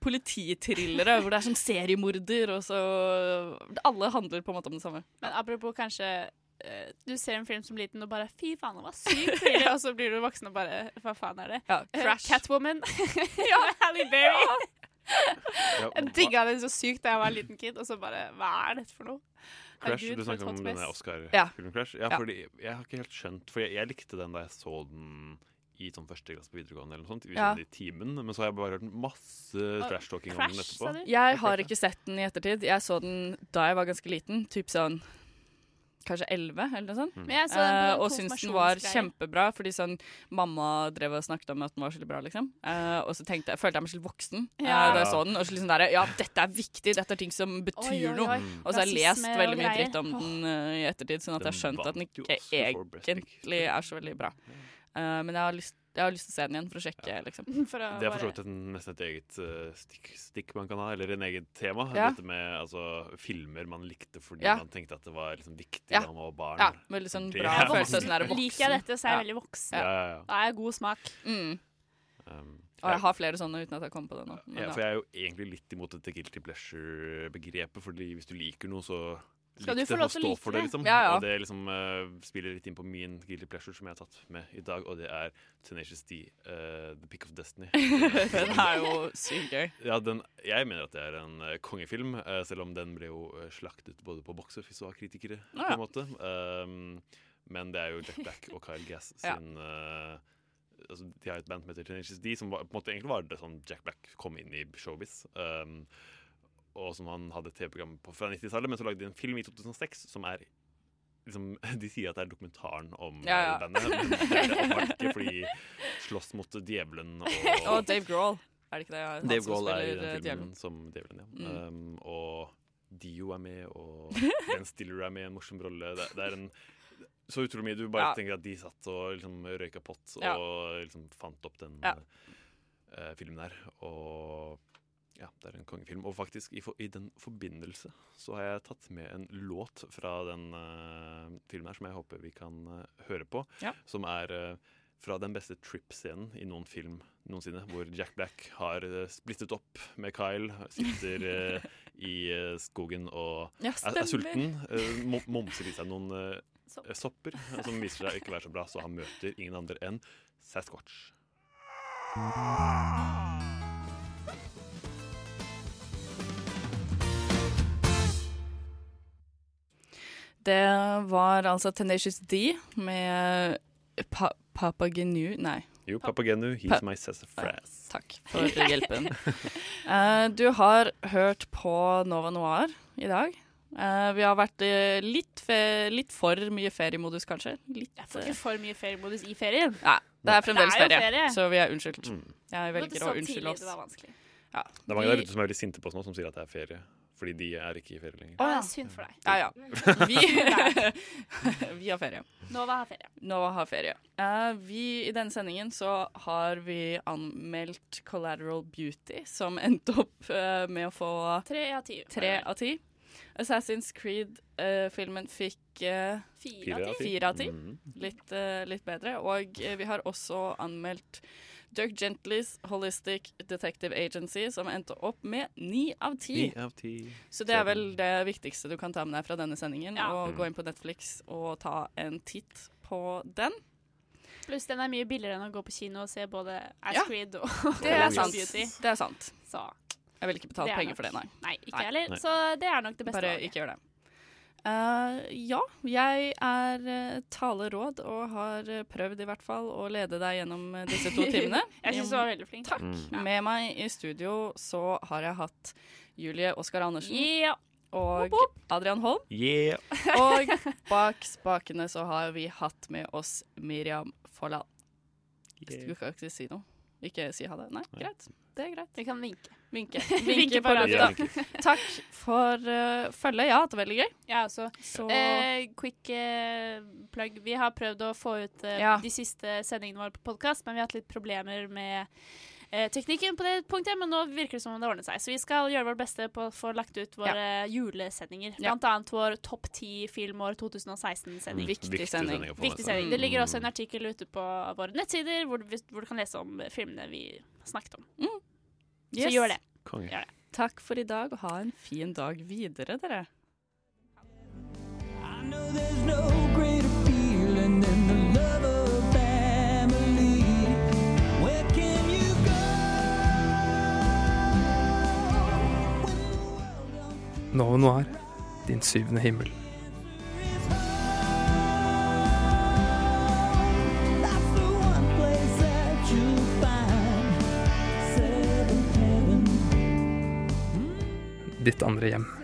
politithrillere hvor det er sånn seriemorder, og så Alle handler på en måte om det samme. Men apropos kanskje eh, du ser en film som liten og bare 'fy faen, det var sykt tidlig', og så blir du voksen og bare 'hva faen er det'? Ja, Eh, Crash. Catwoman. ja, Halle Berry. Ja, Jeg digga den så sykt da jeg var en liten kid, og så bare 'hva er dette for noe'? Crash, Herregud, Du for et snakket om hot denne space. Ja. Oscar-filmen Crash. Ja, Ja. fordi jeg har ikke helt skjønt For jeg, jeg likte den da jeg så den i sånn første klasse på videregående, eller noe sånt, i Ja. sånn i timen, men så har jeg bare hørt masse Og trash-talking om den etterpå. Jeg har ikke sett den i ettertid. Jeg så den da jeg var ganske liten, typ sånn Kanskje 11, eller noe sånt. Men jeg så den på Eh, den og syntes den var konfirmasjonsgreia. kjempebra, fordi sånn mamma drev og snakket om at den var så bra, liksom. Eh, og så tenkte jeg, følte jeg meg så voksen eh, Ja. da jeg så den. Og så liksom der, ja, dette er viktig, dette er ting som betyr Oi, oi, oi. noe. Mm. Og så har jeg lest Rasisme og veldig mye greier. dritt om Åh. den eh, i ettertid, sånn at jeg har Den skjønt at den vant jo ikke Oscar for Best egentlig er så veldig bra. Eh, men jeg har, lyst, jeg har lyst til å se den igjen for å sjekke, liksom. For å Det er for så bare- vidt en- nesten et eget eh, stikk, stikk man kan ha, eller en eget tema. Ja. Dette med altså, filmer man likte fordi Ja. man tenkte at det var liksom, viktig Ja. da man var barn. Ja, veldig sånn Det bra er- følelse av sånn der voksen. Liker jeg dette, så er jeg Ja. veldig voksen. Ja, ja, ja. Da har jeg god smak. Um, Og jeg har flere sånne uten at jeg kommer på det nå. Men Ja, ja. for jeg er jo egentlig litt imot dette guilty pleasure-begrepet, fordi hvis du liker noe, så Skal du lik få det lov og til å stå like for det, det? liksom. Ja, ja. Og det liksom eh, spiller litt inn på min guilty pleasure som jeg har tatt med i dag, og det er Tenacious D, eh, The Pick of Destiny. Den er jo sykt gøy. Ja, den, jeg mener at det er en eh, kongefilm, eh, selv om den ble jo eh, slaktet både på Box Office og av kritikere, Ah, ja. på en måte. Um, men det er jo Jack Black og Kyle Gass Ja. sin eh, altså, De har et band som heter Tenacious D, som var, på en måte egentlig var det sånn Jack Black kom inn i showbiz. Um, og som han hadde et TV-program på fra 90-tallet, men så lagde de en film i 2006 som er liksom, De sier at det er dokumentaren om Ja, ja. eh, bandet, men det er det åpenbart ikke, fordi slåss mot djevelen og Og Dave Grohl. Er det ikke det? Han Dave som Grohl er i spiller, eh, den filmen djevelen. som djevelen, ja. Mm. Um, og Dio er med, og Ben Stiller er med i en morsom rolle. Det, det er en så utrolig mye. Du bare Ja. tenker at de satt og liksom røyka pott og Ja. liksom fant opp den Ja. eh, filmen der. Og ja, det er en kongefilm. Og faktisk, i, for, i den forbindelse så har jeg tatt med en låt fra den eh, filmen her som jeg håper vi kan eh, høre på. Ja. Som er eh, fra den beste trip-scenen i noen film noensinne, hvor Jack Black har eh, splittet opp med Kyle, sitter eh, i eh, skogen og Ja, er, er sulten, stemmer. eh, mom- momser i seg noen eh, eh, sopper, eh, som viser seg å ikke være så bra, så han møter ingen andre enn Sasquatch. Det var altså Tenacious D med pa Papa Genu Nei. Jo, Papagenu, he's Pa- my sassafras. Takk for hjelpen. Eh, du har hørt på Nova Noir i dag. Eh, vi har vært eh, litt, fe litt for mye feriemodus, kanskje. Litt, Jeg får ikke for mye feriemodus i ferien. Nei, det er fremdeles Det er jo ferie, ferie. så vi er unnskyldt. Mm. Jeg Det var velger så å unnskylde tidlig, oss. Det var vanskelig. Ja. Det er mange der Vi- ute som er veldig sinte på oss nå, som sier at det er ferie. Fordi de er ikke i ferie lenger. Å, ja. Synd for deg. Ja, ja. Vi, vi har ferie. Nova har ferie. Nova har ferie. Eh, vi, I denne sendingen så har vi anmeldt Collateral Beauty, som endte opp eh, med å få Tre av ti. Tre av ti. Assassin's Creed-filmen fikk eh, Fire av ti. fire av ti. Mm. Mhm. Litt, eh, litt bedre. Og eh, vi har også anmeldt Dirk Gentlys Holistic Detective Agency, som endte opp med ni Sånn. av ti. Ni av ti. Så det er vel det viktigste du kan ta med deg fra denne sendingen. Ja. Og Mm. gå inn på Netflix og ta en titt på den. Pluss den er mye billigere enn å gå på kino og se både Ja. Ash Creed og Det er Call sant. Beauty. Det er sant. Så Jeg vil ikke betale det er penger nok- for det, nei. Nei, ikke Nei. jeg heller. Nei. Så det er nok det beste Bare valget. ikke gjør det. Eh, ja, jeg er eh, taleråd og har eh, prøvd i hvert fall å lede deg gjennom eh, disse to timene. Jeg synes du var veldig flink. Takk. Mm. Med meg i studio så har jeg hatt Julie Oskar Andersen Ja. og Adrian Holm. Yeah. Og bak spakene så har vi hatt med oss Miriam Folland. Du kan ikke si noe? Ikke si ha det? Nei, greit. Det er greit. Vi kan vinke. Vinke, Vinke på lufta. radio. Takk for eh, følget. Ja, det var veldig gøy. Ja, også. Så- Eh, quick eh, plug. Vi har prøvd å få ut eh, Ja. de siste sendingene våre på podkast, men vi har hatt litt problemer med eh, teknikken på det punktet, men nå virker det som om det ordnet seg. Så vi skal gjøre vårt beste på å få lagt ut våre julesendinger. Ja. Blant annet vår Topp ti filmår 2016-sending. Mm, viktig Viktig sending. sending å få med Viktig seg. sending. Det ligger også Mm. en artikkel ute på våre nettsider hvor, du- hvor du kan lese om filmene vi snakket om. Så Yes. gjør det. Konge. Gjør det. Takk for i dag, og ha en fin dag videre, dere. There's no greater feeling than the love of family. Where can you Nova Noir, din syvende himmel. place that you find? Seventh heaven. Ditt andre hjem.